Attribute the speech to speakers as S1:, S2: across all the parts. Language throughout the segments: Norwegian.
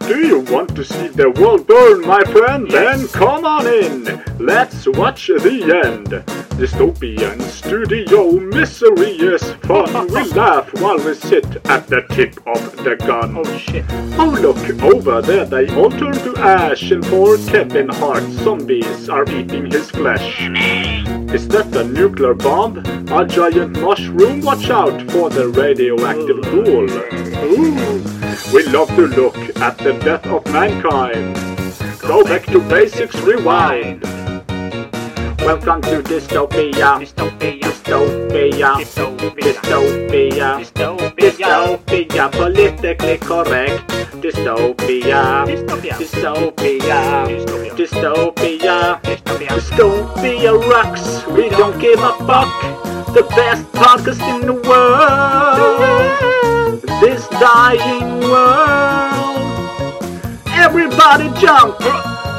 S1: Do you want to see the world burn, my friend? Then come on in. Let's watch the end. Dystopian studio misery is fun. We laugh while we sit at the tip of the gun.
S2: Oh shit.
S1: Oh, look over there, they all turn to ash, and poor Kevin Hart zombies are eating his flesh. Is that a nuclear bomb? A giant mushroom? Watch out for the radioactive pool. Ooh. We love to look at the death of mankind. Go back to basics, rewind. Welcome to dystopia.
S2: Dystopia.
S1: Dystopia.
S2: Dystopia.
S1: Dystopia.
S2: Dystopia.
S1: Dystopia, politically correct. Dystopia.
S2: Dystopia.
S1: Dystopia.
S2: Dystopia.
S1: Dystopia.
S2: Dystopia.
S1: Dystopia rocks. We don't give a fuck. The best podcast in the world. This dying world. Everybody jump.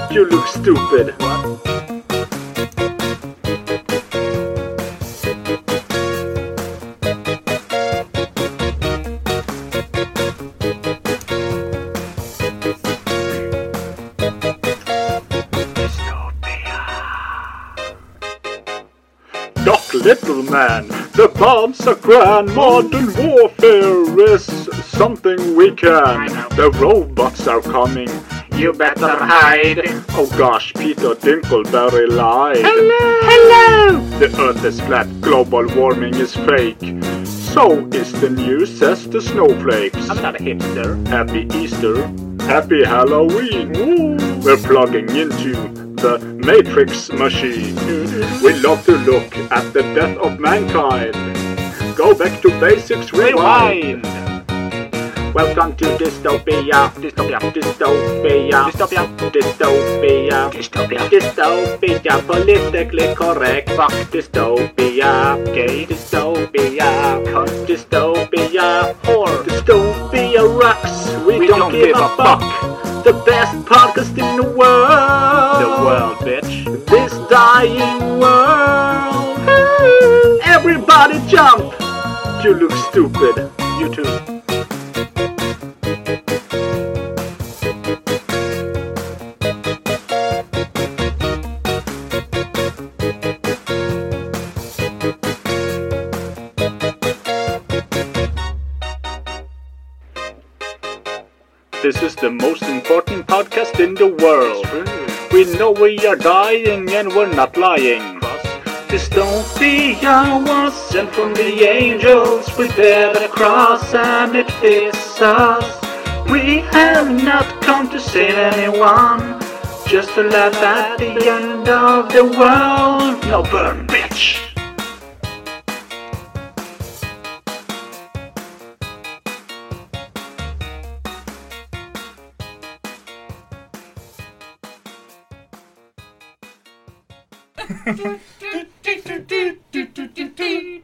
S1: You look stupid. Doc Little Man, the bombs are grand. Modern warfare is something we can. The robots are coming. You better hide. Oh gosh, Peter Dinkleberry lied. Hello! Hello! The earth is flat, global warming is fake. So is the news, says the snowflakes.
S2: I'm not a hipster.
S1: Happy Easter. Happy Halloween. We're plugging into the Matrix machine. We love to look at the death of mankind. Go back to basics, rewind.
S2: Rewind.
S1: Welcome to dystopia.
S2: Dystopia.
S1: Dystopia.
S2: Dystopia.
S1: Dystopia.
S2: Dystopia.
S1: Dystopia, politically correct. Fuck dystopia. Gay dystopia. Cunt dystopia.
S2: Or
S1: Dystopia rocks. We, don't, give, a fuck. The best podcast in the world.
S2: the world, bitch.
S1: This dying world. Everybody jump. You look stupid.
S2: You too.
S1: This is the most important podcast in the world. We know we are dying and we're not lying. Dystopia was sent from the angels. We bear the cross and it fits us. We have not come to save anyone, just to laugh at the end of the world. No burn, bitch.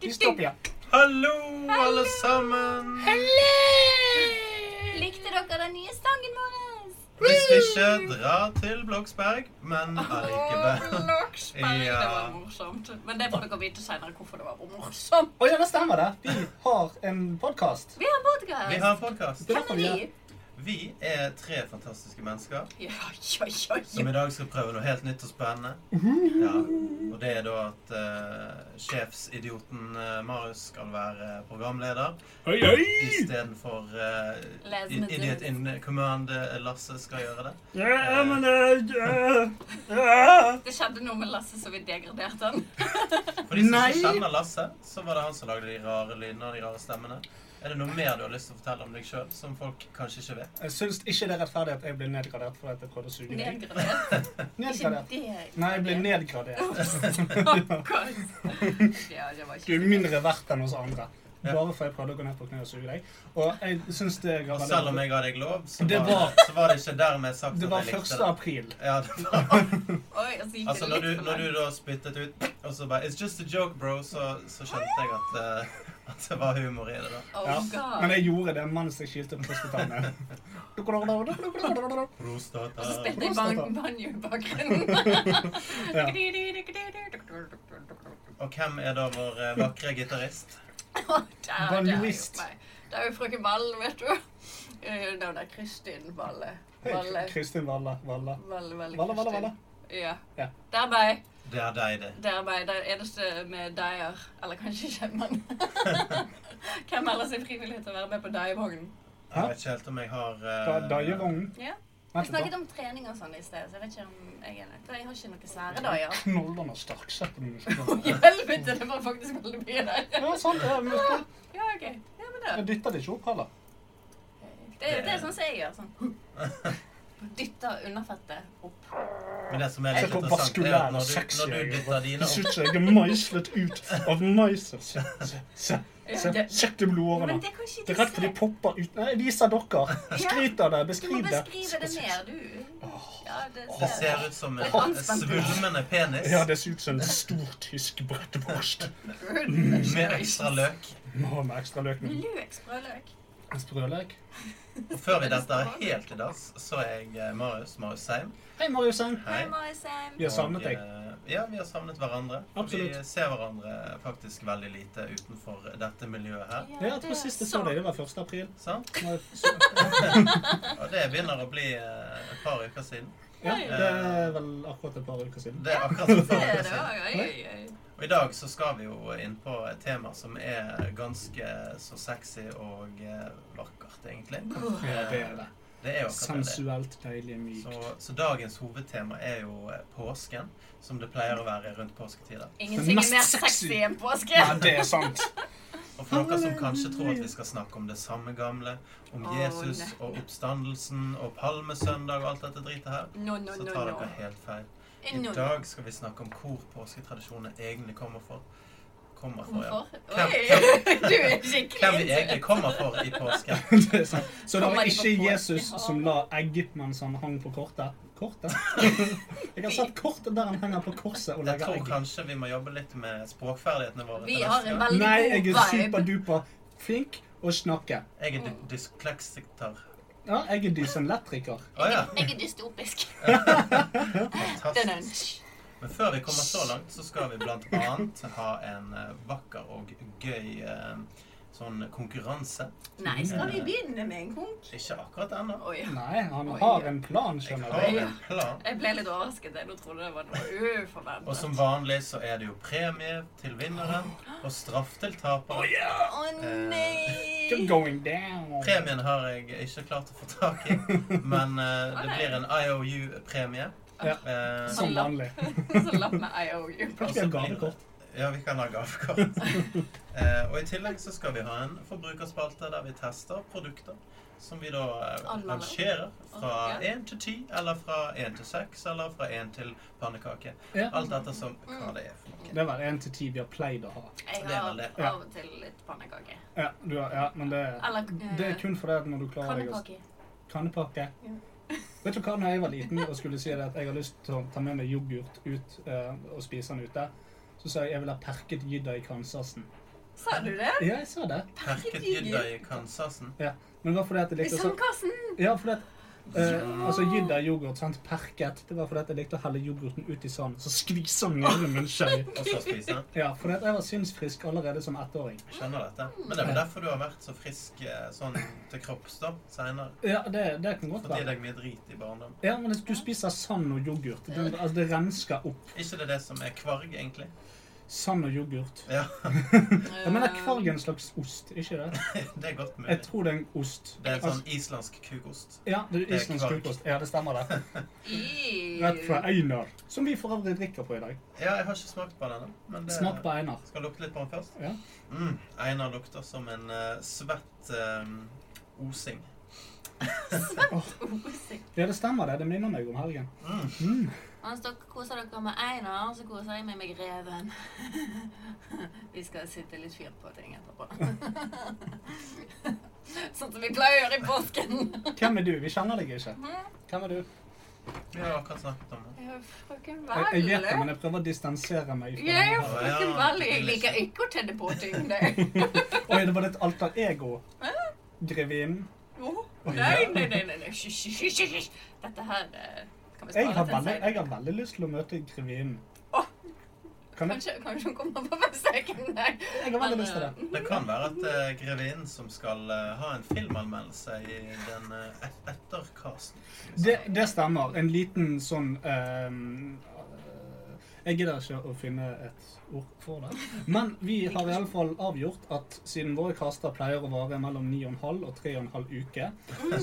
S2: Dystopia.
S3: Hallo, alle sammen!
S4: Likte dere den nye sangen vår?
S3: Hvis ikke, dra til Bloksberg, men allikevel.
S4: Bloksberg. Det var
S3: Ja.
S4: morsomt. Men det får dere vite senere hvorfor det var morsomt.
S5: Å ja, det stemmer det. Vi har en podkast.
S4: Vi har en podcast.
S3: Vi har en podkast.
S4: Hvem er vi?
S3: Vi er tre fantastiske mennesker
S4: Ja, ja, ja,
S3: som
S4: ja.
S3: i dag skal prøve noe helt nytt og spennende. Ja, og det er da at eh, sjefsidioten eh, Marius skal være programleder.
S5: Hei,
S3: Istedenfor uh,
S4: Lesen ut.
S3: Idiot in Command eh, Lasse skal gjøre det.
S5: Ja, men eh,
S4: Det skjedde noe med Lasse, så vi degraderte han.
S3: For de som
S5: Nei.
S3: ikke kjenner Lasse, så var det han som lagde de rare lydene og de rare stemmene. Er det noe mer du har lyst til å fortelle om deg sjøl som folk kanskje ikke vet?
S5: Jeg syns ikke det er rettferdig at jeg ble nedgradert fordi at jeg prøvde å suge deg.
S4: Nedgradert. Ikke
S5: Nedgradert.
S4: deg.
S5: Nei, jeg ble nedgradert.
S4: Stakkars. Ja, det var
S5: Du er
S4: ikke
S5: mindre verdt enn oss andre. Bare fordi jeg prøvde å gå ned på kne og suge deg. Og jeg syns det
S3: Og selv om
S5: grabber
S3: jeg ga deg lov, så
S5: Det
S3: var,
S5: var-
S3: det, så var det ikke dermed sagt
S5: Det
S3: at
S5: var
S3: jeg
S5: 1.
S3: likte det.
S5: april.
S3: Ja, det var.
S4: Oi, altså gikk
S3: Altså,
S4: det
S3: når du,
S4: litt for
S3: når du
S4: langt.
S3: da spyttet ut og så bare It's just a joke, bro, så, så skjønte jeg at, eh, at det var humor i det, da.
S4: Oh,
S5: Ja. Men
S4: God.
S5: jeg gjorde det mens jeg kilte på hospitalet.
S4: Og så
S3: Prostata.
S4: spilte jeg ban- banjo i bakgrunnen.
S5: Ja.
S3: Og hvem er da vår eh, vakre gitarist?
S4: Å, der, der er jo
S5: Banjoist.
S4: meg. Det er jo frøken Valen, vet du. eh, navnet er Kristin Valle.
S5: Hei,
S4: Valle.
S5: Kristin Valle. Valle,
S4: Valle, Valle,
S5: Valle, Valle,
S4: Kristin.
S5: Valle.
S4: Ja.
S5: Ja.
S4: Det er meg.
S3: Det er deg, det.
S4: Det er meg. Det er det eneste med deier. Eller kanskje Kjemmen. Hvem ellers er frivillig til å være med på deievognen?
S5: Hæ?
S3: Jeg vet ikke helt om jeg har
S5: Da-
S3: eh,
S5: Daievognen.
S4: Ja. Vi
S5: Vent litt,
S4: snakket
S5: da.
S4: om trening og sånn i sted, så jeg vet ikke om jeg er nødt. Jeg har ikke noen sære deier.
S5: Knollene sterksetter du
S4: Å,
S5: muskler.
S4: Helvete, det var faktisk veldig mye der.
S5: Ja, sånn. Ja, muskler.
S4: Ja, OK. Ja, men det.
S5: Jeg dytter det ikke opp heller.
S4: Det, det er sånn som jeg gjør. sånn. Dytter underfettet opp.
S3: Men det som er litt
S5: Se hvor
S3: interessant, er
S5: vaskulær
S3: at
S5: og
S3: når du,
S5: sexy
S3: når
S5: jeg
S3: du
S5: er.
S3: dytter dine
S5: Jeg
S3: opp
S5: synes jeg er meislet ut av meiser. Se, se, se, se,
S4: Det-
S5: sjekk de blodårene.
S4: Men det kan ikke du
S5: Det er rett for de
S4: se.
S5: popper ut. Nei, vis av dere. Skryt av
S4: Du
S5: det.
S4: må
S5: Beskriv det.
S4: beskrive det mer, du. Ja, det
S3: Det
S4: ser
S3: ser ut som
S4: Litt
S3: en
S4: anspent.
S3: svulmende penis
S5: Ja, det ser ut som en stor tysk brettvorst.
S4: Goodness
S3: med ekstra
S4: gracious.
S3: løk.
S5: Nå med ekstra løk. med
S4: Løk, sprø løk.
S5: Sprøløk.
S3: Og før vi dette er helt til dass, så er jeg eh, Marius. Marius Seim.
S5: Hei, Mariusen.
S4: Hei,
S3: Hei.
S4: Marisheim.
S5: Vi har savnet deg.
S3: Og, eh, Ja, vi har savnet hverandre.
S5: Absolutt.
S3: Vi ser hverandre faktisk veldig lite utenfor dette miljøet her.
S5: Ja, jeg tror sist jeg så deg, det var 1. april.
S3: Sant?
S5: Nå er- så-
S3: Og det begynner å bli eh, et par uker siden.
S5: Ja, det er vel akkurat et par uker siden.
S3: Det er akkurat som
S4: Det er
S3: et par uker
S4: det
S3: siden.
S4: også, oi, oi, oi.
S3: Og i dag så skal vi jo inn på et tema som er ganske så sexy og eh, vakkert, egentlig. Eh,
S5: Ja, det er det.
S3: Det er jo akkurat det.
S5: Sensuelt, deilig, mykt.
S3: Så, så dagens hovedtema er jo eh, påsken, som det pleier å være rundt påsketider.
S4: Ingenting er
S5: mest
S4: mer
S5: sexy.
S4: sexy enn påske.
S5: Ja, det er sant.
S3: Og for dere som kanskje tror at vi skal snakke om det samme gamle, om
S4: Å,
S3: Jesus
S4: nei.
S3: og oppstandelsen og palmesøndag og alt dette dritet her,
S4: No, no,
S3: så
S4: no,
S3: tar
S4: no.
S3: dere helt feil. I
S4: No, no.
S3: dag skal vi snakke om hvor påsketradisjonene egentlig kommer for. Kommer for, ja.
S4: Hvorfor?
S3: Hvem-
S4: Oi, du er
S3: Hvem vi
S4: skikkelig
S3: egentlig kommer for i påsken.
S5: Det er sant. Så det
S4: Kommer de
S5: var
S4: på
S5: ikke
S4: påskehagen?
S5: Jesus som la egg mens han hang på kortet? Kortet? Jeg har sett kortet der han henger på korset og
S3: Jeg
S5: legger
S3: tror
S5: egg.
S3: kanskje vi må jobbe litt med språkferdighetene våre.
S4: Vi
S3: til
S4: har en
S3: neste gang.
S4: veldig
S5: Nei, jeg er
S4: god vibe.
S5: superduper flink å snakke.
S3: Jeg er dy- dysleksiker.
S5: Ja, jeg er dysenelektriker.
S3: Å ja,
S4: Jeg er dystopisk. Den er
S3: fantastisk. Men før vi kommer så langt, så skal vi blant annet ha en eh, vakker og gøy eh, sånn konkurranse.
S4: Nei, skal vi begynne med en konk?
S3: Ikke akkurat ennå.
S4: Oi.
S5: Nei, han
S4: Oi.
S5: har en plan,
S3: Jeg
S5: skjønner
S3: har
S5: du.
S3: en plan.
S4: Jeg ble litt overrasket. Jeg Nå trodde det var noe
S3: Og som
S4: uforventet.
S3: vanlig så er det jo premie til vinneren og straff til
S4: Å
S3: taperen.
S5: eh, You're
S4: nei!
S5: going down.
S3: Premien har jeg ikke klart å få tak i, men eh,
S4: Å,
S3: det
S4: nei.
S3: blir en IOU-premie.
S5: Ja.
S3: Eh,
S5: Som vanlig.
S4: Så lapp med IOU.
S3: og
S5: Kanskje vi
S3: så blir
S5: har
S3: det-
S5: gavekort.
S3: Altså, Ja, vi kan ha gavekort. Eh, og i tillegg så skal vi ha en forbrukerspalte der vi tester produkter som vi da eh,
S4: Anmelder.
S3: rangerer fra
S4: Å, ja.
S3: 1 til 10, eller fra 1 til 6, eller fra 1 til pannekake.
S5: Ja.
S3: Alt etter som hva det er for noe.
S5: Det var en til ti vi har pleid å ha.
S4: Jeg
S3: Det er
S4: har
S3: vel det.
S4: av og til litt pannekake.
S5: Ja, du har, ja men det,
S4: Eller, eh,
S5: det er kun fordi at når du klarer deg å
S4: Pannekake.
S5: Kannepakke.
S4: Ja.
S5: Vet du hva, når jeg var liten og skulle si det at jeg har lyst til å ta med meg yoghurt ut eh, og spise den ute, så sa jeg jeg vil ha perket gydda i kansasen.
S4: Sa du det?
S5: Ja, jeg sa det.
S3: Perket gydda i Kansasen.
S5: Ja. Men det var fordi at jeg
S4: I
S5: likte å så-
S4: sandkassen!
S5: Ja, fordi at eh, altså gydda i yoghurt, sant, perket, det var fordi at jeg likte å helle yoghurten ut i sanden, så skvise den ned i munnskjøy.
S3: Og så spise den.
S5: Ja, fordi at jeg var sinnsfrisk allerede som ettåring.
S3: Jeg skjønner dette. Men det er vel derfor du har vært så frisk eh, sånn til kropps da, senere.
S5: Ja, det, det kan godt
S3: Fått i
S5: være.
S3: deg mye drit i barndom.
S5: Ja, men du spiser sand og yoghurt. Det, altså, det rensker opp
S3: Ikke det det som er kvarg, egentlig?
S5: sand og yoghurt.
S3: Ja,
S5: Jeg mener kvarg er en slags ost, ikke det?
S3: det er godt
S5: Jeg
S3: mulig.
S5: tror det er en ost.
S3: Det er en sånn
S5: Altså,
S3: islandsk kukost.
S5: ja,
S3: er
S5: det er islandsk
S3: kvarg.
S5: frokost. Ja, det stemmer det. Rett fra
S4: Ew.
S5: Einar. Som vi for øvrig drikker på i dag.
S3: Ja, jeg har ikke smakt på den ennå. men det-
S5: Smak på Einar.
S3: Skal lukte litt på den først?
S5: Ja.
S3: Mm. Einar lukter som en eh, svett eh, osing.
S4: Osig.
S5: Ja, det stemmer det. Det minner meg om helgen.
S3: Mm.
S5: Mm.
S4: Mens dere koser dere med Einar, så koser jeg meg med Greven. Vi skal sitte litt fyr på ting etterpå. Sånn som vi pleier å gjøre i påsken.
S5: Hvem er du? Vi kjenner deg ikke. Hvem er du?
S3: Vi har akkurat snakket om det.
S4: Jeg er Frøken
S5: Jeg, jeg vet det,
S4: Valle.
S5: men jeg prøver å distansere meg fra
S4: Jeg er
S5: denne her.
S4: frøken Valle. Jeg liker ikke å tenne på ting. Nei,
S5: Oi, det var litt alter ego. Grevinnen.
S4: Jo. nei, nei. nei, nei, nei. Hysj, hysj, hysj, hysj. Dette her eh, kan vi
S5: Jeg
S4: spare
S5: har
S4: til en
S5: veldig, jeg
S4: senere.
S5: har veldig lyst til å møte grevinnen. Kan jeg,
S4: Kanskje, kanskje hun kommer på besøk en dag.
S5: jeg har veldig lyst til det.
S3: Det kan være at eh, grevinnen som skal eh, ha en filmanmeldelse i den eh, et etterkasten som vi
S5: det.
S3: sa.
S5: Det stemmer. En liten sånn ehm, eh, Jeg gidder ikke å finne et ord for det. Men vi har i alle fall avgjort at siden våre kaster pleier å vare mellom 9,5 og 3,5 uke,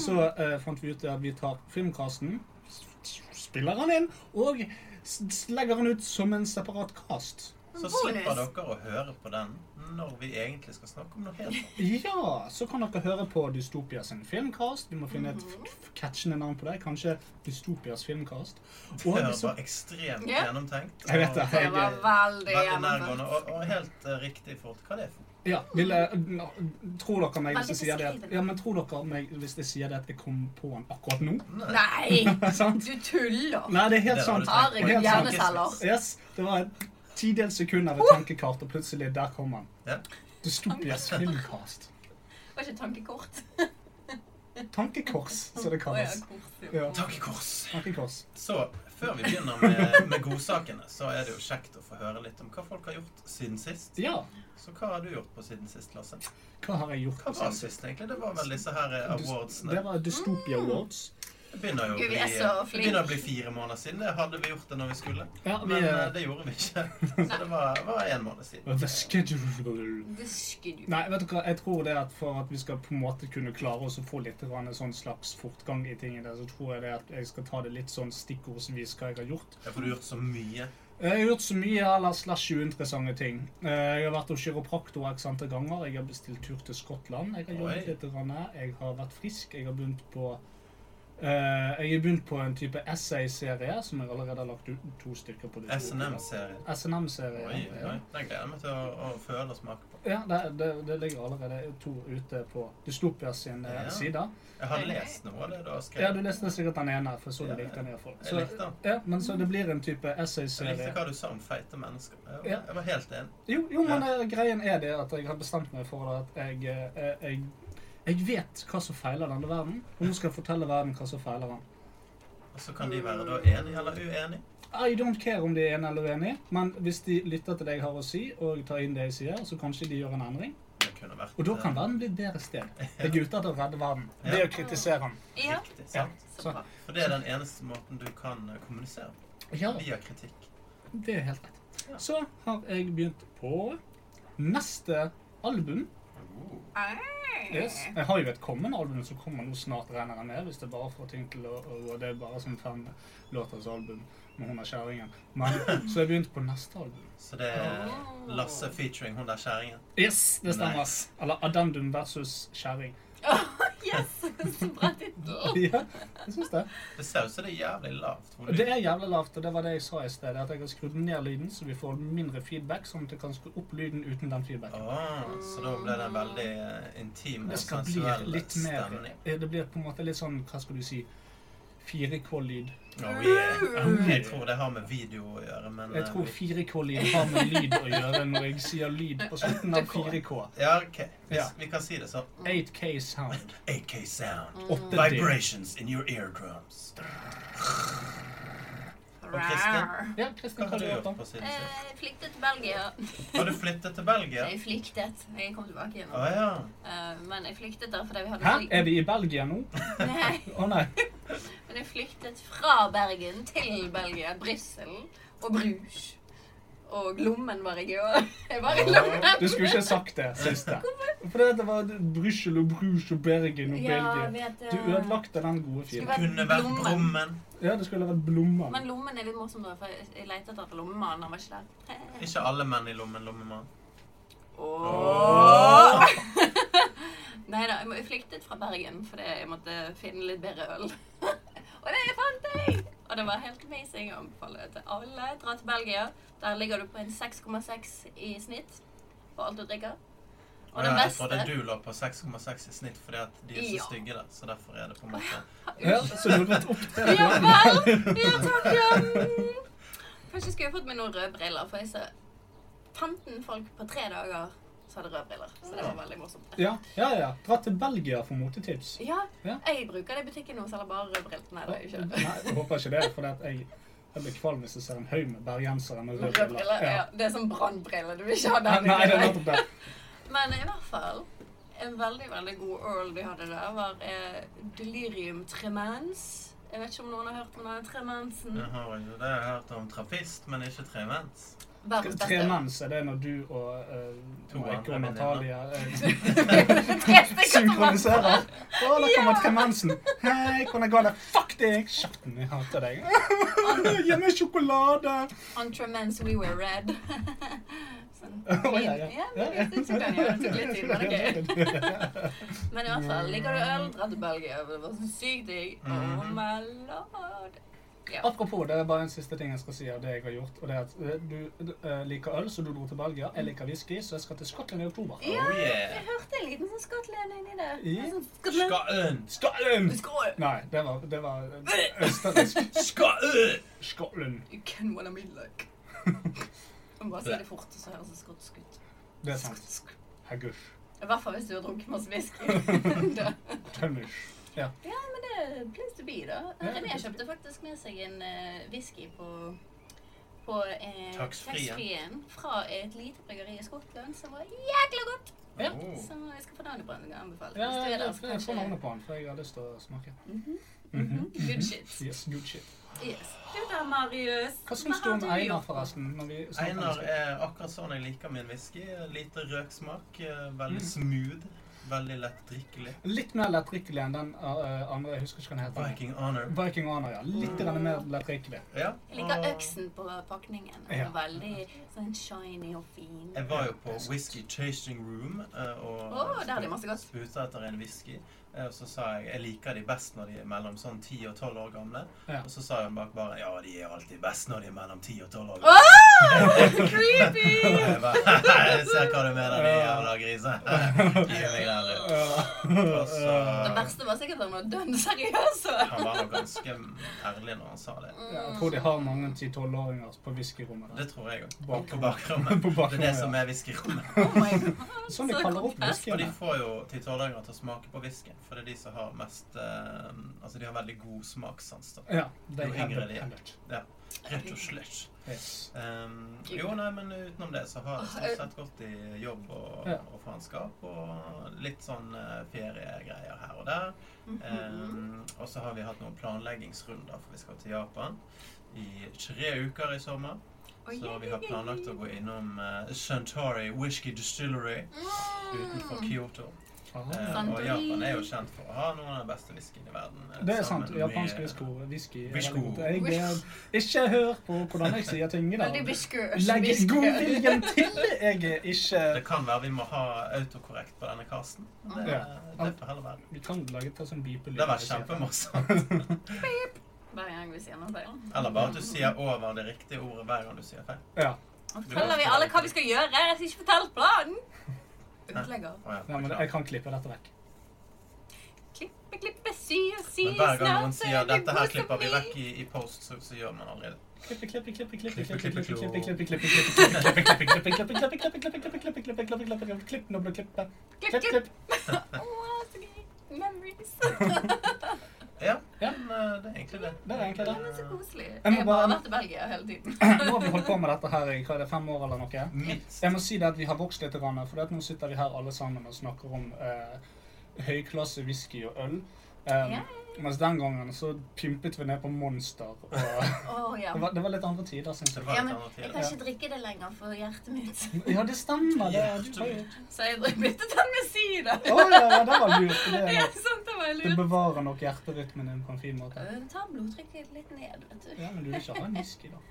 S5: så eh, fant vi ut at vi tar filmkasten, s- s- spiller han inn, og s- s- legger han ut som en separat cast.
S3: Så
S4: Bonus.
S3: slipper dere å høre på den når vi egentlig skal snakke om noe helt annet.
S5: Ja, så kan dere høre på Dystopia sin filmkast. Vi må finne et f- f- catchende navn på det. Kanskje Dystopias filmkast.
S3: Det
S5: Og
S3: høres
S5: så,
S3: bare ekstremt
S4: Ja.
S3: gjennomtenkt.
S5: Jeg vet det.
S4: Det var veldig
S3: Veldig nærgående
S4: gjennomført.
S3: og, og helt eh, riktig i forhold til hva det er. for.
S5: ja, vil jeg, nå, tror dere meg hvis jeg
S4: Veldig
S5: sier det at,
S4: beskrivende.
S5: ja, men tror dere meg hvis jeg sier det at jeg kom på den akkurat nå?
S3: Nei.
S4: Nei,
S5: sant?
S4: du tuller.
S5: Nei, det er
S3: Det var
S5: helt
S3: det
S5: sant.
S4: Har
S3: Helt
S4: jeg
S5: sant.
S4: hjerneceller?
S5: Yes, det var et tidels sekund av et tankekart, og plutselig der kom han.
S3: Ja.
S5: Dystopias filmkast.
S4: Det var ikke tankekort.
S5: Tankekors, som det kalles.
S4: Å ja,
S5: Ja.
S4: kort,
S3: Takk i kors.
S5: Tankekors.
S3: Så før vi begynner med, med godsakene, så er det jo kjekt å få høre litt om hva folk har gjort siden sist.
S5: Ja,
S3: Så hva har du gjort på siden sist, Lasse?
S5: hva har jeg gjort?
S3: Hva var sist, egentlig? Det var vel disse her eh,
S5: Det
S3: awardsene.
S5: var Dystopia Awards.
S3: Det begynner jo å
S4: Gud, vi
S3: bli, eh,
S4: er så
S3: det begynner å
S4: flink.
S3: bli fire måneder siden. Det hadde vi gjort det når vi skulle.
S5: Ja, vi
S3: Men eh,
S5: er
S3: det gjorde vi ikke. Så det var, var en måned siden.
S5: The schedule.
S4: Det skulle du.
S5: Nei, vet du hva, jeg tror det at for at vi skal på en måte kunne klare oss å få litt grann en sånn slags fortgang i tingene, så tror jeg det at jeg skal ta det litt sånn stikkordsvis hva jeg har gjort.
S3: Ja, for du har gjort så mye.
S5: Jeg har gjort så mye eller slash uinteressante ting. Eh, Jeg har vært hos kiropraktor x antall ganger, jeg har bestilt tur til Skottland, jeg har jobbet
S3: Oi.
S5: litt, grann. jeg har vært frisk, jeg har begynt på eh, jeg har begynt på en type essay-serie som jeg allerede har lagt ut to stykker på. de to.
S3: SNM-serien. Oi,
S5: SNM-serie.
S3: oi, oi. Den gleder jeg meg til å, å føle og smake på.
S5: Ja, det, det, det ligger allerede to ute på Dystopia sin eh,
S3: Ja.
S5: side.
S3: Jeg har lest noe av det du har
S5: Ja, du
S3: skrevet.
S5: leste sikkert den ene, for så du
S3: Ja,
S5: likte den iallfall.
S3: Jeg likte den.
S5: Ja, men så det blir en type
S3: Jeg likte
S5: essayserie.
S3: hva du sa om feite mennesker. Jeg var,
S5: Ja.
S3: jeg var helt enig.
S5: Jo, jo, men
S3: Ja.
S5: eh, greien er det at jeg har bestemt meg for at jeg, eh, jeg jeg vet hva som feiler denne verden, og nå skal jeg fortelle verden hva som feiler den.
S3: Og så kan de være da enige eller uenige.
S5: I don't care om de er enige eller uenige, men hvis de lytter til det jeg har å si, og tar inn det jeg sier, så kanskje de gjør en endring.
S3: Det kunne vært
S5: Og da kan
S3: eh,
S5: verden bli et bedre sted. Jeg er ute etter å redde verden.
S3: Ja.
S5: Det å kritisere den.
S4: Ja,
S3: riktig. sant?
S5: Så-
S4: så bra.
S3: For det er den eneste måten du kan eh, kommunisere på.
S5: Ja.
S3: Via kritikk.
S5: Det er helt rett.
S3: Ja.
S5: Så har jeg begynt på neste album. Yes.
S4: Ei.
S5: Jeg har jo et kommende album som kommer nå snart, regner jeg med. Hvis det bare får ting til å å gå. Det er bare som fem låters album med hun der kjerringen. Men så har jeg begynt på neste album.
S3: Så det er Lasse featuring hun der kjerringen.
S5: Yes, det stemmer.
S3: Nice.
S5: Eller Addendum versus kjerring.
S4: Yes, så bra tittel.
S5: Ja, jeg syns det.
S3: Det ser ut som det er jævlig lavt. volym.
S5: Det er jævlig lavt, og det var det jeg sa i sted. At jeg har skrudd ned lyden, så vi får mindre feedback, sånn at jeg kan skru opp lyden uten den feedbacken.
S3: Åh, Ah, så da ble det en veldig eh, intim
S5: Det
S3: og
S5: skal bli
S3: sensuell
S5: litt mer
S3: stemning.
S5: eh, Det blir på en måte litt sånn, hva skal du si 4K-lyd.
S3: Oh, yeah.
S5: Mm.
S3: Jeg tror det har med video å gjøre, men
S5: Jeg
S3: eh,
S5: tror
S3: vi-
S5: 4K-lyd har med lyd å gjøre når jeg sier lyd på slutten av 4K.
S3: Ja, OK. Vi,
S5: Ja.
S3: vi kan si det sånn.
S5: 8K sound.
S3: 8K
S5: Mm.
S3: sound.
S5: 8D.
S3: Vibrations in your eardrums.
S4: Rar.
S5: Ja,
S3: Hva
S5: Kristin,
S3: har du
S5: gjort
S3: gjort
S5: da?
S3: på siden sist?
S4: Jeg Eh, flyktet til Belgia.
S3: Har du flyttet til Belgia?
S4: Jeg flyktet. Jeg kom tilbake igjen.
S3: Å ja.
S4: Eh, Men jeg flyktet der fordi vi hadde
S5: Hæ?
S4: fly-
S5: Er vi i Belgia nå?
S4: Nei,
S5: Å nei.
S4: men jeg flyktet fra Bergen til Belgia, Brussel og Bruges. Og lommen var jeg i òg. Jeg var i lommen.
S5: Du skulle ikke sagt det siste. For det var Brussel og Bruges og Bergen og
S4: Ja,
S5: Belgia.
S4: vet eh,
S5: Du
S4: jeg.
S5: ødelagte den gode
S4: Skulle
S5: filen.
S3: Kunne vært
S4: Blommen.
S3: Brummen.
S5: Ja, det skulle vært Blomman.
S4: Men lommen er litt morsom, da, for jeg jeg lette etter lommemannen. Han var ikke der.
S3: Ikke alle menn i lommen, lommemann.
S4: Åh. Nei da, jeg må- jeg flyktet fra Bergen fordi jeg måtte finne litt bedre øl. og det fant jeg! Og det var helt amazing. Jeg anbefaler det til alle. Dra til Belgia. Der ligger du på en 6,6 i snitt på alt du drikker. Og det
S3: Ja, jeg
S4: beste
S3: trodde du lå på 6,6 i snitt fordi at de er
S4: Ja.
S3: så stygge der. Så derfor er det på en måte
S5: Ja, så du har gått opp til
S4: Ja vel! Ja takk, ja. Mm. Kanskje skulle jeg fått meg noen røde briller, for jeg ser 15 folk på tre dager som hadde røde briller. Så det var veldig morsomt.
S5: Ja, ja, ja. Dra til Belgia for motetips.
S4: Ja,
S5: Ja.
S4: jeg bruker det i butikken nå, selger bare røde briller. Nei, det er
S5: Nei,
S4: ikke det.
S5: jeg håper ikke det, for at jeg Jeg blir kvalm hvis jeg ser en haug med bergensere med røde
S4: Røde briller. Ja. Det er sånn brannbriller. Du vil ikke ha
S5: Nei,
S4: den.
S5: nei, det er nettopp det.
S4: Men i hvert fall En veldig, veldig god earl de hadde der, var eh, delirium tremens. Jeg vet ikke om noen har hørt om den tremensen.
S3: Jeg har jo det jeg har hørt om trafist, men ikke tremens.
S4: Verdens
S5: Tre
S4: beste.
S5: mens, er det når du og uh,
S3: To andre
S5: Maiko og Natalia eh,
S4: Tre stykker tremenser.
S5: synkroniserer? Å, nå kommer tremensen. Hei, hvordan går det? Fuck deg! Kjeften, jeg hater deg. Gi meg sjokolade!
S4: On tremens we were red. sånn.
S5: Å, ja, ja.
S4: Ja, men jeg synes jeg kan gjøre det litt til, men det er gøy. Men i hvert fall, liker du øl, dra til Belgia. Det var så sånn sykt digg.
S5: Mm.
S4: Oh
S3: Mhm.
S4: my lord. Ja.
S5: Apropos, det er bare en siste ting jeg skal si av det jeg har gjort. Og det er at eh, du eh, liker øl, så du dro til Belgia. Jeg liker whisky, så jeg skal til Skottland i oktober.
S4: Ja,
S3: Oh, yeah.
S4: jeg hørte en liten sånn skottlend inni der.
S5: Ja.
S4: En sånn Skottland.
S3: Skål!
S5: Skottland!
S4: Skål!
S5: Nei, det var, det var eh, østerriksk.
S3: Skål!
S5: Skottland.
S4: You can wanna be like. Jeg må bare si det fort, så høres det skotsk ut.
S5: Det er sant. Haggush.
S4: I hvert fall hvis du har drukket masse whisky. Da-
S5: Tømmish. Ja.
S4: ja, men det er place to be, da.
S5: Ja, det er
S4: René
S5: place to
S4: kjøpte faktisk med seg en eh, whisky på på eh,
S3: Taxfree-en.
S4: taxfree-en fra et lite bryggeri i Skottland som var jækla godt.
S5: Ja.
S3: Oh.
S4: Så jeg skal få navnet på den. jeg anbefaler.
S5: Ja,
S4: Hvis du er
S5: jeg,
S4: der,
S5: jeg,
S4: så
S5: jeg får
S4: kanskje-
S5: navnet på den, for jeg har lyst til å smake.
S4: Mhm.
S5: Mhm.
S4: Good shit.
S5: Yes, good shit.
S4: Yes. Du da, Marius.
S5: Hva syns du om Einar, forresten? Når vi snakker om
S3: Einar
S5: whisky?
S3: er akkurat sånn jeg liker min whisky. Lite røksmak, eh, veldig
S4: Mm.
S3: smooth, veldig lett drikkelig.
S5: Litt mer lettdrikkelig enn den eh, andre jeg husker ikke hva den heter.
S3: Viking honor.
S5: Viking Honor, ja. Litt grann mer lettdrikkelig.
S3: Ja.
S4: Jeg liker
S3: og
S4: øksen på pakningen. Den
S5: Ja.
S4: er veldig sånn shiny og fin.
S3: Jeg var jo på Whisky Tasting Room eh, og
S4: Åh, der er det masse godt.
S3: spurte etter en whisky. Eh, Og så sa jeg jeg liker de best når de er mellom sånn 10 og 12 år gamle.
S5: Ja.
S3: Og så sa hun bak bare ja, de er alltid best når de er mellom 10 og 12 år gamle.
S4: Åh, creepy!
S3: Jeg bare, jeg ser hva du mener, de jævla grisene. Gi meg den litt. Og
S4: Det
S3: så
S4: verste var sikkert at han var dønn seriøs.
S3: Han var nok ganske ærlig når han sa det.
S4: Mm.
S5: Ja, Jeg tror de har mange 10-12-åringer på whiskyrommet.
S3: Det
S5: der.
S3: tror jeg òg.
S5: Bak-
S3: På bakrommet.
S5: På bakrommet,
S3: Det er det
S5: ja.
S3: som er whiskyrommet.
S4: Oh my god.
S5: Sånn de kaller opp
S4: komplekst.
S3: Og de
S5: whiskyene.
S3: får jo titoleringer til å smake på whiskyen, for det er de som har mest eh, Altså, de har veldig god smakssans, da.
S5: Ja, de
S3: Jo
S5: er
S3: yngre de er.
S5: det.
S3: Ja. Rett og slett.
S5: Yes.
S3: Um, jo, nei, men utenom det så har jeg stort sett gått i jobb og,
S5: Ja.
S3: og faenskap, og litt sånn eh, feriegreier her og der.
S4: Mhm.
S3: Um, og så har vi hatt noen planleggingsrunder, for vi skal til Japan i tre uker i sommer.
S4: Oi,
S3: Så vi har
S4: oi, oi,
S3: planlagt å gå innom uh, Shantari Whisky Distillery
S4: Mm.
S3: utenfor Kyoto. Eh,
S5: Ah.
S3: og Japan er jo kjent for å ha noen av de beste whiskyene i verden. eh,
S5: Det er
S3: sammen
S5: sant. Japansk
S3: med-
S5: whisky whisky er
S3: Whisky.
S5: veldig godt. Jeg eh, Ikke hør på hvordan jeg sier ting i dag.
S4: Veldig biskøs.
S5: Legg
S4: biskøs.
S5: godviljen til! Jeg er ikke
S3: Det kan være vi må ha autokorrekt på denne casten. Det,
S5: Ja.
S3: det får heller være.
S5: Du kan lage et sånn bipelyd.
S3: Det hadde vært kjempemorsomt.
S4: Hver gang vi sier noe feil.
S3: Eller bare at du sier over det riktige ordet hver gang du sier feil.
S5: Ja.
S4: Nå forteller vi alle hva vi skal gjøre. Jeg skal ikke fortelle planen. Utlegger.
S3: Å, ja,
S5: Nei, men jeg
S3: beklager.
S5: kan klippe dette vekk.
S4: Klippe, klippe, sy og sy.
S3: Men hver gang noen
S4: snart er
S3: sier
S4: det
S3: dette her
S4: god
S3: klipper vi
S4: stemning».
S3: vekk i, i post, så, så gjør man aldri det.
S5: Klippe, klippe, klippe, klippe,
S3: Klippe,
S5: klippe,
S3: klippe,
S5: klippe, klippe, klippe,
S3: klippe,
S5: klippe, klippe, klippe, klippe, klippe, klippe, klippe, klippe, klippe, klippe, klippe, klippe, klippe, klippe, klippe, klippe, klippe, klippe, klipp, nå blir det klippe.
S4: Klipp,
S5: Klipp,
S4: klipp.
S5: klipp.
S4: Åh, så gøy. Memories.
S3: Ja,
S5: Ja.
S3: men eh, det er egentlig det.
S5: Det er egentlig det.
S4: Men så koselig.
S5: må
S4: Jeg har bare
S5: bare-
S4: vært i Belgia hele tiden.
S5: Nå har vi holdt på med dette her i hva er det, fem år eller noe.
S3: Minst.
S5: Jeg må si det at vi har vokst litt, grann, for det at nå sitter vi her alle sammen og snakker om eh, høyklasse whisky og øl. Um,
S4: Ja.
S5: Mens den gangen så pympet vi ned på Monster. Og det,
S4: Åh, ja.
S5: var, det var litt andre tider, syns
S3: Det
S5: jeg.
S3: var
S4: Ja,
S3: et
S4: men
S3: annet
S4: jeg
S3: tid.
S4: kan ikke drikke det lenger for hjertet mitt.
S5: Ja, det stemmer. Det, du har jo
S4: Så jeg byttet den med sider.
S5: Å ja, ja, det var lurt. Det, er
S4: Ja,
S5: nok-
S4: sånn, det var
S5: det
S4: lurt.
S5: bevarer nok hjerterytmen din på en fin måte.
S4: Øh, Ta blodtrykket litt ned, vet du.
S5: Ja, Men du vil ikke ha en whisky, da?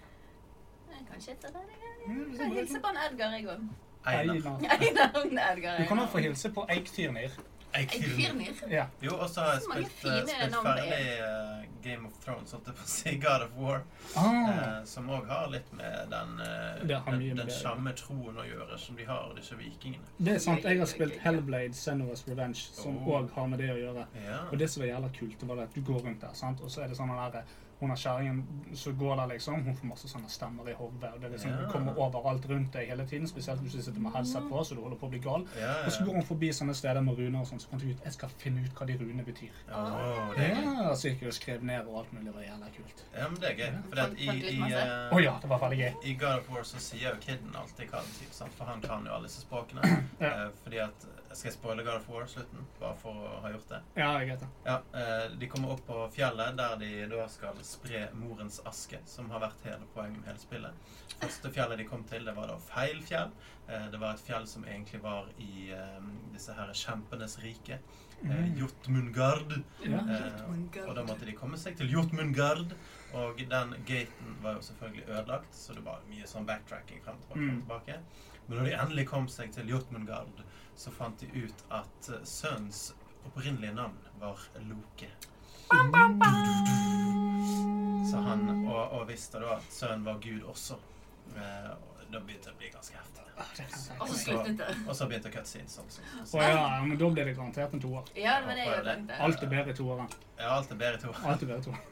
S4: Jeg kan ikke ta den engang.
S5: Mm,
S4: Jeg kan hilse på en Edgar, jeg òg.
S3: Einar.
S5: Einar.
S4: Einar og en Edgar.
S5: Du kan
S4: Einar.
S5: også få hilse på Eiktyrnir.
S4: Jeg
S3: Einar.
S4: fyrner.
S5: Ja.
S3: Jo, og så har jeg
S4: Så mange
S3: spilt, eh,
S4: fine
S3: spilt
S4: navn det
S3: ferdig eh, Game of Thrones, holdt jeg på å si, God of War,
S5: Ah,
S3: eh, som òg har litt med den, eh,
S5: Det har mye
S3: den,
S5: med
S3: den
S5: det.
S3: samme troen å gjøre som de har, disse vikingene.
S5: det er sant. Jeg har spilt Hellblade Senua's Revenge, som
S3: Oh.
S5: òg har med det å gjøre.
S3: Ja.
S5: Og det som var jævla kult, det var det at du går rundt der, sant? og så er det sånn den der, hun har kjerringen som går der, liksom. Hun får masse sånne stemmer i hodet, og det er liksom,
S3: Ja.
S5: du kommer overalt rundt deg hele tiden. Spesielt hvis du sitter med headset på, så du holder på å bli gal.
S3: Ja,
S5: Og så
S3: ja.
S5: går hun forbi sånne steder med runer og sånn, så fant jeg ut jeg skal finne ut hva de runene betyr.
S3: Åh, det er gøy.
S5: Ja, så gikk jeg og skrev ned og alt mulig. Det var jævla kult.
S3: Ja, men det er gøy. For
S4: Kan-
S3: at i,
S4: kan du litt
S3: i,
S4: masse?
S3: eh,
S5: Å ja, det var veldig gøy.
S3: I God of War så sier jo Kidden alltid hva det betyr, sant? for han kan jo alle disse språkene.
S5: Ja.
S3: Eh, fordi at, Skal jeg spoile God of War-slutten, bare for å ha gjort det?
S5: Ja, det er greit, det.
S3: Ja, eh, De kommer opp på fjellet, der de da skal spre morens aske, som har vært hele poenget med hele spillet. Første fjellet de kom til, det var da feil fjell. Eh, det var et fjell som egentlig var i eh, disse her kjempenes rike. Eh,
S5: Mm.
S3: Jotmungard.
S5: Ja.
S3: Eh, og da måtte de komme seg til Jotmungard. Og den gaten var jo selvfølgelig ødelagt, så det var mye sånn backtracking frem og tilbake. frem og
S5: Mm.
S3: tilbake. Men når de endelig kom seg til Jotmungard, så fant de ut at eh, sønnens opprinnelige navn var Loke. Så han, og, og visste da at sønnen var Gud også. Eh, og da begynte det å bli ganske heftig.
S5: Å, det er sant.
S4: Og
S3: Altså,
S4: så sluttet det.
S3: Og så begynte cutscenes også.
S5: Å ja, ja, men da blir det garantert en toer.
S4: Ja, det var det jeg
S3: Bare det.
S4: tenkte.
S5: Alt er bedre i toeren.
S3: Ja, alt er bedre i to.
S5: Alt er bedre i toeren.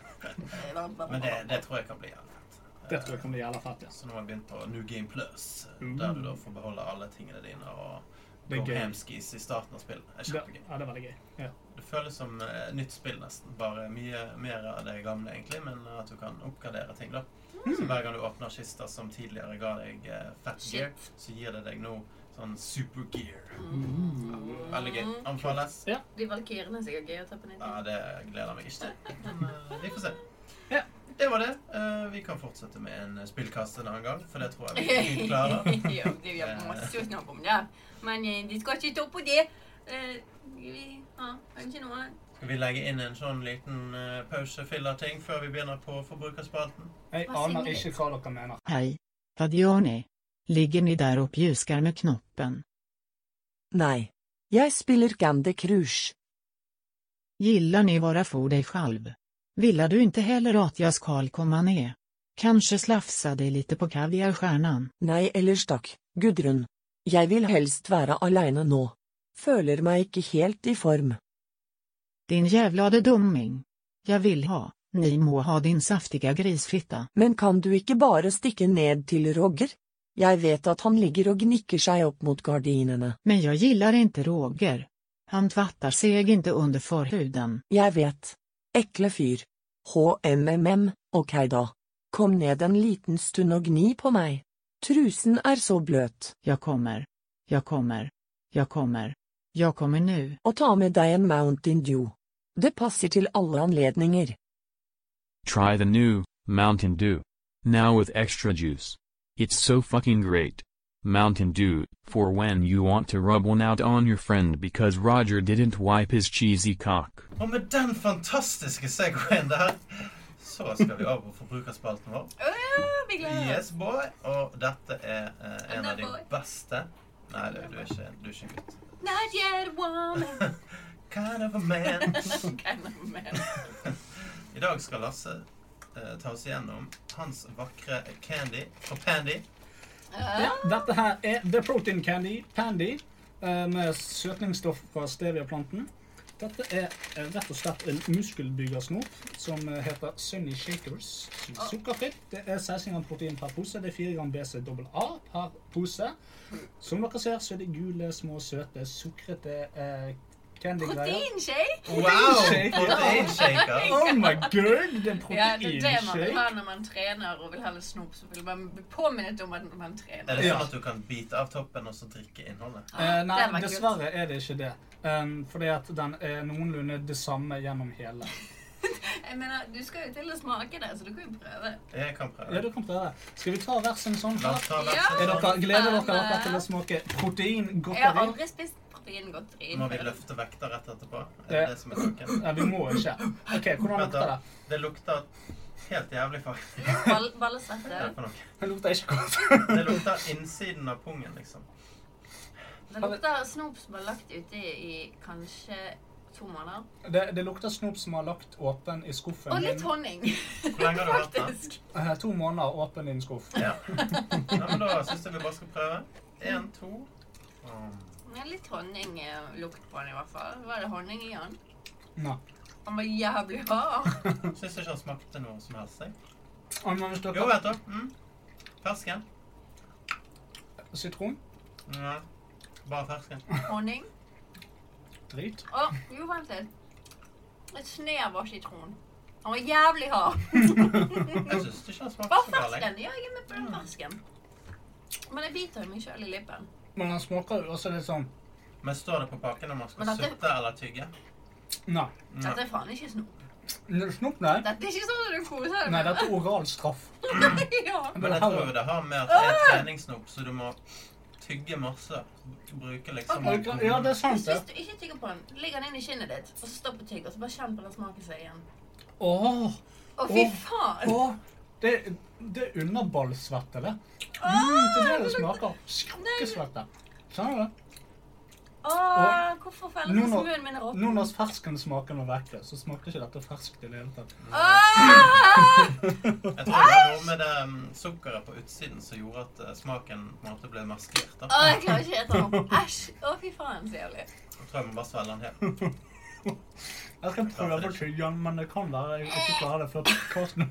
S3: Men det, det tror jeg kan bli jævlig fett.
S5: Det tror jeg kan bli jævla fett, ja.
S3: Så nå har jeg begynt på New Game Plus,
S5: Mm.
S3: der du da får beholde alle tingene dine og
S5: Det
S3: gå
S5: er gøy.
S3: hamskis i starten av spillet. Det er
S5: Det,
S3: kjempegøy.
S5: ja, det er veldig gøy. Ja.
S3: Det føles som eh, nytt spill nesten, bare mye mer av det gamle egentlig, men at du kan oppgradere ting da.
S5: Mm.
S3: Så hver gang du åpner kister som tidligere ga deg eh, fat
S4: Shit.
S3: gear, så gir det deg nå sånn super gear. Ja, Veldig gøy. Anbefales.
S5: Ja.
S4: De valkyrene er sikkert gøy å ta på nytt.
S3: Ja, det gleder jeg meg ikke til. Men eh, vi får se.
S5: Ja.
S3: Det var det. Eh, vi kan fortsette med en spillkast en annen gang, for det tror jeg vi fint klarer.
S4: ja, det gjør
S3: Eh.
S4: masse å snakke om det. Men eh, de skal ikke ta på det. Eh, ah, vi har kanskje noe
S3: Skal vi legge inn en sånn liten eh, pause-filler-ting før vi begynner på forbrukerspalten?
S5: Jeg
S4: Hva
S5: aner
S4: sier du?
S5: ikke hva dere mener.
S6: Hej, vad gör ni? Ligger ni där och pjuskar med knoppen?
S7: Nei. Jeg spiller Candy Crush.
S6: Gillar ni vara för dig själv? Villar du inte heller att jag skal komma ner? Kanske slafsa dig lite på kaviarstjärnan?
S7: Nei ellers takk, Gudrun. Jeg vil helst være aleine nå. Føler meg ikke helt i form.
S6: Din jävlade dumming. Jag vill ha, ni må ha din saftiga grisfitta.
S7: Men kan du ikke bare stikke ned til Roger? Jeg vet at han ligger og gnikker seg opp mot gardinene.
S6: Men jag gillar inte Roger. Han tvattar seg inte under förhuden.
S7: Jeg vet. Ekle fyr. HMMM, ok da. Kom ned en liten stund og gni på meg. Trusen er så bløt.
S6: Jag kommer. Jag kommer. Jag kommer. Jag kommer nu.
S7: Og ta med deg en Mountain Dew. Det passer til alle anledninger.
S8: Try the new Mountain Dew. Now with extra juice. It's so fucking great. Mountain Dew, for when you want to rub one out on your friend because Roger didn't wipe his cheesy cock.
S3: Og med den fantastiske segwayen der, så skal vi over på forbrukerspalten vår.
S4: Å ja, vi gleder oss.
S3: Yes, boy. Og dette er eh, en av de
S4: Boy.
S3: beste Nei, du, du, er ikke, du er ikke gutt.
S4: Not yet woman.
S3: Kind of a man.
S4: Kind of man.
S3: I dag skal Lasse eh, ta oss igjennom hans vakre candy for Pandy.
S5: Ja, dette her er The Protein Candy Pandy eh, med søtningsstoff fra steviaplanten. Dette er eh, rett og slett en muskelbyggersnop som eh, heter Sunny Shakers. som er Sukkerfritt. Det er 16 gram protein per pose. Det er 4 gram BCAA per pose. Som dere ser, så er det gule, små, søte, sukrete eh, candy-greier.
S4: Proteinshake?
S3: Wow!
S5: Proteinshaker.
S3: Proteinshaker.
S5: Oh my god! Det er
S4: Ja, det er det man vil ha
S5: proteinshake.
S4: når man trener og vil ha litt snop. Så vil man bli påminnet om at man
S3: Er
S4: trener.
S3: det
S5: Ja.
S3: sånn at du kan bite av toppen og så drikke innholdet?
S5: Eh, nei,
S4: Det hadde vært kult.
S5: dessverre er det ikke det. Um, fordi at den er noenlunde det samme gjennom hele.
S4: Jeg mener, Du skal jo til å smake det, så du kan jo prøve.
S3: Jeg kan
S5: Ja, du
S3: prøve.
S5: kan prøve. Skal vi ta hver sin sånn?
S3: La oss ta hvert
S4: Ja.
S5: Er
S3: sitt
S5: dere,
S3: hånd.
S5: gleder dere dere til å smake
S4: Jeg har
S5: proteingodteri?
S4: aldri spist proteingodteri.
S3: Må vi løfte vekter rett etterpå? Er
S5: Ja.
S3: det det som er tanken?
S5: Ja, vi må ikke. OK, hvordan
S3: Vent
S5: lukter
S3: da.
S5: det?
S3: Det lukter helt jævlig faktisk.
S4: Ball,
S3: Hva er det
S4: ballesvette.
S3: for noe?
S5: Det lukter ikke godt.
S3: Det lukter innsiden av pungen, liksom.
S4: Det lukter snop som er lagt ute i kanskje to måneder.
S5: Det, det lukter snop som har lagt åpen i skuffen
S4: Og litt
S5: din.
S4: honning.
S3: Hvor lenge har du hatt den?
S4: Faktisk.
S5: Eh, To måneder åpen i en skuff.
S3: Ja. ja, men da syns jeg vi bare skal prøve. Én, to. Mm.
S4: Ja, litt honninglukt på den i hvert fall. Var det honning i den?
S5: Nei.
S4: Den var jævlig hard.
S3: Syns ikke han smakte noe som helst, jeg.
S5: Og nå hvis
S3: Jo,
S5: dere
S3: vet du. Mm. Fersken.
S5: sitron
S3: Ja. Bare fersken.
S4: Honning.
S5: drit.
S4: Og jo, vent litt. Et snev av sitron. Den var jævlig hard.
S3: Jeg syns ikke den smaker
S4: Bare
S3: så gal. jeg.
S4: fersken. Ja, jeg er med på
S5: Mm.
S4: den fersken. Men jeg biter jo meg sjøl i lippen.
S5: Men den smaker jo også litt sånn
S3: Men står det på pakken om man skal
S4: Men dette-
S3: sutte eller tygge?
S5: Nei.
S4: Dette er faen ikke snop.
S5: Snopp, nei.
S4: Dette er ikke sånn at du koser deg
S5: Nei, dette er oral straff.
S4: det. ja.
S3: Men jeg tror jo det har med at det er treningssnop, så du må tygge masse. Bruke liksom
S5: Ja, det er sant,
S4: Hvis
S5: det.
S4: du ikke tygger på den, legg den inn i kinnet ditt, og så stopp å tygge, og så bare kjenn på den smaken som er igjen.
S5: Åh,
S4: Å, fy
S5: Åh.
S4: faen!
S5: åh. Det, det er underballsvette, det.
S4: Ah,
S5: Mm, det er det det smaker. Skrakkesvette. Skjønner du?
S4: Åh, hvorfor føles
S5: Nå
S4: det som
S5: når,
S4: munnen min er
S5: nå
S4: åpen?
S5: når ferskensmaken var vekke, så smaker ikke dette ferskt i det hele tatt.
S4: Åh!
S3: Jeg tror det var noe med det mm, sukkeret på utsiden som gjorde at eh, smaken på en måte ble maskert. da.
S4: Åh, jeg klarer ikke å ete den. Æsj! Å, fy faen, så jævlig.
S3: Jeg tror jeg må bare svelge den helt.
S5: Jeg skal prøve å tygge den, men det kan være jeg ikke klarer det før podcasten.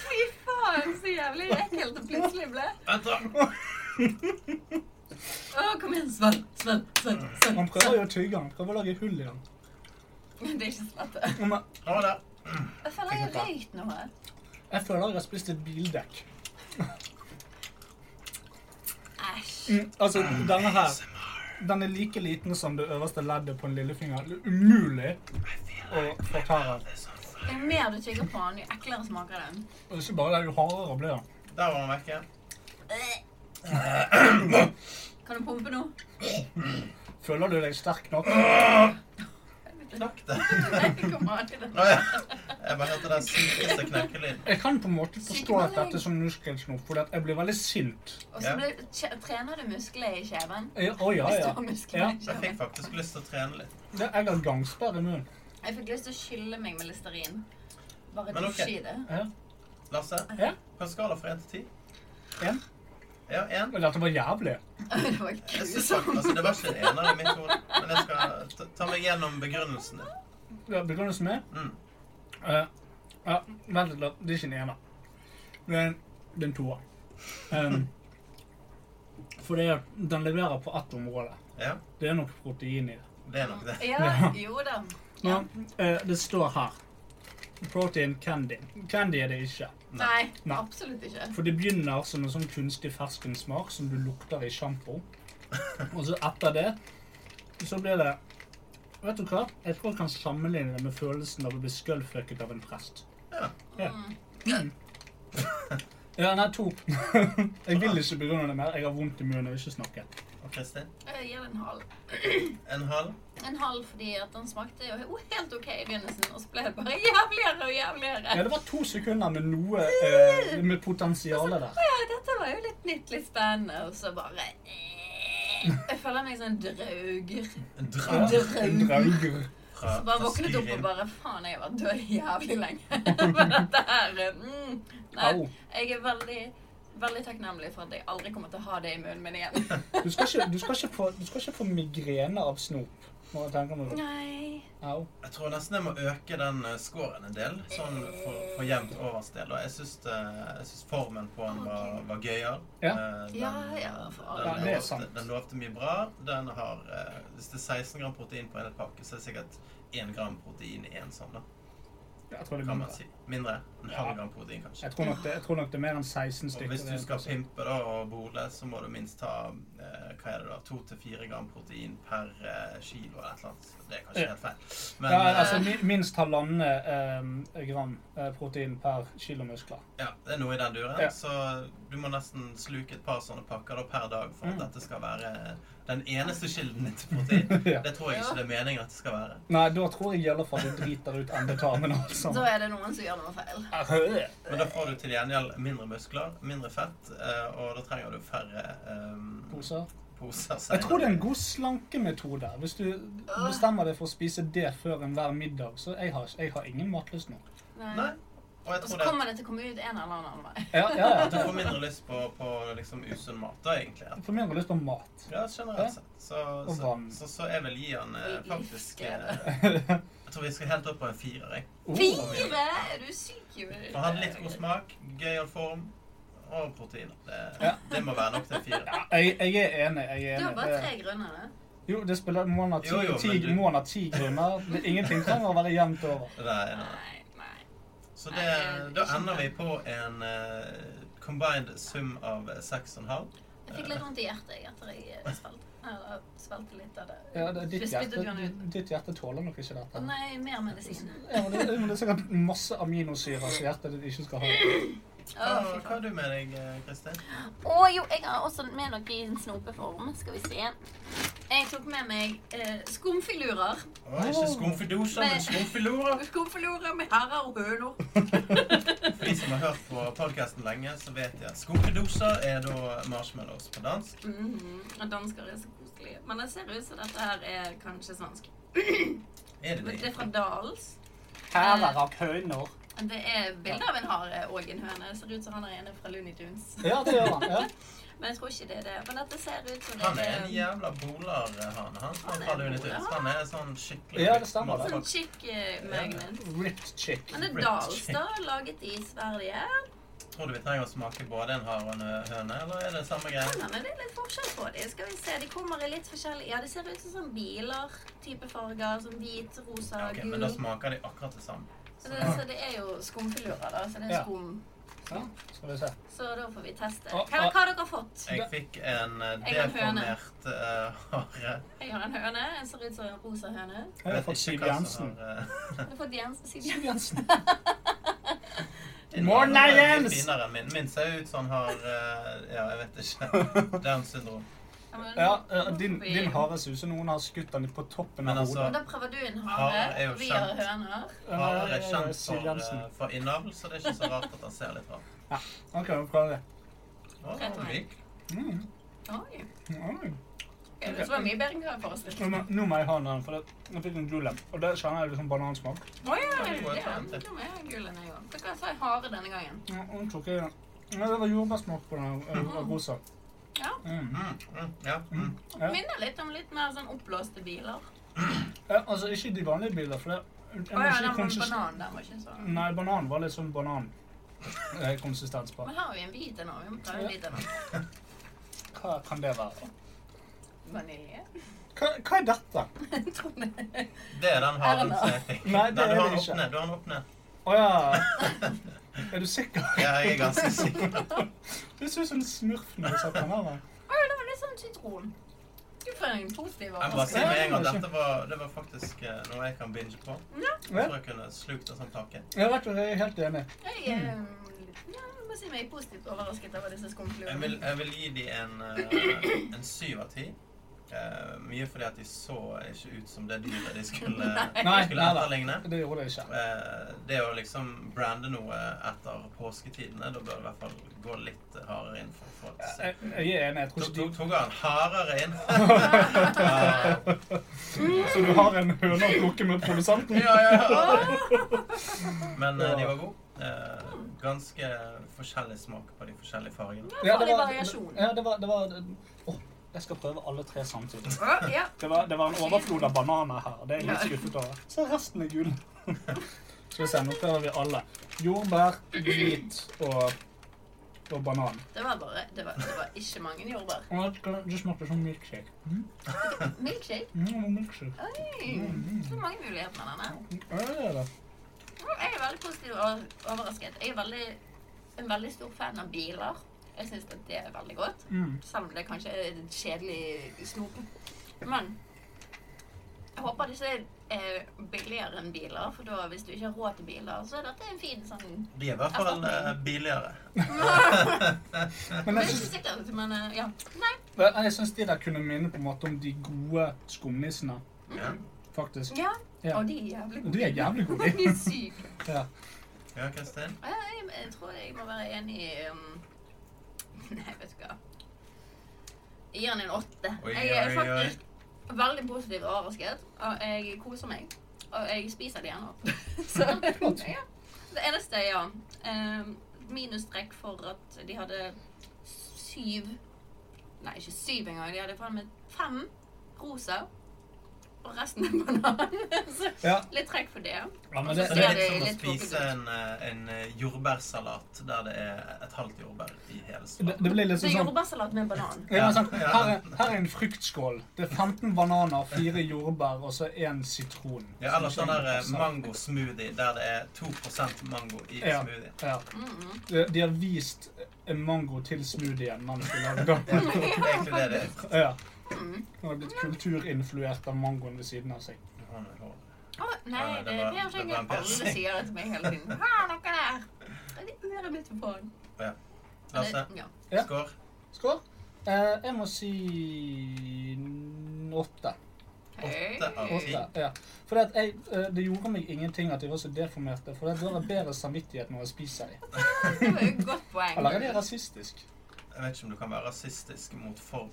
S4: Fy faen, så jævlig ekkelt det plutselig ble.
S3: Vent, da!
S4: Å, kom igjen, svelg, svelg, svelg,
S5: Man
S4: svelg.
S5: prøver jo å tygge den. Prøver å lage hull i den.
S4: Men det er ikke slette.
S5: Men
S3: Nå var det.
S4: Jeg føler jeg har røykt noe.
S5: jeg føler jeg har spist et bildekk.
S4: Æsj.
S5: Mm, altså, denne her Den er like liten som det øverste leddet på en lillefinger. Det er Umulig å fortære.
S4: Jo mer du tygger på den, jo eklere smaker den.
S5: Og ikke bare det, jo hardere blir den.
S3: Der var den vekke.
S4: Kan du pumpe nå?
S5: Føler du deg sterk nok?
S3: Knakk det.
S4: Nei, kom an i den.
S3: Å ja. Jeg bare hørte den sykeste knekkelyden.
S5: Jeg kan på en måte forstå at dette er som muskelsnop, fordi at jeg blir veldig sint.
S4: Og så ble- tje- trener du muskler i kjeven.
S5: Jeg- Å ja,
S4: Hvis du
S5: ja.
S4: har muskler
S5: ja.
S4: i
S3: Jeg fikk
S4: kjeven.
S3: faktisk lyst til å trene litt.
S5: Det, jeg har gangsperre i munnen.
S4: Jeg fikk lyst til å skylle meg med listerin. Bare
S3: Men ok.
S4: dusje i det.
S5: Ja.
S3: Lasse,
S5: Ja.
S3: på en skala fra én til ti?
S5: En.
S3: Ja, én.
S5: Men Dette var jævlig.
S4: Det var
S3: Jeg synes, altså,
S4: grusomt.
S3: det var ikke en ener i mitt hode, men jeg skal ta- ta meg gjennom begrunnelsen din.
S5: Ja, Begrunnelsen min
S3: Mm.
S5: Eh, Ja, vent litt, da. det er ikke en ener. Det er en, det er en toer. Em, for det er, den leverer på ett område.
S3: Ja,
S5: Det er nok protein i det.
S3: det er nok det.
S4: Ja, jo da. Ja.
S5: Men, eh, det står her. Protein candy. Candy er det ikke.
S4: Nei,
S5: Nei.
S4: absolutt ikke.
S5: For det begynner som en sånn kunstig ferskensmak som du lukter i sjampo. Og så etter det, så blir det Vet du hva? Jeg tror jeg kan sammenligne det med følelsen av å bli skøllfucket av en prest.
S3: Ja.
S5: Ja. Mm. Ja, nei, to. Jeg vil ikke begrunne det mer. Jeg har vondt i munnen og vil ikke snakke.
S3: Og Kristin?
S4: Jeg gir det en halv.
S3: En halv?
S4: En halv fordi at den smakte jo jo helt ok i begynnelsen, og så ble det bare jævligere og
S5: Ja,
S4: jævligere.
S5: det var to sekunder med noe eh, Med potensialet der.
S4: Ja, dette var jo litt nytt, litt spennende, og så bare eh. Jeg føler meg som en drauger.
S3: En
S5: Ja,
S3: drag
S5: en drauger.
S3: fra
S4: Så bare våknet opp og
S3: Skyrim.
S4: bare Faen, jeg har vært død jævlig lenge. For dette her eh, mm. Nei,
S5: Au.
S4: jeg er veldig, veldig takknemlig for at jeg aldri kommer til å ha det i munnen min igjen.
S5: Du skal ikke, du skal ikke, få, du skal ikke få migrene av snop. Må jeg tenke meg om.
S4: Nei.
S5: Au.
S3: Jeg tror nesten jeg må øke den eh, scoren en del, sånn for, for jevnt overs del. Og jeg syns, eh, jeg syns formen på den var, var gøyal.
S5: Ja.
S3: Eh, den-
S4: Ja, ja, for all
S5: del.
S3: Den,
S5: Ja, det er
S3: lovte,
S5: sant.
S3: den lovte mye bra. Den har eh, Hvis det er 16 gram protein på en hel pakke, så er det sikkert 1 gram protein i en sånn, da.
S5: Jeg tror det
S3: Kan
S5: blir
S3: man si. Mindre. En halv gram protein, kanskje.
S5: Mm. Jeg tror, nok det, jeg tror nok det er mer enn 16
S3: Og
S5: stykker.
S3: hvis du
S5: igjen,
S3: skal
S5: altså.
S3: pimpe da og bole, så må du minst ta eh, hva er det da, to til fire gram protein per eh, kilo eller et eller annet. Det er kanskje
S5: Ja.
S3: helt feil. Men
S5: ja, altså,
S3: eh,
S5: mi- Minst halvannen eh, gram eh, protein per kilo muskler.
S3: ja, det er noe i den duren.
S5: Ja.
S3: Så du må nesten sluke et par sånne pakker da per dag for at
S5: Mm.
S3: dette skal være eh, den eneste kilden din til protein.
S5: Ja.
S3: Det tror jeg ikke det er meningen at det skal være.
S5: Nei, da tror jeg i alle fall du driter ut endetarmen, altså.
S4: Da er det noen som gjør noe feil.
S3: Men da får du til gjengjeld mindre muskler, mindre fett, eh, og da trenger du færre eh,
S5: Poser.
S3: poser.
S5: Jeg tror det er en god slankemetode. Hvis du bestemmer deg for å spise det før enhver middag, så jeg har, jeg har ingen matlyst nå.
S4: Nei.
S3: Nei. Og jeg
S4: Og
S3: tror
S4: så
S3: det
S4: kommer det til å komme ut en eller annen vei.
S5: Ja, ja, ja.
S3: at du får mindre lyst på, på liksom usunn mat, da, egentlig.
S5: Jeg får mindre lyst på mat.
S3: Ja, generelt sett. Så,
S5: Og
S3: så,
S5: vann.
S3: så, så jeg vil gi han eh,
S4: Og
S3: faktisk
S4: livsglede.
S3: eh, Jeg tror vi skal helt opp på en firer. jeg.
S5: Oh.
S4: Fire! Er du syk? i hodet?
S3: For han hadde litt god smak, gøyal form og proteiner. Det,
S5: Ja.
S3: det må være nok til en firer.
S5: Jeg, jeg er enig. jeg er
S4: Det var
S5: enig.
S4: bare
S5: Det-
S4: tre grunner, det.
S5: Jo, det spiller må han ha ti,
S3: Jo, jo,
S5: ti,
S3: men du-
S5: må han ha ti grunner. Det- Ingenting trenger å være jevnt over.
S3: Nei, nei.
S4: Nei, nei.
S3: Så
S4: Nei,
S3: det,
S4: det
S3: da
S4: er ikke
S3: ender
S4: bra.
S3: vi på en eh, combined sum av 6,5.
S4: Jeg fikk litt vondt i hjertet jeg, etter jeg eh, svelte. Eller svelte litt av det.
S5: Ja, det, ditt,
S4: Det spyttet
S5: hjerte,
S4: du han ut.
S5: ditt hjerte tåler nok ikke dette.
S4: Å nei, mer medisin.
S5: Ja, men det, men det er sikkert masse aminosyrer som hjertet ditt ikke skal ha.
S4: Å, fy
S3: hva har
S4: faen.
S3: du med deg, eh, Kristin?
S4: Å jo, jeg har også med noe i en snopeform. Skal vi se. Jeg tok med meg eh, skumfilurer.
S3: Å, ikke skumfidoser, men
S4: Men-
S3: skumfilorer.
S4: Skumfilurer med herrer og høner.
S3: For de som har hørt på podcasten lenge, så vet de at skumfidoser er da marshmallows på dansk.
S4: Mhm, Og dansker er så koselige. Men det ser ut som dette her er kanskje svensk.
S3: Er det
S4: Men Det
S3: det?
S4: er fra Dals.
S2: Hæler av høner.
S4: Det er bilde av en hare og en høne. Det ser ut som han er ene fra Looney Tunes.
S5: Ja, det gjør han. Ja.
S4: Men jeg tror ikke det er det. Men dette ser ut som det um,
S3: Han er en jævla bolar, han. Han
S4: Han
S3: som
S4: er
S3: faller
S4: en
S3: under tusen.
S4: bolar.
S3: Han er sånn skikkelig
S5: Ja, det stemmer det.
S4: Sånn
S3: motherfucker.
S4: chick eh, magnet.
S5: Ripped chick.
S4: Men det er
S3: Ripped
S4: Dals,
S3: chick.
S4: da. Laget i Sverige.
S3: Tror du vi trenger å smake både en hare og en høne, eller er det samme greie?
S4: Ja, men det er litt forskjell på dem. Skal vi se, De kommer i litt forskjellig Ja, det ser ut som sånn biler. Type farger. Sånn hvit, rosa,
S3: Ja, ok,
S4: gul.
S3: men da smaker de akkurat det samme.
S4: Så det, så det er jo skumfilurer, da. Så det er
S5: Ja.
S4: skum.
S5: Ja, skal vi se.
S4: Så da får vi teste. Hva,
S5: Og-
S4: hva
S5: og-
S4: har dere fått?
S3: Jeg fikk en eh,
S4: Jeg har en høne.
S3: deformert eh, hare.
S4: Jeg har en høne. En ser ut som en rosa høne.
S5: Jeg har fått Siv Jensen.
S3: eh,
S4: Du har fått Jens sitt
S5: Siv Jensen.
S3: Morna,
S5: Jens!
S3: Finere enn min. Min ser ut som har eh, Ja, jeg vet ikke. Downs syndrom.
S4: men-
S5: Ja, eh, din,
S4: nå får vi-
S5: din hare ser ut som noen har skutt den på toppen
S3: Men
S5: av
S3: altså-
S4: Men
S5: hodet.
S4: Da prøver du en
S3: Harer er
S4: hare,
S3: jo
S4: og vi har
S3: kjent.
S4: høner.
S3: Harer er
S5: Eh,
S3: kjent
S5: Siv
S3: for,
S5: Jensen.
S3: eh, for innavl, så det er ikke så rart at han ser litt rart
S5: Ok, vi prøver det.
S3: Å,
S4: Rett vei.
S3: myk.
S5: Mm.
S4: Oi.
S5: Oi.
S4: Okay, Det var mye bedre enn hva jeg forestilte
S5: Nå må- Nå må jeg ha den, for det- jeg fikk en gulem. Og det kjenner jeg liksom banansmak.
S4: Å ja,
S3: det går
S4: det
S3: fint,
S4: er
S3: det.
S4: det med gullen jeg òg. Hva sa jeg hare denne gangen?
S5: Ja, og den tok jeg... Ja, det var jordbærsmak på den eh, rosa.
S4: Ja.
S5: Mm.
S3: Mm, mm, ja, mm.
S5: Ja.
S4: Minner litt om litt mer sånn oppblåste biler.
S5: Ja, altså, ikke de vanlige bilene, for det... jeg
S4: Å
S5: må
S4: ja,
S5: si
S4: den var en
S5: konsist-
S4: banan. Den var ikke
S3: Mm.
S4: sånn.
S5: Nei, banan var litt sånn banan. eh, Konsistens på.
S4: Men her har vi en hvit en òg. Vi må prøve en
S5: Ja.
S4: hvit en òg.
S5: Hva kan det være?
S4: Vanilje.
S5: Hva, hva er dette?
S4: Jeg tror det.
S3: Det er den haren som jeg fikk.
S5: Nei, det
S3: du
S5: er
S3: har
S5: det
S3: den opp
S5: ikke.
S3: ned. Du har den opp ned.
S5: Åja, er du sikker?
S3: Ja, jeg er ganske sikker.
S5: Det ser ut som en smurf når du setter den her. da.
S4: Å ja, det var litt sånn sitron. Du får en positiv
S3: Jeg må bare si
S4: overraskelse.
S3: med en gang at dette var, det var faktisk eh, noe jeg kan binge på.
S5: Ja.
S3: For å kunne slukt det som kake.
S5: Jeg vet du, jeg er helt enig.
S4: Jeg er ja, jeg må si meg positivt overrasket over disse
S3: Jeg vil,
S4: skumfluene.
S3: jeg vil gi de en, eh, en syv av ti. Eh, mye fordi at de så ikke ut som det dyret de skulle,
S5: Nei,
S3: skulle
S5: nei da.
S3: etterligne.
S5: Det gjorde jeg ikke.
S3: Eh, det å liksom brande noe etter påsketidene, da bør du i hvert fall gå litt hardere inn. for, for å se.
S5: Jeg, jeg er enig. Jeg tror
S3: Tok-
S5: ikke
S3: Tok
S5: de...
S3: tok han hardere inn? ja,
S5: Så du har en høne å plukke med produsenten?
S3: ja, ja. Men eh, de var gode. Eh, ganske forskjellig smak på de forskjellige fargene.
S5: Ja,
S4: Får de variasjon?
S5: Ja, det var... Det var Åh, jeg skal prøve alle tre samtidig.
S4: Å, ja.
S5: Det var, det var en overflod av bananer her. Det er jeg litt skuffet over. Så resten er gul. Skal vi se, nå prøver vi alle. Jordbær, hvit og, og banan.
S4: Det var bare Det var, det var ikke mange jordbær.
S5: Og det smakte som milkshake. Mm.
S4: Milkshake?
S5: Mm, milkshake.
S4: Oi!
S3: Mm.
S4: Så mange muligheter med denne.
S5: Ja, det er det.
S4: Å, Jeg er veldig positiv og overrasket. Jeg er veldig, en veldig stor fan av biler. Jeg syns at det er veldig godt.
S5: Mm.
S4: Selv om det kanskje er en kjedelig snop. Men jeg håper disse er eh, billigere enn biler, for da, hvis du ikke har råd til biler, så er dette en fin sånn
S3: De er i hvert fall eh, billigere.
S5: Men
S4: Det er
S5: jeg
S4: ikke
S5: syns,
S4: sikkert, men eh, ja. Nei.
S5: jeg syns de der kunne minne på en måte om de gode skumnissene,
S3: Ja.
S5: faktisk.
S4: Ja.
S5: Ja.
S4: Og de er jævlig gode.
S5: De er jævlig gode, de.
S4: de er syke.
S5: Ja.
S3: Ja, Kristin?
S4: Ja, Jeg, jeg tror jeg må være enig i um... Nei, vet du hva. Jeg gir den en åtte.
S3: Oi,
S4: Jeg er
S3: oi, oi.
S4: faktisk veldig positivt overrasket, og jeg koser meg. Og jeg spiser det igjen nå. Så ja. Det eneste, ja um, Minustrekk for at de hadde syv Nei, ikke syv engang. De hadde faen meg fem rosa og resten er banan. Så
S5: Ja.
S4: litt trekk for det.
S5: Ja, men
S3: Det
S5: det,
S4: Så
S3: er
S5: det,
S3: litt som å
S4: litt
S3: spise
S4: tråkig ut.
S3: en, eh, en eh, jordbærsalat der det er et halvt jordbær i hele
S5: det,
S3: salaten.
S5: det blir
S4: Så
S5: liksom sånn
S4: jordbærsalat med banan.
S5: ja, sånn,
S3: Ja.
S5: her, er, her er en fruktskål. Det er 15 bananer, 4 jordbær og så 1 sitron.
S3: Ja, eller sånn der eh,
S5: Som-
S3: mango-smoothie der det er 2 mango i
S5: Ja.
S3: smoothien.
S5: Ja.
S4: Mm-hmm.
S5: Eh, De, de har vist en mango til smoothien man skulle lage.
S3: Det er egentlig det det er.
S5: Ja.
S4: Mm-hmm.
S5: Han har blitt kulturinfluert av mangoen ved siden av seg.
S3: Hånd i hånd.
S4: Å, nei,
S3: Ja, nei, det
S4: det,
S3: var-
S4: det er
S3: det
S4: ikke
S3: var en
S4: engang alle
S3: piercing.
S4: sier det til meg hele tiden. Ha, noe der! Og Det øret mitt er på den.
S3: Lasse,
S4: Ja.
S5: Ja.
S3: skår.
S5: Skål. Eh, jeg må si n- åtte.
S4: Hei.
S3: Åtte av ti.
S5: åtte ja. For at jeg, eh, det gjorde meg ingenting at de var så deformerte, for det da har jeg bedre samvittighet når jeg spiser dem.
S4: Det var jo et godt poeng.
S5: Eller er det rasistisk?
S3: Jeg vet ikke om du kan være rasistisk mot form.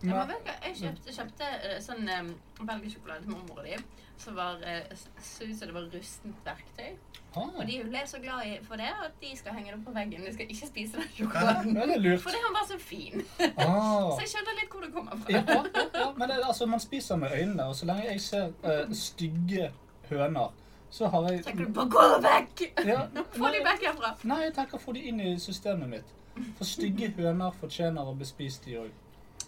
S4: Ja, men
S5: Men,
S4: vet du hva? Jeg kjøpte, kjøpte eh, sånn um, belgesjokolade til mormor og de, som var, eh, s- så ut som det var rustent verktøy.
S5: ah,
S4: Og de ble så glad i, for det at de skal henge det på veggen. De skal ikke spise den sjokoladen.
S5: ja, det er lurt.
S4: Fordi han var så fin.
S5: Ah.
S4: Så jeg skjønner litt hvor det kommer
S5: Ja,
S4: fra.
S5: ja, ja, men det, er- altså, man spiser med øynene, og så lenge jeg ser eh, stygge høner, så har jeg
S4: Tenker du bare gå vekk!
S5: ja,
S4: Få de
S5: nei,
S4: vekk herfra.
S5: nei, jeg tenker å få de inn i systemet mitt. For stygge høner fortjener å bli spist, de òg.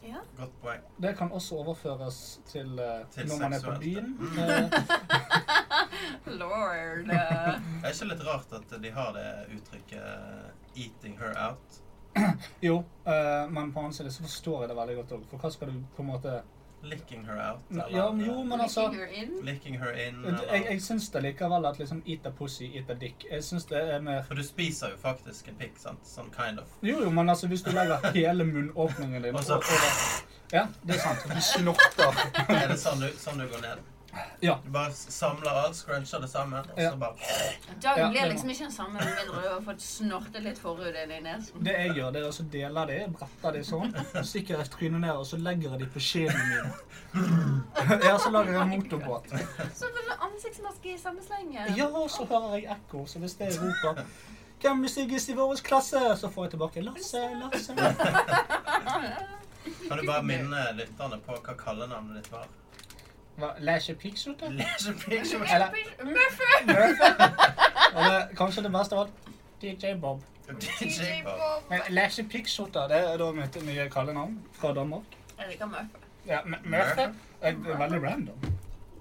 S4: Ja.
S3: Godt poeng.
S5: Det kan også overføres til, eh,
S3: Til
S5: når man er på
S3: seksuelt.
S5: byen.
S3: Mm.
S5: Eh,
S4: Lord. eh.
S3: Det er ikke litt rart at de har det uttrykket eh, 'eating her out'?
S5: jo, eh, men på annen side så forstår jeg det veldig godt òg, for hva skal du på en måte
S3: 'Licking her out'?
S5: Nei, ja, men jo, men altså
S4: Kicker in.
S3: 'Licking her in'?
S5: Jeg,
S3: Eller?
S5: jeg syns det likevel at liksom eat a pussy, eat a dick. Jeg syns det er mer
S3: For du spiser jo faktisk en pikk, sant? Sånn kind of.
S5: Jo, jo, men altså, hvis du legger hele munnåpningen din
S3: Og så
S5: Ja, det er sant. Du snorter.
S3: er det sånn du, sånn du går ned.
S5: Ja.
S3: Du bare samler alt, scruncher det sammen, og
S5: Ja.
S3: så bare
S4: Dagen
S5: Ja,
S4: blir
S5: det
S4: liksom ikke den samme med mindre du har fått snortet litt forhud inn i nesen.
S5: Det jeg gjør, det er å så dele det, bretter det sånn, stikker jeg trynet ned, og så legger jeg det på skjeen min. Ja, så lager jeg en motorbåt.
S4: Så får du ansiktsmaske i samme slenge.
S5: Ja, og så hører jeg ekko, så hvis det roper Hvem vil stigges i vår klasse? Så får jeg tilbake Lasse, Lasse.
S3: Kan du bare minne lytterne på hva kallenavnet ditt var?
S5: Hva, Læsje Pikksutter?
S3: Leisure Picture.
S5: Eller
S4: Muffe!
S5: eller kanskje det beste av alt DJ Bob.
S3: DJ Bob.
S5: Men Læsje Pikksutter, det er da mitt nye kallenavn fra Danmark.
S4: Jeg liker Muffe.
S5: Ja, M- Murphy. Det er veldig random.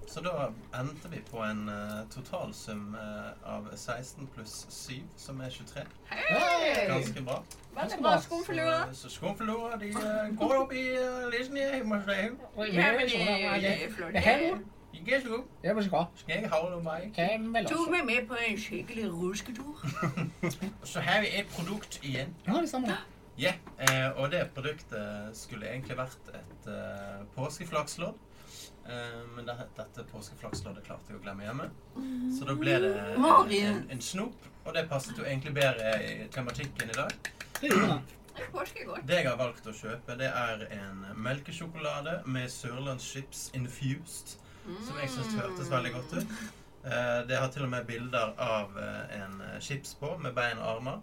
S3: Så da endte vi på en eh, totalsum eh, av 16 pluss 7, som er 23.
S5: Hey!
S3: Ganske bra.
S4: Veldig bra skumflue.
S3: Så, så skumflua, de eh, går opp i uh, lysene hjemme hos deg.
S5: sånn Det her altså. nå?
S3: Ikke så god.
S5: Det var så bra.
S3: Skal jeg hale om meg?
S4: Tok meg med på en skikkelig rusketur.
S3: Så har vi et produkt igjen.
S5: Ja, det stemmer.
S3: Ja, eh, og det produktet skulle egentlig vært et eh, påskeflakslodd. Eh, men det, dette påskeflaksloddet klarte jeg å glemme hjemme. Så da ble det en,
S4: Mario.
S3: en, en snop, og det passet jo egentlig bedre i tematikken i dag.
S5: Det gjorde han.
S4: Påske i går.
S3: Det jeg har valgt å kjøpe, det er en melkesjokolade med sørlandschips infused, som jeg syns hørtes veldig godt ut. Eh, det har til og med bilder av eh, en chips på, med bein og armer.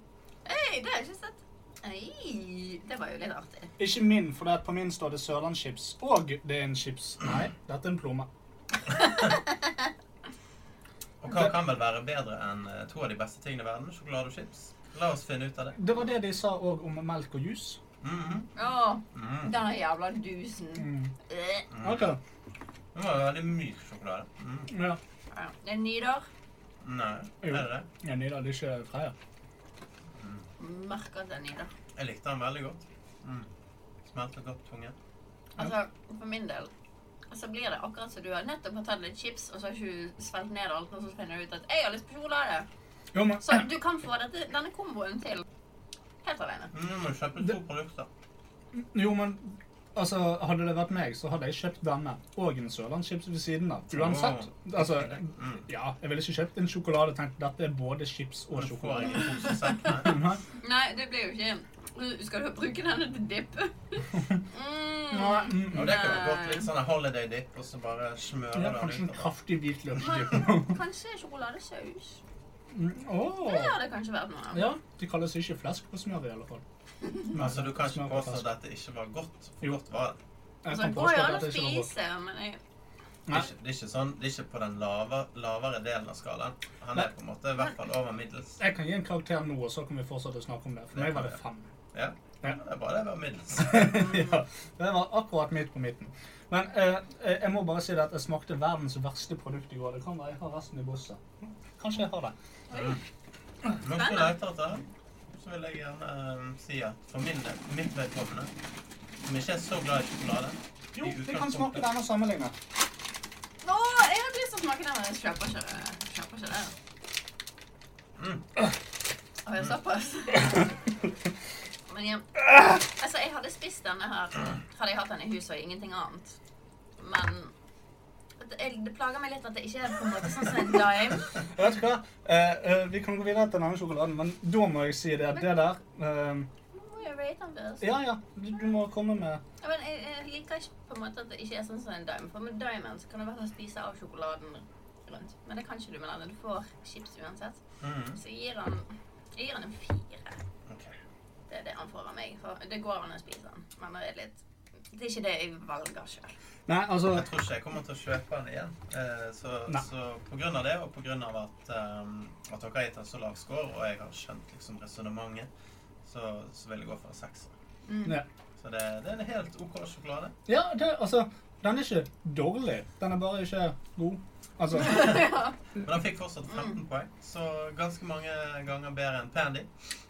S4: Hei, det har jeg ikke sett. Ei, det var jo litt artig.
S5: Ikke min, for det er på min står det Sørlandschips. Og det er en chips. Nei, dette er en plomme.
S3: Og hva kan vel være bedre enn eh, to av de beste tingene i verden? Sjokolade og chips? La oss finne ut av det.
S5: Det var det de sa òg om melk og juice.
S3: Mhm,
S4: Åh,
S3: mhm.
S4: denne jævla dusen.
S5: Mm.
S4: Øh,
S3: Mm.
S5: Ok.
S3: Det var jo veldig myk sjokolade. Mhm.
S5: Ja.
S4: ja. Det er Nidar.
S3: Nei, er
S5: Jo.
S3: det det?
S5: Ja, Nidar, det er ikke Freia.
S4: Merker at det er Nidar.
S3: Jeg likte den veldig godt. Mm. Smelte godt på tungen.
S4: Altså, for min del så blir det akkurat som du har nettopp har tatt litt chips, og så har ikke du svelget ned alt, og så finner du ut at jeg har lyst på sjokolade.
S5: Jo, men
S4: Så du kan få dette, denne komboen til helt alene.
S3: Mm, men kjøpte to produkter.
S5: Jo, men Altså, Hadde det vært meg, så hadde jeg kjøpt denne og en sørlandschips ved siden av. Uansett. Altså,
S3: Mm.
S5: ja, Jeg ville ikke kjøpt en sjokolade og tenkt dette er både chips og
S3: Men du får
S5: sjokolade. Mm,
S3: ikke posesekk, nei.
S5: Nei,
S4: Nei, det blir jo ikke Skal du bruke denne til dipp?
S5: nei,
S4: Mm.
S5: mm,
S3: Og det kunne gått litt sånn en holiday dip, og så bare smøre
S5: ja,
S3: den
S5: kanskje en
S3: ut. av det.
S5: kraftig hvitløksdypp.
S4: Men kanskje sjokoladesaus?
S5: Oh.
S4: Det hadde kanskje vært noe.
S5: Ja, de kalles ikke flesk på smør i alle fall.
S3: Altså, du kan ikke
S5: Smør på
S3: påstå at
S5: flesk.
S3: dette ikke var godt. For
S5: Jo.
S3: godt var det.
S5: Jeg
S4: Altså,
S5: kan
S4: det går
S5: påstå
S4: jo
S5: at
S4: an å
S5: det ikke var godt.
S4: spise, men jeg
S3: Det er ikke, det er ikke sånn, det er ikke på den lava, lavere delen av skalaen. Han er på en måte i hvert fall over middels.
S5: Jeg kan gi en karakter nå, og så kan vi fortsette å snakke om det. For
S3: Det
S5: meg
S3: kan
S5: var
S3: vi.
S5: det fem.
S3: Ja,
S5: Ja.
S3: det er bra det er over middels.
S5: ja, det var akkurat midt på midten. Men eh, eh, jeg må bare si det at jeg smakte verdens verste produkt i går. Det kan være jeg har resten i bosset. Kanskje jeg har det.
S3: Men hvis du leter etter det, så vil jeg gjerne eh, si at for min del, mitt vedkommende, som ikke er så glad i sjokolade i
S5: Jo, vi kan
S3: utgangspunktet-
S5: smake den og sammenligne.
S4: Nå, jeg hadde lyst til å smake den, men jeg kjøper ikke det. Kjøper ikke det.
S3: Mm.
S4: Å, jeg er såpass. Men jeg, altså, jeg hadde spist denne her, hadde jeg hatt den i huset og ingenting annet. Men det, jeg, det plager meg litt at det ikke er på en måte sånn som en dime.
S5: Og vet du hva? Eh, eh, vi kan gå videre til den andre sjokoladen, men da må jeg si det at det der eh,
S4: Nå må jeg rate den først.
S5: Ja, ja, du, du må komme med
S4: Ja, Men jeg, jeg liker ikke på en måte at det ikke er sånn som en dime. For med dimen så kan du i hvert fall spise av sjokoladen rundt. Men det kan ikke du med denne. Du får chips uansett.
S3: Mhm,
S4: Så jeg gir han, jeg gir han en fire.
S3: ok.
S4: Det er det han får av meg. For det går an å spise den, men det er litt Det er ikke det jeg velger sjøl.
S5: Nei, altså
S3: Jeg tror ikke jeg kommer til å kjøpe den igjen. Eh, Så,
S5: Nei.
S3: så på grunn av det, og på grunn av at, eh, at dere har gitt en så lav score, og jeg har skjønt liksom resonnementet, så, så vil jeg gå for en sekser.
S5: ja.
S3: Så det, det er en helt OK sjokolade.
S5: ja, det, altså Den er ikke dårlig. Den er bare ikke god. Altså
S3: Men han fikk fortsatt 15
S4: Mm.
S3: poeng, så ganske mange ganger bedre enn Pandy,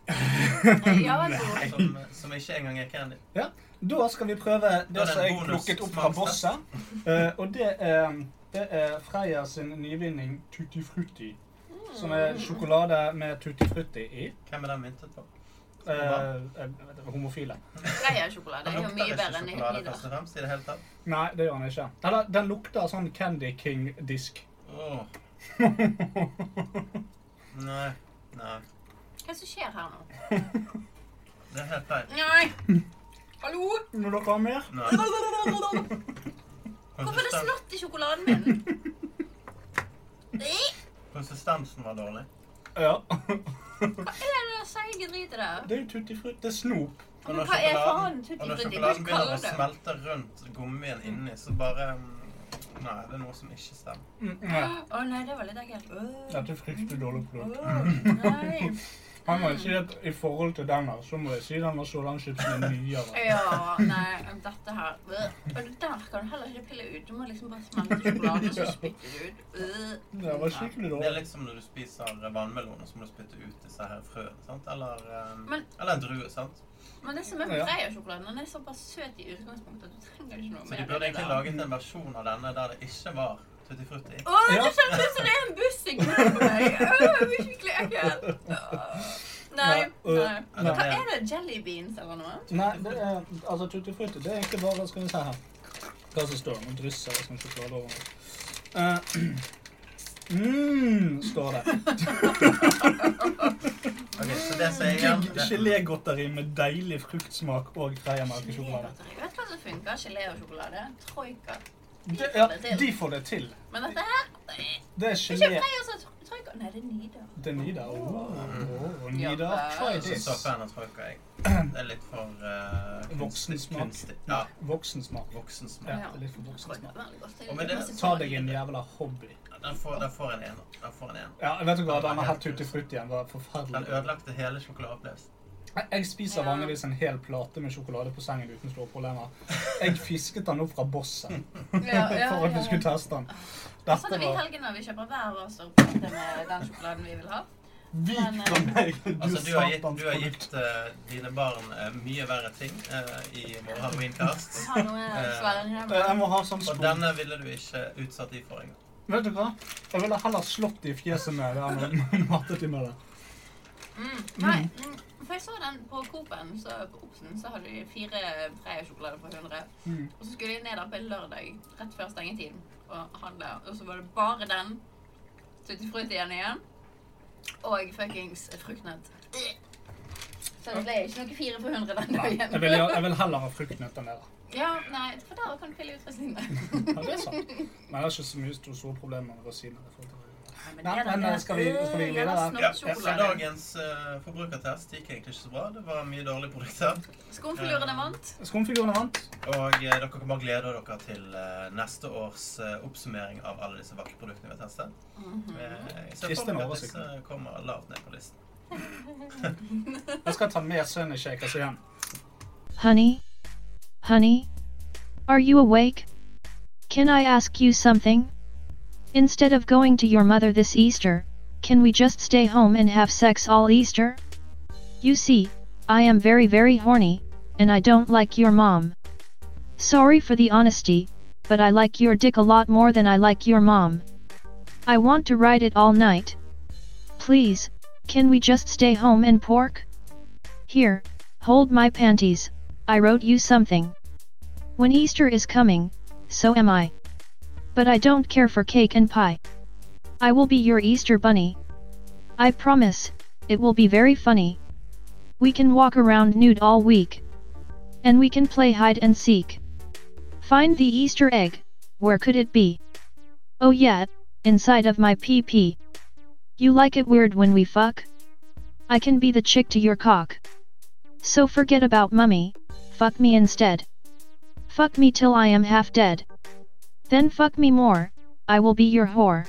S4: Ja, vær så god.
S3: som, som ikke engang er Candy.
S5: Ja. Da skal vi prøve
S3: Da er
S5: det
S3: det
S5: som
S3: en
S5: jeg
S3: bonus
S5: plukket opp fra
S3: smakstest.
S5: bosset. Eh, og det er, det er Freia sin nyvinning Tutti Frutti. Som er sjokolade med Tutti Frutti i.
S3: Hvem er den myntet på?
S5: Eh, eh, homofile.
S4: Freia-sjokolade
S3: Han
S4: er jo
S3: lukter
S4: mye
S3: ikke
S4: bedre enn
S3: sjokolade
S4: Nidar.
S3: først og fremst i det hele tatt.
S5: Nei, det gjør den ikke. Eller, den lukter sånn Candy King-disk.
S3: Åh, nei, nei.
S4: Hva er det som skjer her nå?
S3: Det er helt feil.
S4: Nei! Hallo?
S5: Når dere har mer?
S3: Nei.
S4: Hvorfor er det
S3: Konsisten-
S4: snott i sjokoladen min? Nei,
S3: Konsistensen var dårlig.
S5: Ja.
S4: Hva er det der seige dritet der?
S5: Det er jo Tutti Frutti. Det er snop.
S3: Og
S4: Men
S3: når
S4: hva er
S3: sjokoladen-
S4: faen
S3: Og
S4: tutti
S3: når
S4: frutti? Hva
S3: sjokoladen begynner å
S4: kaller du det?
S3: smelte rundt gummien inni, så bare mm, Nei, det er noe som ikke stemmer.
S5: Mm, nei.
S4: Å nei, det var litt ekkelt. Øh,
S5: Dette er fryktelig dårlig produkt.
S4: øh, Nei.
S5: Han må jeg si at i forhold til den her, så må jeg si den var så langt chipsen er nyere.
S4: Ja, nei, dette her øh. Og det der kan du heller ikke pille ut. Du må liksom bare smelte sjokoladen, og så
S5: Ja.
S4: spytter du ut. Øh.
S5: Det var skikkelig
S3: Det er
S5: dårlig.
S3: litt som når du spiser vannmelon, og så må du spytte ut disse her frøene. sant? Eller, eh,
S4: Men-
S3: eller en drue, sant?
S4: Men det som er
S5: Ja.
S4: med Freia-sjokoladen, den er såpass søt i utgangspunktet at du trenger ikke noe
S3: Så
S4: mer.
S3: de burde egentlig laget en versjon av denne der det ikke var tutti frutti.
S4: Å, det kjennes ut som det er en buss i grunnen for meg! Åh, det blir skikkelig ekkelt. Åh. Nei,
S5: Nei, øh,
S4: nei.
S5: nei.
S4: Hva er det? Jelly beans eller noe?
S5: Nei, det er, altså tutti frutti, det er egentlig bare, skal vi se her, hva som står, nå drysser jeg sånn sjokolade over. Eh, mm, står det.
S3: Ok, så det sier jeg igjen.
S5: Digg gelégodteri med deilig fruktsmak og kreamelkesjokolade.
S4: Gelégodteri. Vet du hva som funker? Gelé og sjokolade? Troika.
S5: Det- Ja, de får det til.
S4: Men dette her øh,
S5: Det er
S4: Ikke
S5: gelé.
S4: Freia som tro- troika. Nei, det er Nidar.
S5: Det er Nida. Oh, oh,
S4: Ja,
S5: Nida, try
S3: Jeg er ikke
S5: this.
S3: så fan av troika, jeg. Det er litt for eh,
S5: Voksen smak.
S3: kunstig. Ja,
S5: Voksensmak.
S3: voksen smak.
S5: Ja, litt for voksensmak.
S3: Og med det-
S5: Ta deg en jævla hobby.
S3: Den får, den får en ener. Den får en ener.
S5: Ja, vet du hva, denne her tutti frutti igjen var
S3: Den
S5: forferdelig.
S3: ødelagte hele sjokoladeopplevelsen.
S5: Jeg- Jeg spiser
S4: Ja.
S5: vanligvis en hel plate med sjokolade på sengen uten store problemer. Jeg fisket den opp fra bossen for at vi skulle teste den.
S4: Sånn
S5: Dette
S4: er vi i
S5: var
S4: helgen når vi kjøper hver vår sorgplate med den sjokoladen vi vil ha.
S5: vik fra meg, du
S3: Altså, du har gitt,
S5: satans
S3: du har
S5: produkt.
S3: gitt eh, dine barn eh, mye verre ting eh, i vår Halloweencast.
S4: Ha noe svære
S5: Eh, Jeg
S4: hjemme.
S5: må ha sånn
S3: Og
S5: spor.
S3: denne ville du ikke utsatt de for engang.
S5: Vet du hva? Jeg ville heller slått det i fjeset med den enn mattet dem med det.
S4: Mm. Nei, mm. for jeg så den på Coop-en, så på Obsen, så hadde de fire Freia-sjokolader for 100.
S5: Mm.
S4: Og så skulle jeg ned der på en lørdag, rett før stengetid, og handle. Og så var det bare den, tutti frutti igjen igjen, og fuckings fruktnøtt. Så det ble ikke noe fire for 100 den dagen.
S5: Jeg vil, jeg vil heller ha fruktnøtt enn det. da.
S4: Ja, nei, for der kan du pille ut resinene.
S5: Ja, det er sant. Men jeg har ikke så mye store problemer med rosiner. i forhold til det.
S4: Nei, men
S5: Nei,
S4: det er
S5: men
S4: det.
S5: nå skal vi- skal vi
S4: Øh,
S5: videre?
S4: jævla
S3: Ja,
S4: snoppsjokolade.
S3: så dagens eh, forbrukertest gikk egentlig ikke så bra. Det var mye dårlige produkter.
S4: Skumfilurene vant.
S5: Skumfigurene vant.
S3: Og eh, dere kan bare glede dere til eh, neste års eh, oppsummering av alle disse vakre produktene vi har testet. Eh, jeg ser
S5: Kristin
S3: for meg
S5: har
S3: at
S5: oversikt.
S3: disse kommer lavt ned på listen.
S5: Jeg skal ta med Sunny Shakers igjen.
S9: Honey? Honey? Are you awake? Can I ask you something? Instead of going to your mother this Easter, can we just stay home and have sex all Easter? You see, I am very very horny, and I don't like your mom. Sorry for the honesty, but I like your dick a lot more than I like your mom. I want to ride it all night. Please, can we just stay home and pork? Here, hold my panties, I wrote you something. When Easter is coming, so am I. But I don't care for cake and pie. I will be your Easter bunny. I promise, it will be very funny. We can walk around nude all week. And we can play hide and seek. Find the Easter egg, where could it be? Oh yeah, inside of my pee pee. You like it weird when we fuck? I can be the chick to your cock. So forget about mummy, fuck me instead. Fuck me till I am half dead. Then fuck me more, I will be your whore.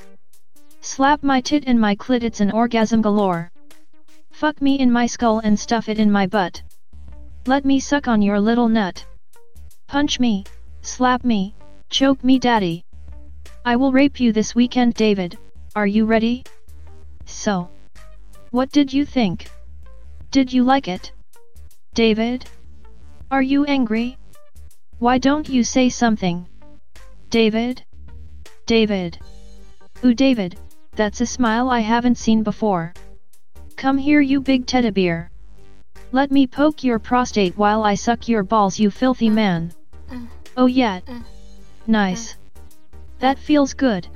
S9: Slap my tit and my clit, it's an orgasm galore. Fuck me in my skull and stuff it in my butt. Let me suck on your little nut. Punch me, slap me, choke me, daddy. I will rape you this weekend, David. Are you ready? So, what did you think? Did you like it? David? Are you angry? Why don't you say something? David? David? Ooh, David, that's a smile I haven't seen before. Come here, you big teddy bear. Let me poke your prostate while I suck your balls, you filthy man. Oh, yeah. Nice. That feels good.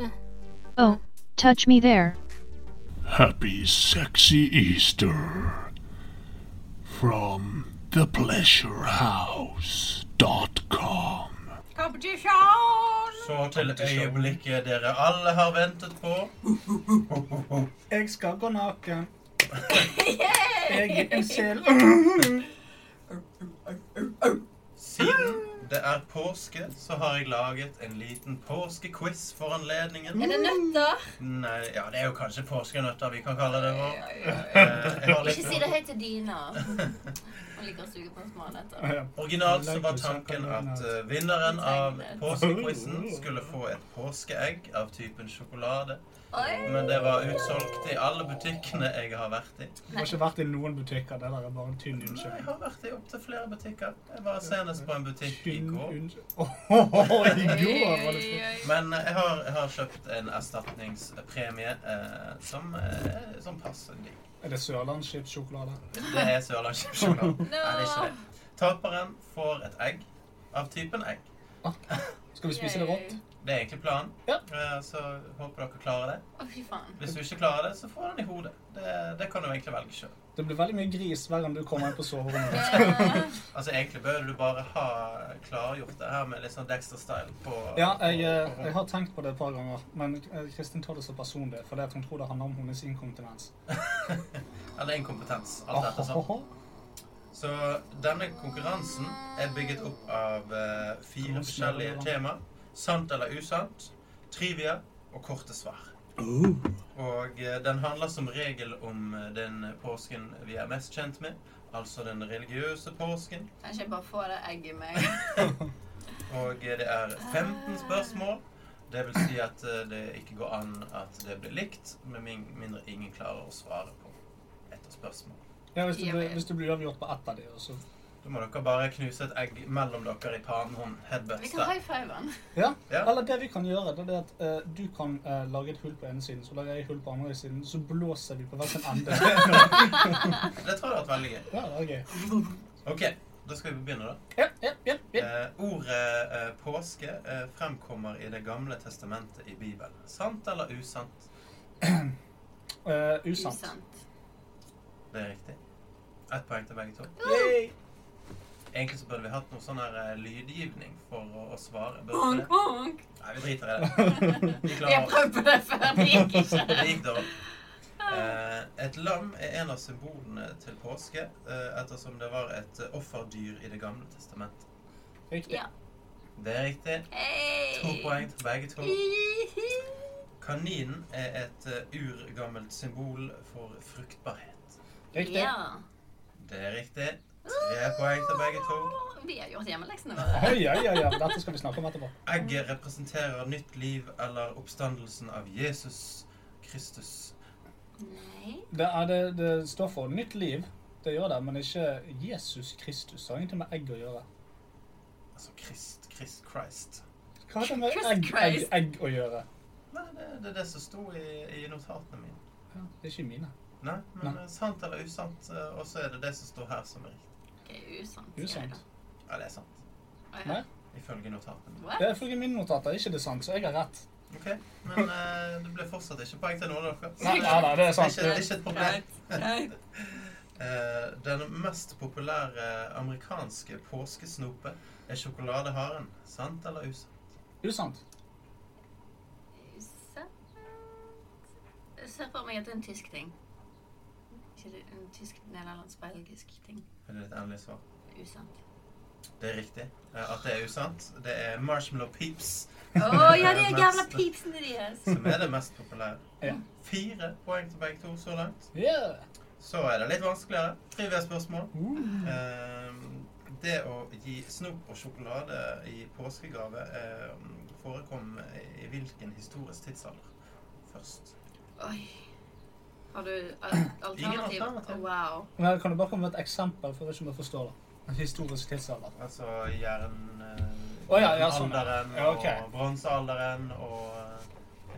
S9: Oh, touch me there.
S10: Happy Sexy Easter from thepleasurehouse.com.
S4: Competition!
S3: Så til øyeblikket dere alle har ventet på.
S5: Jeg skal gå naken. Jeg er en sel.
S3: Siden det er påske, så har jeg laget en liten påskequiz for anledningen.
S4: Er det nøtter?
S3: Nei, ja, det er jo kanskje påskenøtter vi kan kalle det Eh, vår.
S4: Ikke si det høyt til Dina. Hun liker å suge på små nøtter.
S3: Originalt så var tanken at eh, vinneren av påskequizen skulle få et påskeegg av typen sjokolade.
S4: Oi!
S3: Men det var utsolgt i alle butikkene jeg har vært i.
S5: Jeg har ikke vært i noen butikker. Det der er bare en tynn
S3: Nei, Jeg
S5: unnskyldning.
S3: har vært i opptil flere butikker. Jeg var senest på en butikk i
S5: Tynn
S3: går.
S5: unnskyld- Åhåhå, i går var det
S4: Oi,
S5: fint.
S4: oi.
S3: Men eh, jeg har, jeg har kjøpt en erstatningspremie eh, som, eh, som passer digg.
S5: Er det sørlandsskipssjokolade?
S3: Det er sørlandskjøpsjokolade. Nei, det er ikke det. Taperen får et egg av typen egg.
S5: Skal vi spise det rått?
S3: Det er egentlig planen,
S5: Ja.
S3: Eh, så håper dere klarer det.
S4: Å, fy faen.
S3: Hvis du ikke klarer det, så får du den i hodet. Det, det kan du egentlig velge sjøl.
S5: Det blir veldig mye gris hver gang du kommer inn på soverommet.
S4: Eh,
S3: Altså, egentlig bør du bare ha klargjort det her med litt sånn Dexter-style på
S5: Ja, jeg, eh,
S3: på-
S5: jeg har tenkt på det et par ganger, men eh, Kristin tar det så personlig, fordi at hun tror det handler om hennes inkontinens.
S3: Eller inkompetens. Alt dette sånn.
S5: Åhåhå.
S3: Så denne konkurransen er bygget opp av eh, fire
S5: Hvordan smaker det
S3: forskjellige
S5: da?
S3: tema. Sant eller usant, trivia og korte svar. Og eh, den handler som regel om eh, den påsken vi er mest kjent med. Altså den religiøse påsken.
S4: Kan ikke jeg bare få det egget i meg?
S3: Og eh, det er
S4: Ah.
S3: 15 spørsmål. Det vil si at eh, det ikke går an at det blir likt, med min- mindre ingen klarer å svare på ett av spørsmålene.
S5: Ja, hvis det
S4: Ja,
S5: blir,
S4: men-
S5: hvis det blir avgjort på ett av de, og så
S3: Da må dere bare knuse et egg mellom dere i panehånd.
S4: Vi
S3: Headbutts
S4: kan
S3: der.
S4: high five den.
S5: Ja.
S3: Ja.
S5: Eller det vi kan gjøre, det er det at eh, du kan eh, lage et hull på ene siden, så lager jeg et hull på andre siden, så blåser vi på hver sin ende.
S3: Det tror jeg hadde vært veldig gøy.
S5: ja, det er gøy.
S3: Ok, da skal vi begynne, da.
S5: Ja, ja, ja, ja.
S3: Eh, ordet eh, påske eh, fremkommer i Det gamle testamentet i Bibelen. Sant eller usant?
S5: Eh, usant.
S4: Usant.
S3: Det er riktig. Ett poeng til begge to.
S5: Yay!
S3: Egentlig så burde vi hatt noe sånn her eh, lydgivning for å, å svare. Burde vi
S4: Honk,
S3: det?
S4: honk.
S3: Nei, vi driter i det. Vi
S4: Vi har
S3: klarer oss.
S4: prøvd på det før, det gikk ikke.
S3: Det gikk dårlig. Eh, et lam er en av symbolene til påske, eh, ettersom det var et eh, offerdyr i Det gamle testamentet.
S5: Riktig.
S4: Ja.
S3: Det er riktig. To
S4: Hei.
S3: poeng til begge to.
S4: Hihi.
S3: Kaninen er et eh, urgammelt symbol for fruktbarhet.
S5: Riktig.
S4: Ja.
S3: Det er riktig. Tre poeng til begge to.
S4: Vi har gjort hjemmeleksene våre.
S5: Oi, oi, oi, oi. Dette skal vi snakke om etterpå.
S3: Egget representerer nytt liv eller oppstandelsen av Jesus Kristus.
S4: Nei.
S5: Det, er, det, det står for nytt liv. Det gjør det, men ikke Jesus Kristus. Det har ingenting med egg å gjøre.
S3: Altså Krist, Krist, Christ.
S5: Hva har det med
S4: Christ
S5: egg, egg,
S4: Christ.
S5: egg å gjøre?
S3: Nei, det, det er det som sto i, i notatene mine.
S5: Ja, det er ikke mine.
S3: Nei, men eh,
S5: Nei.
S3: sant eller usant, eh, og så er det det som står her som er riktig.
S4: Det er usant. sier jeg
S5: Usant.
S4: da.
S3: Ja, det er sant.
S4: Å, ja.
S5: Nei.
S3: Ifølge notatene. mine.
S4: What?
S5: Det er ifølge mine notater ikke det sant, så jeg har rett.
S3: OK, men eh, det ble fortsatt ikke poeng til noen av dere.
S5: Nei, nei, nei, det er sant.
S3: Det er ikke et problem.
S4: Nei.
S3: Eh, den mest populære amerikanske påskesnope er sjokoladeharen. Sant eller usant?
S5: Usant.
S4: Usant. Jeg ser for meg at det er en tysk ting. Ikke det en tysk, nederlandsk, belgisk ting.
S3: Er det ditt endelige svar?
S4: Usant.
S3: Det er riktig. Eh, at det er usant. Det er Marshmallow Peeps
S4: Å ja, de er gamle pipsene deres.
S3: som er det mest populære.
S5: Ja.
S3: Fire poeng til begge to så langt.
S5: Yeah. Uh.
S3: Så er det litt vanskeligere. Trivia-spørsmål. Eh, det å gi snop og sjokolade i påskegave eh, forekom i hvilken historisk tidsalder først?
S4: Oi. Har du al- alternativ?
S3: alternativ.
S4: Wow.
S5: Men kan du bare komme med et eksempel for ikke om jeg forstår det? En historisk tidsalder.
S3: Altså jern... Eh,
S5: Å ja, ja, sånn, ja.
S3: jernalderen
S5: Ja, ok.
S3: og bronsealderen og eh,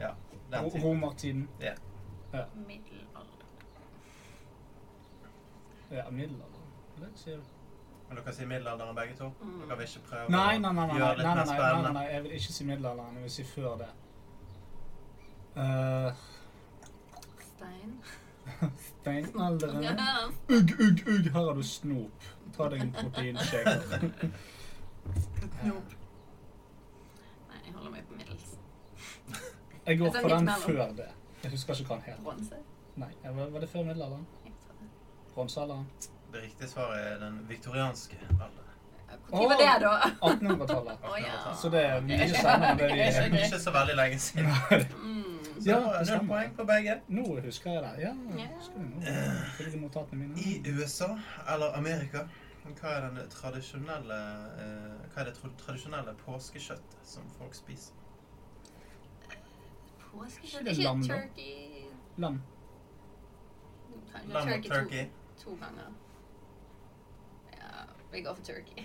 S3: ja, den
S5: Ro-
S3: typen.
S5: Romertiden.
S4: Middelalder.
S5: Ja, eh, middelalderen. Eller, sier du?
S3: Vil dere si middelalderen begge to? Dere vil ikke prøve
S5: Nei, nei, nei, nei,
S3: å
S5: nei,
S3: gjøre det
S5: nei,
S3: litt
S5: nei,
S3: mer
S5: nei, nei,
S3: spennende?
S5: nei, jeg vil ikke si middelalderen, jeg vil si før det. Eh,
S4: Stein.
S5: Steinalderen.
S4: Ja.
S5: Ugg, ugg, ugg, her har du snop. Ta deg en proteinshake.
S4: Nei, jeg holder meg på middels.
S5: Jeg går
S4: Det er
S5: for den
S4: midt mellom.
S5: før det. Jeg husker ikke hva den het.
S4: Bronse.
S5: Nei, jeg var var det før middelalderen?
S4: Jeg tror det.
S5: Bronsealderen?
S3: Det riktige svaret er den viktorianske alderen.
S4: Ja, Hvor tid var det, da?
S5: 1800-tallet.
S4: Å ja.
S5: Så det er mye senere enn det vi
S3: Det er ikke så veldig lenge siden.
S4: Mm.
S3: Så
S5: Ja,
S3: det var
S5: det
S3: null
S5: stemmer.
S3: poeng på begge.
S5: Nå husker jeg det. Ja,
S4: Ja.
S5: husker jeg nå. Følger notatene mine.
S3: I USA, eller Amerika, hva er, den tradisjonelle, eh, hva er det tro- tradisjonelle påskekjøttet som folk spiser?
S4: Påskekjøtt.
S5: Ikke det lam,
S4: Ikke
S5: da?
S4: turkey.
S5: Lam.
S4: Kanskje
S3: Lam og turkey.
S4: To, to ganger. Ja, vi går for turkey.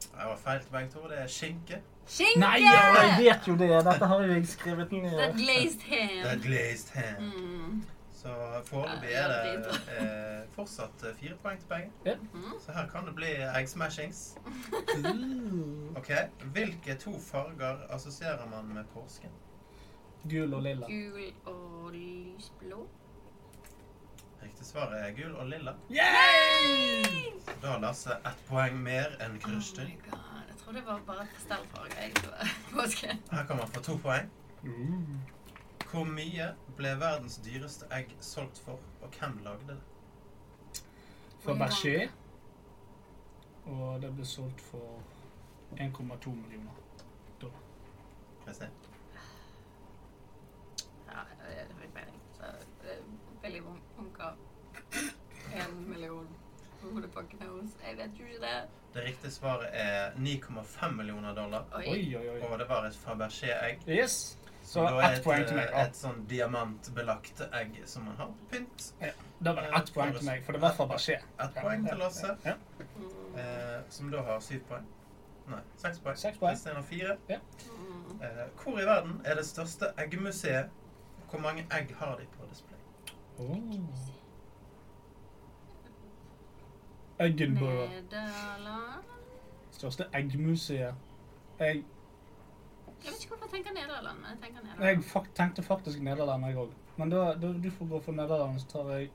S3: Det var feil til begge to. Det er skinke.
S4: Skinke!
S5: Nei, ja, jeg vet jo det! Dette har jeg skrevet
S4: Det er
S5: ned.
S4: glazed
S3: Det er
S4: ham.
S3: glazed ham.
S4: Mm.
S3: Så foreløpig
S4: Ja,
S3: er
S4: det er Mhm.
S3: det eh, fortsatt eh, fire poeng til
S5: Ja.
S3: begge. Så her kan det bli eggsmashings. Ok, Hvilke to farger assosierer man med påsken?
S5: Gul og lilla.
S4: Gul og lysblå.
S3: Riktig svar er gul og lilla.
S5: Yay!
S3: Da har Lasse ett poeng mer enn
S4: Oh
S3: Krustin.
S4: my god, Jeg tror det var bare pastellfarger jeg på påske.
S3: Her kan man få to poeng. Mm. Hvor mye ble verdens dyreste egg solgt for, og hvem lagde det?
S5: Fra Berger. Og det ble solgt for 1,2 millioner.
S3: Kristin?
S4: Ja, det har ikke peiling. Så eh, det er Billig bunker. En million hodepakkene hos Jeg vet jo ikke det.
S3: Det riktige svaret er 9,5 millioner dollar.
S5: Oi,
S4: Oi.
S5: oi, oi.
S3: Og det var et Fabergé-egg.
S5: Yes! Så
S3: da er
S5: ett poeng til meg.
S3: eh,
S5: Ja,
S3: Et sånn diamantbelagt egg som man har på pynt.
S5: det var ett poeng til meg, for det var fra Berger.
S3: Ett poeng til Lasse,
S5: Ja.
S3: eh, som da har syv poeng. Nei, seks poeng.
S5: Seks poeng.
S3: Kristin har fire.
S5: Ja.
S3: Eh, hvor i verden er det største eggmuseet? Hvor mange egg har de på display?
S5: Oh. Eggenborough.
S4: Nederland
S5: Største eggmuseet. Jeg,
S4: Jeg vet ikke hvorfor jeg tenker Nederland, men jeg tenker
S5: jeg
S4: Nederland.
S5: fak- tenkte faktisk Nederland, jeg òg. Men da, da, du får gå for Nederland, så tar jeg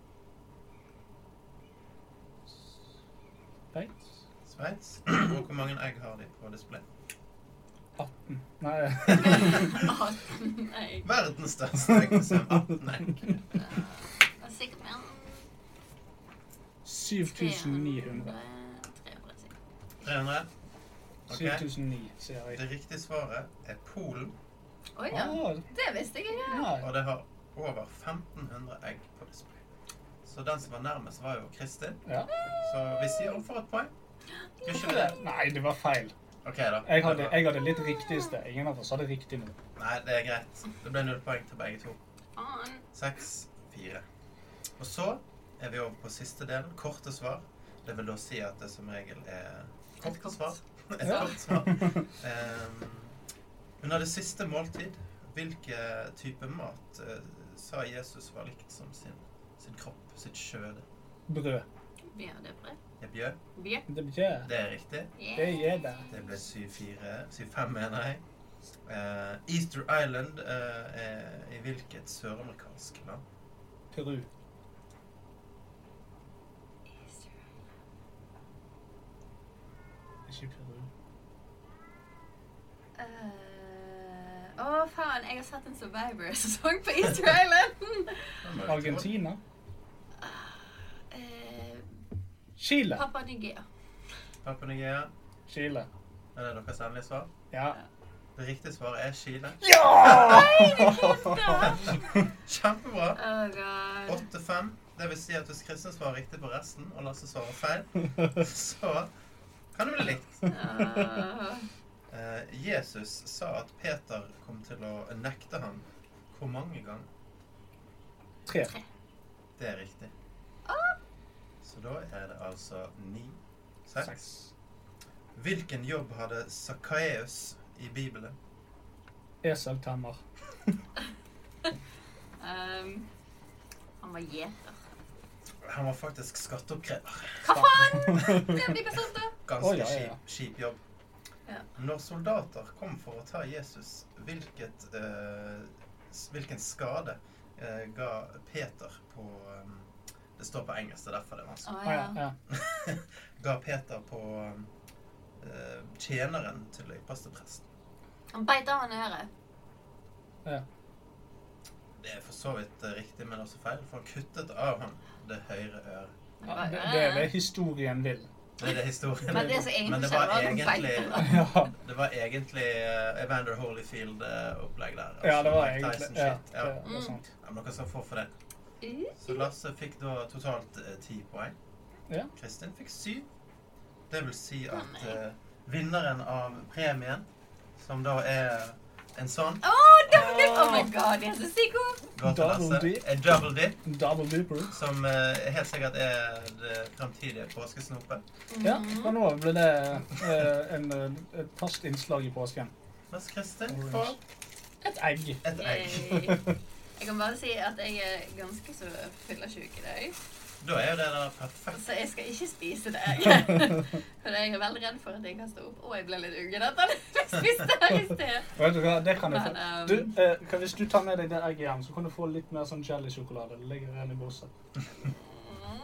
S5: Sveits?
S3: Sveits. Og hvor mange egg har de på display?
S5: 18. Nei.
S4: 18 egg.
S3: Verdens største eggsystem. 18 egg.
S4: Det er sikkert mer enn
S5: 7900.
S4: 300.
S3: 300. Ok.
S5: 7900, sier jeg.
S3: Det riktige svaret er Polen,
S4: Oi, ja.
S5: Å,
S4: Det visste jeg ikke.
S5: ja.
S3: og det har over 1500 egg på display. Så den som var nærmest, var jo Kristin.
S5: ja.
S3: Så vi sier opp for et poeng. Gjør ikke vi det?
S5: Nei, det var feil.
S3: Ok, da.
S5: Jeg hadde, jeg hadde litt riktig i sted. Ingen av oss hadde riktig nå.
S3: Nei, det er greit. Det ble null poeng til begge to.
S4: Faen.
S3: Seks, fire. Og så er vi over på siste del, korte svar. Det vil da si at det som regel er
S4: Et
S3: korte
S4: kort.
S3: svar. Et
S5: Ja.
S3: kort svar. Ehm, under det siste måltid, hvilke type mat eh, sa Jesus var likt som sin, sin kropp, sitt skjøde?
S5: Brød.
S4: Bjørdebrød.
S3: Er bjød?
S4: Bjørn.
S5: Det betyr
S3: Det er riktig.
S5: Det gjør det.
S3: Det ble 7-4, 7-5 mener jeg. Eh, Easter Island eh, er i hvilket søramerikansk land?
S5: Peru. Ikke Peru.
S4: Eh, Å, faen. Jeg har sett en Survivor-sesong på Easter Island.
S5: Argentina.
S4: Eh,
S5: Chile.
S4: Pappa Nigeria.
S3: Papua Nigeria.
S5: Chile.
S3: Er det deres endelige svar?
S5: Ja.
S3: Det riktige svaret er Chile.
S5: Ja!
S3: Kjempebra!
S4: Oh god.
S3: 8-5. Det vil si at hvis Kristin svarer riktig på resten, og Lasse svarer feil, så kan det bli likt.
S4: Åh.
S3: Eh, Jesus sa at Peter kom til å nekte ham hvor mange ganger?
S5: Tre.
S3: Det er riktig. Så da er det altså ni. Seks. Hvilken jobb hadde Sakkaeus i Bibelen?
S5: Eseltemmer.
S4: Um, han var gjeter.
S3: Han var faktisk skatteoppkrever.
S4: Hva faen? Det blir bestemt, da.
S3: Ganske
S5: Å, ja, ja, ja.
S3: Kjip, kjip jobb.
S4: Ja.
S3: Når soldater kom for å ta Jesus, hvilket, eh, s- hvilken skade eh, ga Peter på um, Det står på engelsk, det er derfor det er
S4: Å
S3: vanskelig.
S5: Ah, Ja,
S4: ja.
S5: ja.
S3: Ga Peter på um, eh, tjeneren til øypastepresten.
S4: Han beit av han i øret.
S3: Det er for så vidt eh, riktig, men også feil, for han kuttet av ham det høyre øret.
S4: Men
S5: Ja,
S4: var
S5: Det,
S4: øret.
S5: det er det historien vil.
S3: Det er det historien.
S4: Men det som egentlig
S3: Men det
S4: skjedde
S3: var
S4: var at han beit
S3: egentlig,
S4: på
S5: Ja.
S3: det var egentlig eh, Evander Holyfield-opplegg der.
S5: ja, det var
S3: Mike
S5: egentlig
S3: Tyson-shit.
S5: Ja,
S3: Ja.
S5: det var sant.
S3: Ja, men dere skal få for det.
S4: Uh,
S3: Så Lasse fikk da totalt eh, ti poeng.
S5: Ja.
S3: Kristin fikk syv. Det vil si at
S4: Nei.
S3: eh, vinneren av premien, som da er en sånn,
S4: Oh, double dip! Oh my god, de er så sykt gode!
S3: går til
S5: Double
S3: Lasse,
S5: dip.
S3: er Double Dip,
S5: Double Dooper.
S3: som eh, helt sikkert er det fremtidige påskesnopet.
S5: Ja, fra nå av blir det eh, en, eh, et fast innslag i påsken.
S3: Mens Kristin
S5: Orange.
S3: får
S5: Et egg.
S3: et egg.
S4: Yay. Eh, Jeg kan bare si at jeg er ganske så fyllesyk i dag,
S3: Da er jo det der perfekt.
S4: så jeg skal ikke spise det egget. For jeg er veldig redd for at jeg kaster opp, og jeg ble litt uggen etter at jeg spiste det her i sted.
S5: Vet du hva, det kan jeg
S4: Men,
S5: få.
S4: ehm,
S5: Du, eh, kan, hvis du tar med deg det egget hjem, så kan du få litt mer sånn jelly-sjokolade. Det ligger igjen i bordet.
S4: Mm,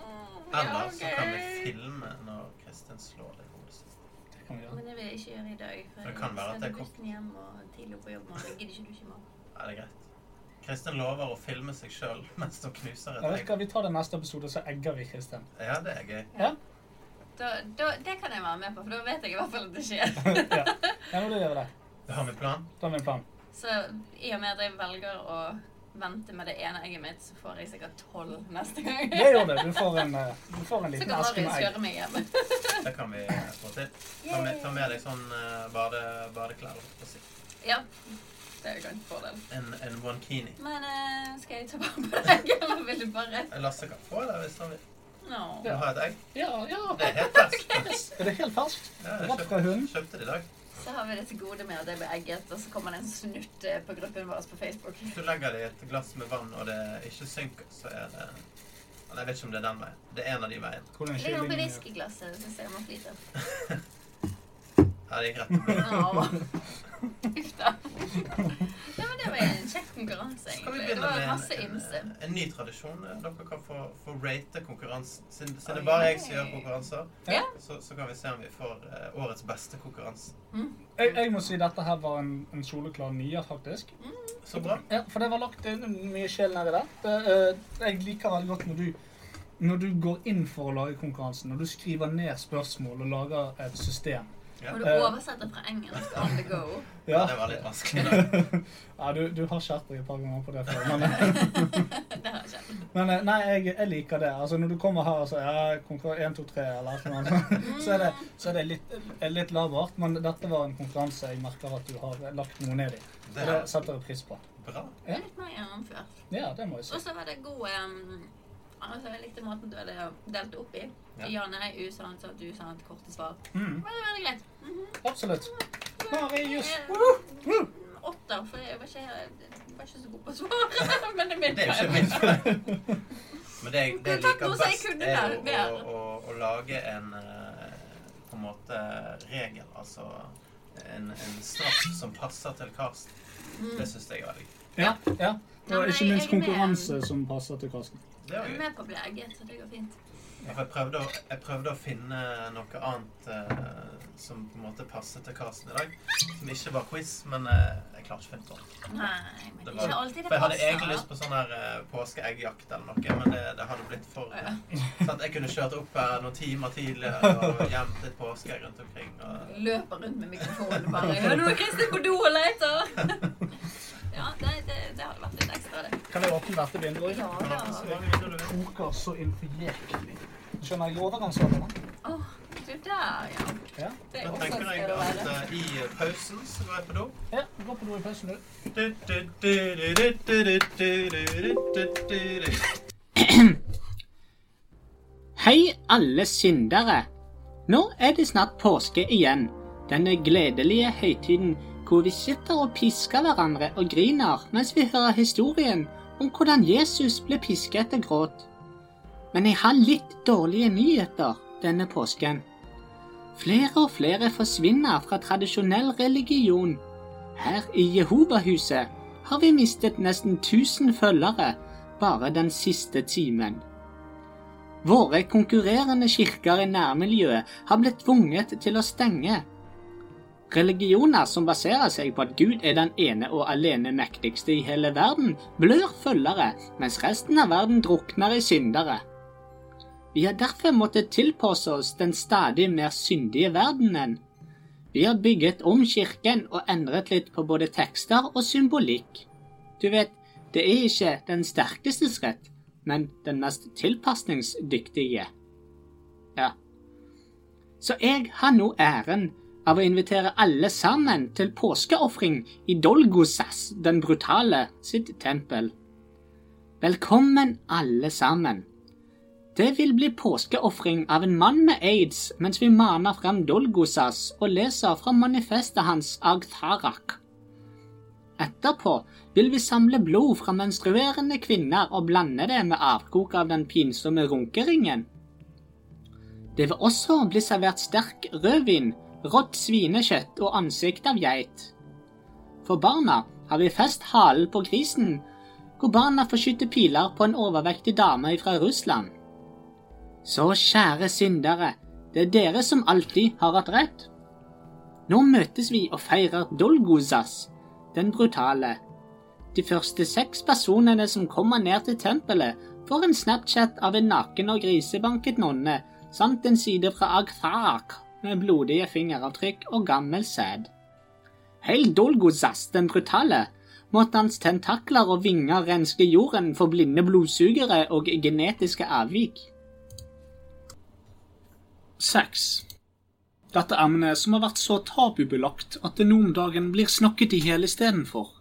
S4: ja,
S3: Eller så kan vi
S4: ok.
S3: filme når Kristin slår det i hodet sitt.
S5: Det kan vi gjøre.
S4: Men det vil jeg ikke gjøre i dag. For
S3: Det kan
S4: jeg
S3: være
S4: skal
S3: at det er
S4: til bussen hjem og tidlig på jobb, og det gidder ikke du ikke i morgen.
S3: Ja, det er greit. Kristin lover å filme seg sjøl mens hun knuser
S5: Jeg
S3: et
S5: vet
S3: egg.
S5: hva, vi tar det neste episode, så egger vi Kristin.
S3: Ja, det er gøy.
S4: Da, da, det kan jeg være med på, for da vet jeg i hvert fall at det
S5: ja.
S4: skjer.
S5: ja, men det gjør vi det.
S3: Det har vi plan.
S5: Det er min plan.
S4: Så i og med at jeg velger å vente med det ene egget mitt, så får jeg sikkert tolv neste gang.
S5: Det gjør det. Du får en, eh, du får en
S4: Så
S5: liten
S4: kan
S5: eske
S4: Marius
S5: med egg.
S4: kjøre meg hjem.
S3: Det kan vi få til. Ta med, ta med deg sånn eh, bade, badeklær. holdt på å si.
S4: Ja, det er jo en fordel.
S3: En, en onkini.
S4: Men eh, skal jeg ta vare på deg, eller vil du bare
S3: Lasse kan få det hvis han vil.
S4: No.
S3: Vil du ha et egg?
S5: Ja, ja.
S3: Det er helt ferskt.
S5: Er det helt ferskt?
S3: Ja, jeg
S5: Rett fra
S3: kjøpte,
S5: hunden?
S3: kjøpte det i dag.
S4: Så har vi det til gode med at det blir egget, og så kommer det en snutt eh, på gruppen vår på Facebook.
S3: Hvis du legger det i et glass med vann og det ikke synker, så er det Eller jeg vet ikke om det er den veien. Det er en av de veiene.
S5: Hvordan
S4: Ligger
S5: kyllingen
S4: oppi
S5: gjør.
S4: whiskyglasset, så ser man flyter.
S3: Ja, det gikk rett.
S4: Au. Uff da. Nei, men det var en kjekk konkurranse,
S3: Så kan
S4: egentlig.
S3: vi
S4: Det
S3: begynne
S4: var
S3: med
S4: masse
S3: en,
S4: ymse.
S3: en, en ny tradisjon. Eh, Dere kan få, få rate konkurransen. Siden siden det er bare jeg som gjør konkurranser,
S4: Ja.
S3: så, så kan vi se om vi får eh, årets beste konkurranse.
S5: Jeg, jeg må si dette her var en, en soleklar nier, faktisk.
S3: Så bra.
S5: Ja, for det var lagt inn mye sjel nedi der. Det, eh, jeg liker veldig godt når du, når du går inn for å lage konkurransen. Når du skriver ned spørsmål og lager et system.
S3: Ja.
S4: Og du
S5: Eh.
S4: oversetter fra engelsk on the go.
S5: Ja,
S3: Det var litt vanskelig. da.
S5: ja du, du har skjerpet deg et par ganger på det før. Men,
S4: Det har skjedd.
S5: men eh, nei, jeg, jeg liker det. Altså, når du kommer her og sier ja, konkurranse 1, 2, 3 eller noe sånt, så er det, så er det litt, eh, litt labert. Men dette var en konkurranse jeg merker at du har lagt noe ned i.
S3: Det
S5: Og det
S3: er
S5: setter jeg pris på.
S3: bra.
S4: Det er litt mer gjennomført.
S5: Ja, det må jeg si.
S4: Og så var det god em, altså Jeg likte måten du hadde delt opp i.
S3: Ja.
S4: Ja, nei, usant, sant, usant, korte svar.
S5: Mm,
S4: Det var veldig greit. Mhm.
S5: absolutt. Marius!
S4: Eh, Åtter, for jeg var ikke, jeg var ikke så god på svar. Men det er min
S3: Det er jo ikke
S4: feil.
S3: min feil. Men det jeg, det jeg
S4: Takk, nå
S3: liker
S4: sa jeg
S3: best,
S4: kunne
S3: er
S4: mer-
S3: å, å, å, å lage en eh, på en måte regel, altså en, en straff som passer til Karsten. Det syns jeg er veldig gøy.
S5: Ja, ja.
S4: Nei, men
S5: Og ikke minst
S4: jeg er med.
S5: konkurranse som passer til Karsten.
S3: Det
S4: Jeg
S3: er
S4: er
S3: jo gøy.
S4: med på å bli egget, så det går fint.
S3: Ja, for Jeg prøvde, å, jeg prøvde å finne noe annet eh, som på en måte passer til Karsten i dag. Som ikke var quiz, men eh, jeg klarer ikke å finne på det.
S4: Nei, men
S3: Det
S4: det
S3: var-
S4: er ikke alltid det
S3: For jeg hadde egentlig lyst
S4: passer.
S3: på sånn her eh, påskeeggjakt eller noe, men det, det hadde blitt for eh, sånn at Jeg kunne kjørt opp her noen timer tidligere og gjemt litt påskeegg rundt omkring. Og,
S4: Løper rundt med mikrofonen og bare Ja, nå er Kristin på do og leter! Ja, det, det, det hadde vært litt ekstra, det.
S5: Kan jeg åpne dette vinduet?
S4: Ja,
S3: så
S4: ja.
S3: mange vinduer du vil.
S5: koker så inn for jæklig. Skjønner jeg overgangsvarmen? da?
S4: Åh, du der, ja.
S5: Ja.
S4: Det
S3: Da
S4: er også
S3: tenker jeg
S4: skal det
S3: at
S4: være.
S3: eh, i pausen så går jeg på do.
S5: Ja, du går på do i pausen, du.
S11: Hei, alle syndere! Nå er det snart påske igjen. Denne gledelige høytiden hvor vi sitter og pisker hverandre og griner mens vi hører historien om hvordan Jesus ble pisket og gråt. Men jeg har litt dårlige nyheter denne påsken. Flere og flere forsvinner fra tradisjonell religion. Her i Jehovahuset har vi mistet nesten 1000 følgere bare den siste timen. Våre konkurrerende kirker i nærmiljøet har blitt tvunget til å stenge. Religioner som baserer seg på at Gud er den ene og alene mektigste i hele verden, blør følgere, mens resten av verden drukner i syndere. Vi har derfor måttet tilpasse oss den stadig mer syndige verdenen. Vi har bygget om kirken og endret litt på både tekster og symbolikk. Du vet, det er ikke den sterkestes rett, men den mest tilpasningsdyktige. Ja. Så jeg har nå æren av å invitere alle sammen til påskeofring i Dolgosas, den brutale, sitt tempel. Velkommen, alle sammen. Det vil bli påskeofring av en mann med aids mens vi maner frem Dolgosas og leser fra manifestet hans Agtharak. Etterpå vil vi samle blod fra menstruerende kvinner og blande det med avkok av den pinsomme runkeringen. Det vil også bli servert sterk rødvin, rått svinekjøtt og ansikt av geit. For barna har vi fest halen på grisen, hvor barna får skyte piler på en overvektig dame fra Russland. Så kjære syndere, det er dere som alltid har hatt rett. Nå møtes vi og feirer Dolgozas, den brutale. De første seks personene som kommer ned til tempelet, får en Snapchat av en naken og grisebanket nonne, samt en side fra Agtharak med blodige fingeravtrykk og gammel sæd. Heil Dolgozas, den brutale! Måtte hans tentakler og vinger renske jorden for blinde blodsugere og genetiske avvik.
S5: 6. Dette emnet som har vært så tabubelagt at det nå om dagen blir snakket i hele istedenfor.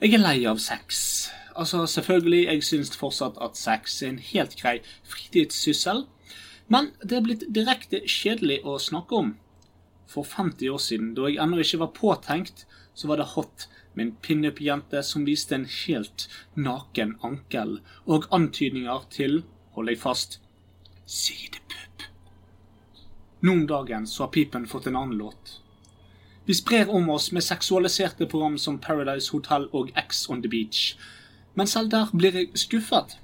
S5: Jeg er lei av sex. Altså, selvfølgelig, jeg syns fortsatt at sex er en helt grei fritidssyssel, men det er blitt direkte kjedelig å snakke om. For 50 år siden, da jeg ennå ikke var påtenkt, så var det hot med en pinup-jente som viste en helt naken ankel, og antydninger til, hold deg fast, sidepupp. Nå om dagen så har pipen fått en annen låt. Vi sprer om oss med seksualiserte program som Paradise Hotel og X on the Beach. Men selv der blir jeg skuffet.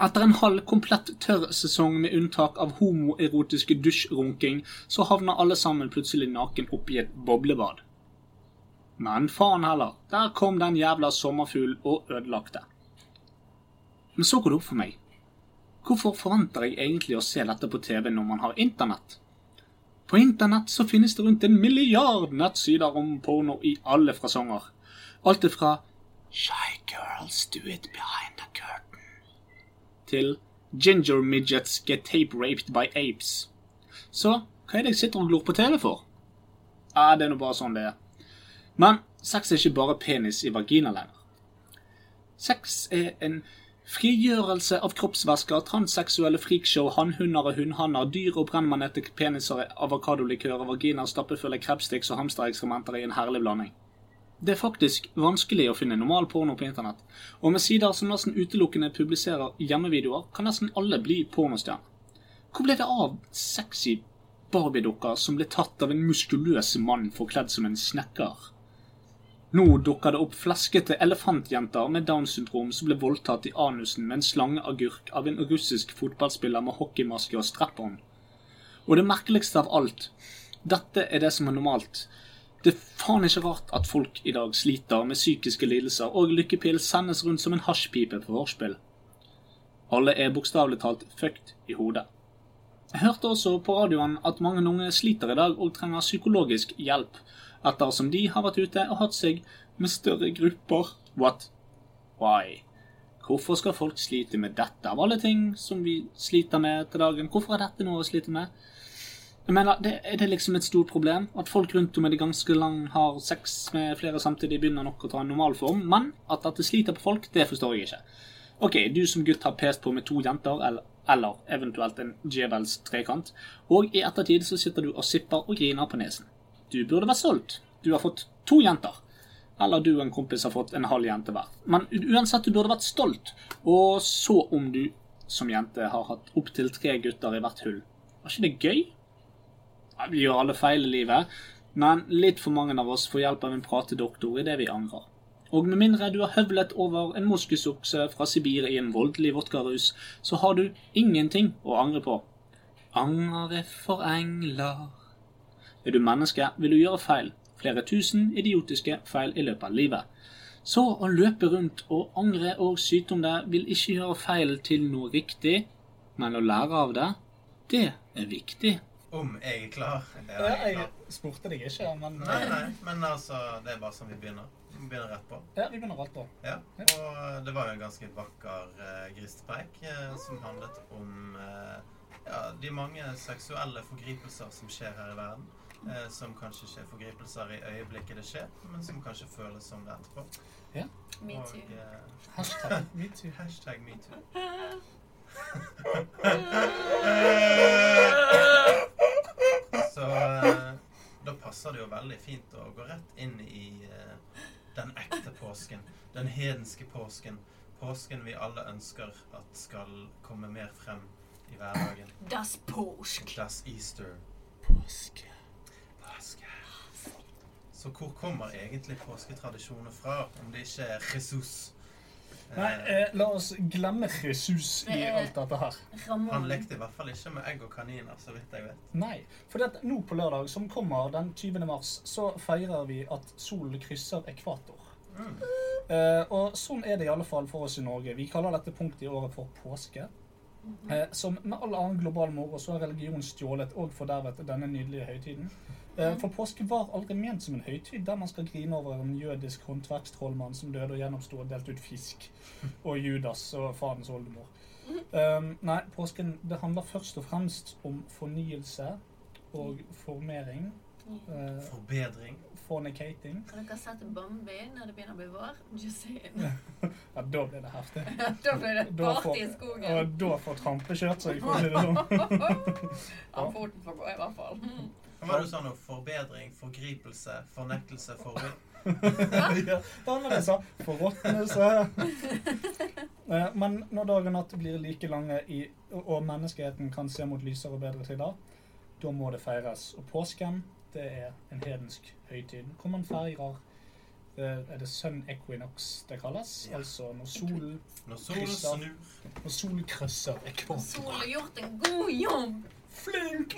S5: Etter en halv komplett tørr sesong med unntak av homoerotisk dusjrunking, så havner alle sammen plutselig naken oppi et boblebad. Men faen heller, der kom den jævla sommerfugl og ødelagte. Men så går det opp for meg. Hvorfor forventer jeg egentlig å se dette på TV når man har internett? På internett så finnes det rundt en milliard nettsider om porno i alle fasonger. Alt ifra Shy girls do it behind the curtain til Ginger midgets get tape raped by apes. Så hva er det jeg sitter og glor på TV for? Ja, det er nå bare sånn det er. Men sex er ikke bare penis i vagina lenger. Sex er en frigjørelse av kroppsvæsker, transseksuelle freakshow, hannhunder og hunnhanner, dyr og brennmanete peniser, avokadolikører, vaginaer, stappefulle crabsticks og hamsterekskrementer i en herlig blanding. Det er faktisk vanskelig å finne normal porno på internett, og med sider som nesten utelukkende publiserer hjemmevideoer, kan nesten alle bli pornostjerner. Hvor ble det av sexy barbiedukker som ble tatt av en muskuløs mann forkledd som en snekker? Nå dukker det opp fleskete elefantjenter med Downs syndrom som ble voldtatt i anusen med en slangeagurk av en russisk fotballspiller med hockeymaske og strap-on. Og det merkeligste av alt, dette er det som er normalt. Det er faen ikke rart at folk i dag sliter med psykiske lidelser, og lykkepil sendes rundt som en hasjpipe på vorspiel. Alle er bokstavelig talt fucked i hodet. Jeg hørte også på radioen at mange unge sliter i dag og trenger psykologisk hjelp ettersom de har vært ute og hatt seg med større grupper. What? Why? Hvorfor skal folk slite med dette av alle ting som vi sliter med til dagen? Hvorfor er dette noe å slite med? Jeg mener, det, Er det liksom et stort problem at folk rundt om i det ganske land har sex med flere samtidig begynner nok å ta en normal form, men at dette sliter på folk, det forstår jeg ikke. OK, du som gutt har pest på med to jenter, eller, eller eventuelt en djevels trekant, og i ettertid så sitter du og sipper og griner på nesen. Du burde vært stolt. Du har fått to jenter. Eller du og en kompis har fått en halv jente hver. Men uansett, du burde vært stolt. Og så om du som jente har hatt opptil tre gutter i hvert hull. Var ikke det gøy? Ja, Vi gjør alle feil i livet, men litt for mange av oss får hjelp av en pratedoktor i det vi angrer. Og med mindre du har høvlet over en moskusokse fra Sibir i en voldelig vodkarus, så har du ingenting å angre på. Angre for engler er du menneske, vil du gjøre feil. Flere tusen idiotiske feil i løpet av livet. Så å løpe rundt og angre og syte om det vil ikke gjøre feil til noe riktig, men å lære av det, det er viktig.
S3: Om jeg er klar? Er
S12: Ja,
S3: jeg
S12: jeg
S3: klar?
S12: spurte deg ikke, men eh,
S3: Nei, nei, men altså, det er bare sånn vi begynner. Vi begynner rett på.
S12: Ja, vi begynner alt da.
S3: Ja, og det var jo en ganske vakker uh, grisepreik eh, som handlet om eh, ja, de mange seksuelle forgripelser som skjer her i verden. eh, som kanskje ikke er forgripelser i øyeblikket det skjer, men som kanskje føles som det etterpå.
S12: Ja.
S4: Me
S3: Og,
S4: too.
S3: eh,
S12: Hashtag metoo.
S3: hashtag metoo. Så eh, da passer det jo veldig fint å gå rett inn i eh, den ekte påsken. Den hedenske påsken. Påsken vi alle ønsker at skal komme mer frem i hverdagen.
S4: Das påsk.
S3: Das Easter.
S12: Påske.
S3: Påske. Så hvor kommer egentlig påsketradisjoner fra, om det ikke er Jesus? Eh,
S12: Nei, eh, la oss glemme Jesus i
S4: Det er-
S12: alt dette her.
S3: han
S4: Ramon.
S3: lekte i hvert fall ikke med egg og kaniner, så vidt jeg vet.
S12: Nei, for det at nå på lørdag som kommer den 20. mars, så feirer vi at solen krysser ekvator.
S3: Mm.
S12: Eh, og sånn er det i alle fall for oss i Norge. Vi kaller dette punktet i året for påske. Eh, som med all annen global moro så har religion stjålet og fordervet denne nydelige høytiden. Eh, for påske var aldri ment som en høytid der man skal grine over en jødisk håndverkstrollmann som døde og gjennomsto og delte ut fisk, og Judas og farens oldemor. Um, nei, påsken det handler først og fremst om fornyelse og formering. eh,
S3: Forbedring.
S12: fornicating.
S4: Har dere sett Bambi når det begynner å bli vår? Just saying.
S12: Ja, da blir det heftig.
S4: da blir det
S12: Da får-
S4: party i skogen.
S12: Og da får trampekjørt seg, for å si det sånn.
S4: Ja, foten får gå i hvert fall.
S3: Hva var det du sa nå? Forbedring, forgripelse, fornektelse, forbil?
S12: ja, det var det jeg sa. Forråtnelse. Eh, Men når dag og natt blir like lange, i, og menneskeheten kan se mot lysere og bedre tider, da må det feires. Og påsken
S5: det er en hedensk høytid hvor man feirer eh, Er det sun equinox det kalles? Altså når solen
S3: Når solen
S5: krysser-
S3: snur.
S5: Når solen krysser ekvator.
S4: Sol har gjort en god jobb.
S5: Flink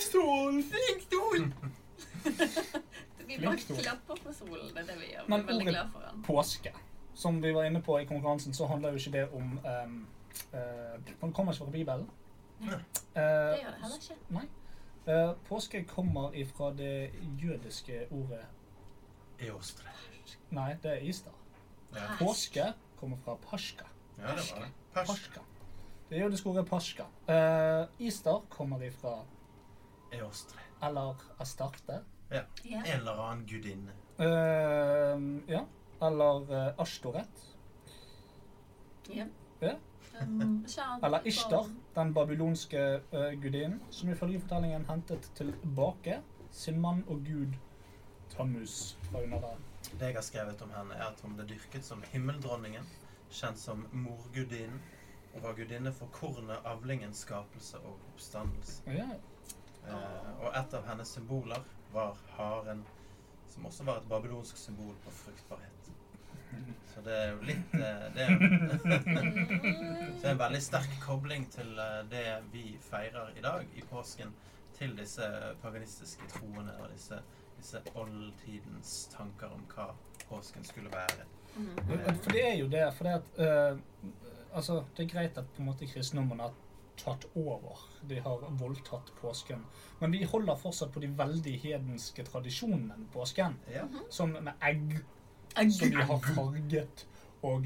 S5: sol!
S4: Flink sol! vi bare
S5: Flink sol.
S4: klapper for solen. Det er det vi gjør. Vi
S5: Men
S4: er veldig
S5: ordet
S4: glad for den.
S5: påske, som vi var inne på i konkurransen, så handler jo ikke det om um, uh, Man kommer ikke fra Bibelen. Eh,
S4: Det gjør det heller ikke.
S5: Nei. Eh, påske kommer ifra det jødiske ordet
S3: Eostre.
S5: Nei, det er Easter.
S3: Ja.
S5: Påske kommer fra pasjka.
S3: ja, det var det. Pers.
S5: Pasjka. Det jødiske ordet pasjka. Uh, Easter kommer ifra
S3: Eostre.
S5: eller astarte.
S3: Ja.
S4: Ja.
S3: En eller annen gudinne.
S5: Eh, ja. Eller eh, Ashtoret.
S4: Ja.
S5: Ja.
S4: Um, kjære
S5: Eller
S4: barn.
S5: Ishtar, den babylonske eh, gudinnen, som ifølge fortellingen hentet tilbake sin mann og gud Tammuz fra underverdenen.
S3: Det jeg har skrevet om henne, er at hun ble dyrket som himmeldronningen, kjent som morgudinnen, og var gudinne for kornet, avlingen, skapelse og oppstandelse.
S5: Ja.
S3: Eh, og et av hennes symboler var haren, som også var et babylonsk symbol på fruktbarhet. Så det er jo litt eh, Det er, så det er en veldig sterk kobling til eh, det vi feirer i dag, i påsken, til disse paganistiske troene og disse, disse oldtidens tanker om hva påsken skulle være.
S5: For det er jo det. For det at eh, Altså, det er greit at på en måte kristendommen har tatt over. De har voldtatt påsken. Men vi holder fortsatt på de veldig hedenske tradisjonene med påsken.
S3: Ja.
S5: Sånn med egg, som de har farget, og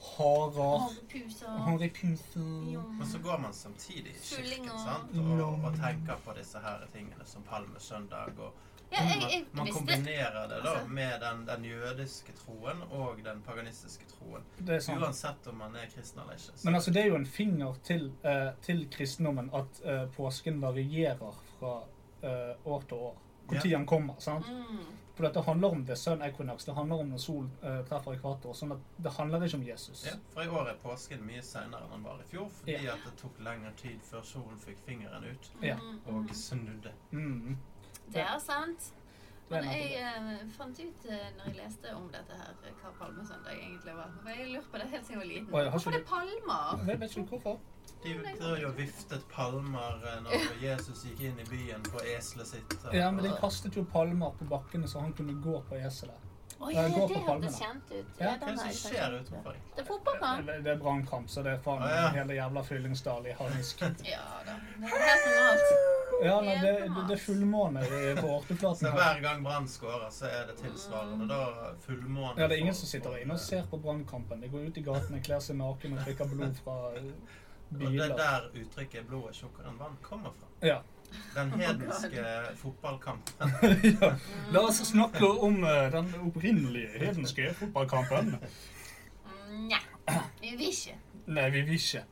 S5: harer
S4: Harepuser.
S5: Haripuser
S3: Men så går man samtidig i kirken
S4: Tullinger.
S3: sant? Og, og tenker på disse her tingene som palmesøndag. Og
S4: Ja, jeg,
S3: man,
S4: jeg
S3: man
S4: visste
S3: kombinerer det da
S4: Altså-
S3: med den, den jødiske troen og den paganistiske troen.
S5: Det er sånn. sant.
S3: Uansett om man er kristen eller ikke. Så
S5: Men altså, det er jo en finger til, eh, til kristendommen at eh, påsken varierer fra eh, år til år. Når
S3: Ja.
S5: tiden kommer. sant?
S4: mm.
S5: For dette handler om det sun equinox, det handler om når sol eh, treffer ekvator. sånn at Det handler ikke om Jesus.
S3: ja, for i år er påsken mye seinere enn den var i fjor, fordi
S5: Ja.
S3: at det tok lengre tid før solen fikk fingeren ut
S5: Ja.
S3: og snudde.
S5: Mm.
S4: Det er sant.
S5: Det er
S4: Men jeg
S5: nettopp det.
S4: eh, fant ut eh, når jeg leste om dette her, eh, hva palmesøndag egentlig var. For jeg lurte på det helt siden jeg var liten.
S5: Å, ja, har ikke
S4: Hvorfor det er palmer?
S5: Jeg vet ikke hvorfor.
S3: De
S5: Mm.
S3: drev jo og viftet palmer eh, når Jesus gikk inn i byen på eselet sitt. og-
S5: Ja, men de kastet jo palmer på bakkene så han kunne gå på eselet.
S4: Å ja,
S5: Jeg går
S4: det
S5: på palmene.
S4: hørtes kjent ut.
S5: Ja,
S4: Ja,
S3: Hva
S4: den
S3: er
S4: har
S3: det
S4: jeg
S3: som
S4: sett.
S3: skjer utenfor?
S4: Det er fotballkamp.
S5: Det, det er brannkamp, så det er faen
S3: Å, ja.
S5: hele jævla Fyllingsdal i harnisk.
S4: Ja da. Det er helt normalt.
S5: Ja, nei, det, det, det er fullmåne i- på
S3: Så
S5: Orteplaten her.
S3: Altså, hver gang Brann skårer, så er det tilsvarende da fullmåne?
S5: Mm. Ja, det er ingen
S3: for-
S5: som sitter inne og ser på brannkampen. De går ut i gatene, kler seg naken og drikker blod fra eh,
S3: Og det er
S5: biler.
S3: der uttrykket 'blod er tjukkere enn vann' kommer fra.
S5: Ja.
S3: Den hedenske fotballkampen.
S5: ja. La oss snakke om eh, den opprinnelige hedenske fotballkampen.
S4: Mm, Nja. Vi vil ikke.
S5: Nei, vi vil ikke.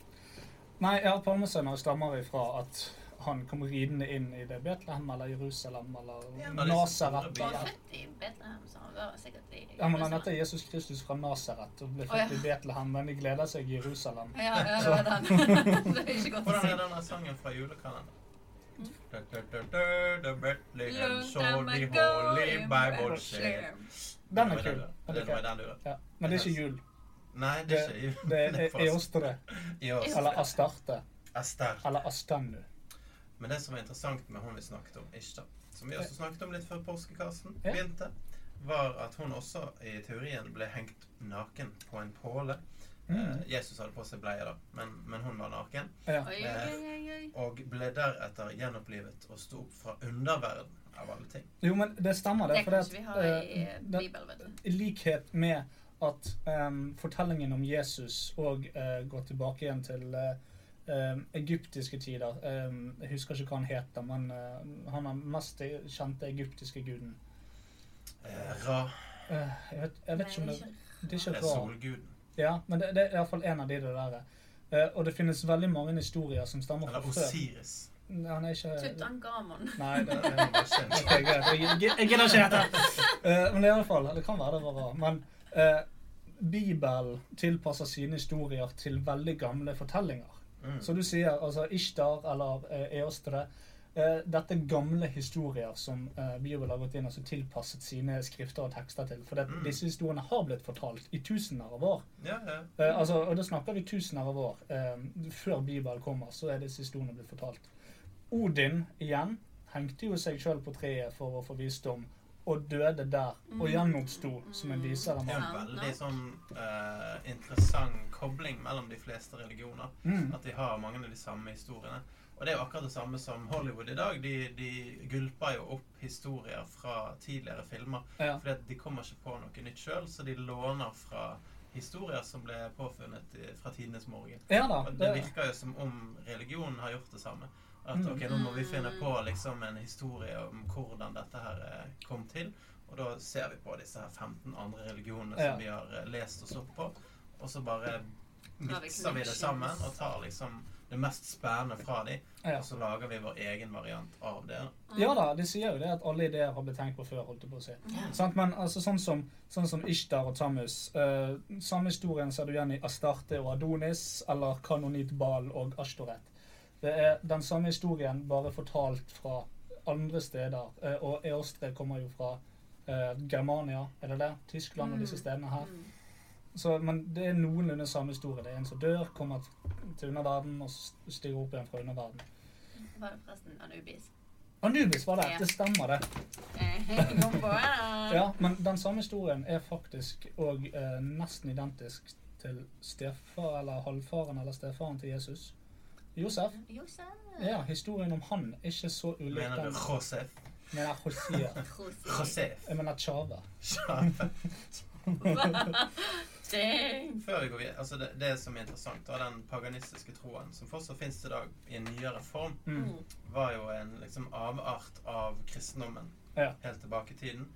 S5: Nei, ja, Palmesønner stammer ifra at han kom ridende inn i det Betlehem eller Jerusalem eller
S3: Ja, men det er
S5: Nasaret.
S3: så
S4: Han
S3: store
S5: eller-
S4: var født i Betlehem, så han var sikkert i
S5: Ja, men han heter Jesus Kristus fra Nasaret og ble
S4: Å, ja.
S5: født i Betlehem, men de gleder seg i Jerusalem.
S4: Ja, ja, det var den. det er ikke godt å
S3: Hvordan
S4: si.
S3: er denne sangen fra julekalenderen? The Bethlehem saw the holy Bible said.
S5: Den
S3: Det
S5: er
S3: var
S5: kul.
S3: du-
S5: men
S3: Det
S5: det
S3: var
S5: er-
S3: den du
S5: Ja. Men det er ikke jul.
S3: Nei, det
S5: Det,
S3: er ikke jul.
S5: det
S3: Det
S5: er
S3: er fast.
S5: Eostre,
S3: I oss.
S5: eller Astarte,
S3: Esther.
S5: eller Astanu.
S3: Men det som er interessant med hun vi snakket om, Ishtar, som vi også snakket om litt før påskekassen
S5: Ja.
S3: begynte, var at hun også i teorien ble hengt naken på en påle.
S5: Mm.
S3: Eh, Jesus hadde på seg bleie, da, men, men hun var naken.
S5: Ja.
S4: Oi, oi, oi, oi.
S3: Og ble deretter gjenopplivet og sto opp fra underverden, av alle ting.
S5: Jo, men det stemmer det,
S4: Det
S5: for
S4: kan ikke vi
S5: det
S4: ha
S5: at,
S4: i
S5: eh, den-
S4: Bibelen, vet du.
S5: i likhet med at em, fortellingen om Jesus og eh, går tilbake igjen til eh, em, egyptiske tider. Em, jeg husker ikke hva han heter, men eh, han er den mest kjente egyptiske guden.
S3: Eh, Ra
S5: Eh, jeg, vet, jeg vet ikke om det, det er
S3: er
S5: ikke bra.
S3: solguden.
S5: Ja, men det, det er iallfall en av de det der. Eh, og det finnes veldig mange historier som stammer fra
S3: Eller
S5: før.
S3: Osiris.
S5: Nei, Han er ikke
S4: Tutankhamon.
S5: Nei, det,
S3: Det er
S5: det,
S3: en kjent.
S5: Ok, greit. Jeg- Jeg jeg gidder ikke dette. Eh, men i alle fall, det kan være det var bra. Men eh, Bibelen tilpasser sine historier til veldig gamle fortellinger.
S3: Mm.
S5: Så du sier altså Ishtar eller eh, Eostre eh, dette er gamle historier som eh, Bibelen har gått inn og så tilpasset sine skrifter og tekster til. For det,
S3: Mm.
S5: disse historiene har blitt fortalt i tusener av år.
S3: Ja, ja.
S5: Eh, altså, og da snakker vi tusener av år. Eh, før Bibelen kommer, så er disse historiene blitt fortalt. Odin igjen hengte jo seg sjøl på treet for å få visdom, og døde der. Og gjenoppsto som en visere
S3: Det er en
S5: mann.
S3: veldig sånn eh, interessant kobling mellom de fleste religioner.
S5: Mm.
S3: At de har mange av de samme historiene. Og det er jo akkurat det samme som Hollywood i dag. De, de gulper jo opp historier fra tidligere filmer.
S5: Ja.
S3: Fordi at de kommer ikke på noe nytt sjøl, så de låner fra historier som ble påfunnet i- fra tidenes morgen.
S5: Ja da,
S3: Og det
S5: det-
S3: virker jo som om religionen har gjort det samme. At
S5: Mm.
S3: ok, nå må vi finne på liksom en historie om hvordan dette her eh, kom til. Og da ser vi på disse her 15 andre religionene
S5: Ja.
S3: som vi har eh, lest oss opp på. Og så bare
S4: vi
S3: mikser vi det
S4: connections.
S3: sammen og tar liksom det mest spennende fra de,
S5: Ja.
S3: og så lager vi vår egen variant av det. da.
S5: Ja da, de sier jo det at alle ideer har blitt tenkt på før, holdt jeg på å si. Sant? Men altså, sånn, som, sånn som Ishtar og Tammuz. eh, samme historien ser du igjen i Astarte og Adonis, eller Kanonit Baal og Ashtoret. Det er den samme historien, bare fortalt fra andre steder. eh, og Eostre kommer jo fra eh, Germania, er det det? Tyskland og disse stedene her. Så, men det er noenlunde samme historie. Det er en som dør, kommer til underverden og s- stiger opp igjen fra underverden.
S4: Var det forresten Anubis?
S5: Anubis var det!
S4: Ja.
S5: Det stemmer, det.
S4: Eh, Kom på den!
S5: Ja, men den samme historien er faktisk òg eh, nesten identisk til stefar eller halvfaren eller stefaren til Jesus. Josef.
S4: Josef.
S5: Ja, historien om han er ikke så ulik
S3: Mener
S5: den
S3: du Josef?
S5: Men jeg Hosea.
S3: Josef.
S5: Jeg mener Chava.
S4: Dang!
S3: Før vi går videre, altså det, det som er interessant, da, den paganistiske troen som fortsatt finnes i dag i en nyere form,
S5: Mm.
S3: var jo en liksom, avart av kristendommen
S5: Ja.
S3: helt tilbake i tiden.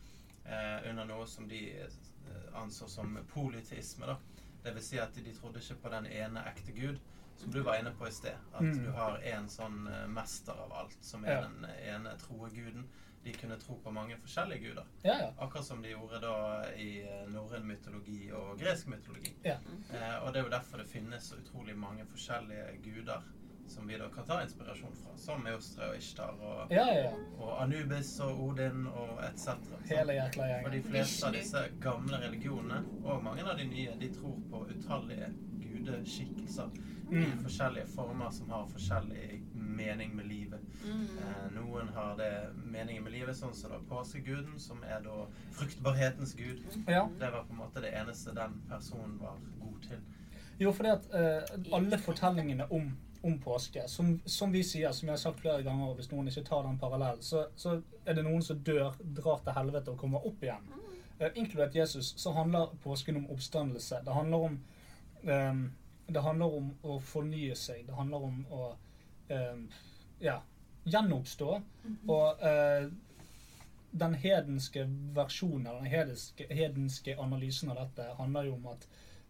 S3: Eh, under noe som de eh, anså som polyteisme. da. Det vil si at de trodde ikke på den ene ekte gud, som du var inne på i sted. At
S5: Mm.
S3: du har en sånn eh, mester av alt, som er
S5: Ja.
S3: den ene troe guden. De kunne tro på mange forskjellige guder.
S5: Ja, ja.
S3: Akkurat som de gjorde da i eh, norrøn mytologi og gresk mytologi.
S5: Ja.
S3: Eh, og det er jo derfor det finnes så utrolig mange forskjellige guder som vi da kan ta inspirasjon fra. Som Eostre og Ishtar og,
S5: Ja, ja, ja.
S3: og Anubis og Odin og etc.
S5: Hele jækla
S3: For de
S5: gjengen.
S3: fleste av disse gamle religionene, og mange av de nye, de tror på utallige gudeskikkelser i
S5: Mm.
S3: forskjellige former som har forskjellig mening med livet. Eh, noen har det meningen med livet, sånn som da påskeguden, som er da fruktbarhetens gud.
S5: Ja.
S3: Det var på en måte det eneste den personen var god til.
S5: Jo, fordi at eh, alle fortellingene om, om påske, som, som vi sier, som jeg har sagt flere ganger, og hvis noen ikke tar den parallellen, så, så er det noen som dør, drar til helvete og kommer opp igjen. Eh, inkludert Jesus, så handler påsken om oppstandelse. Det handler om, ehm, det handler om å fornye seg. Det handler om å ehm, ja, gjenoppstå. Og eh, den hedenske versjonen, eller den hedenske, hedenske analysen av dette, handler jo om at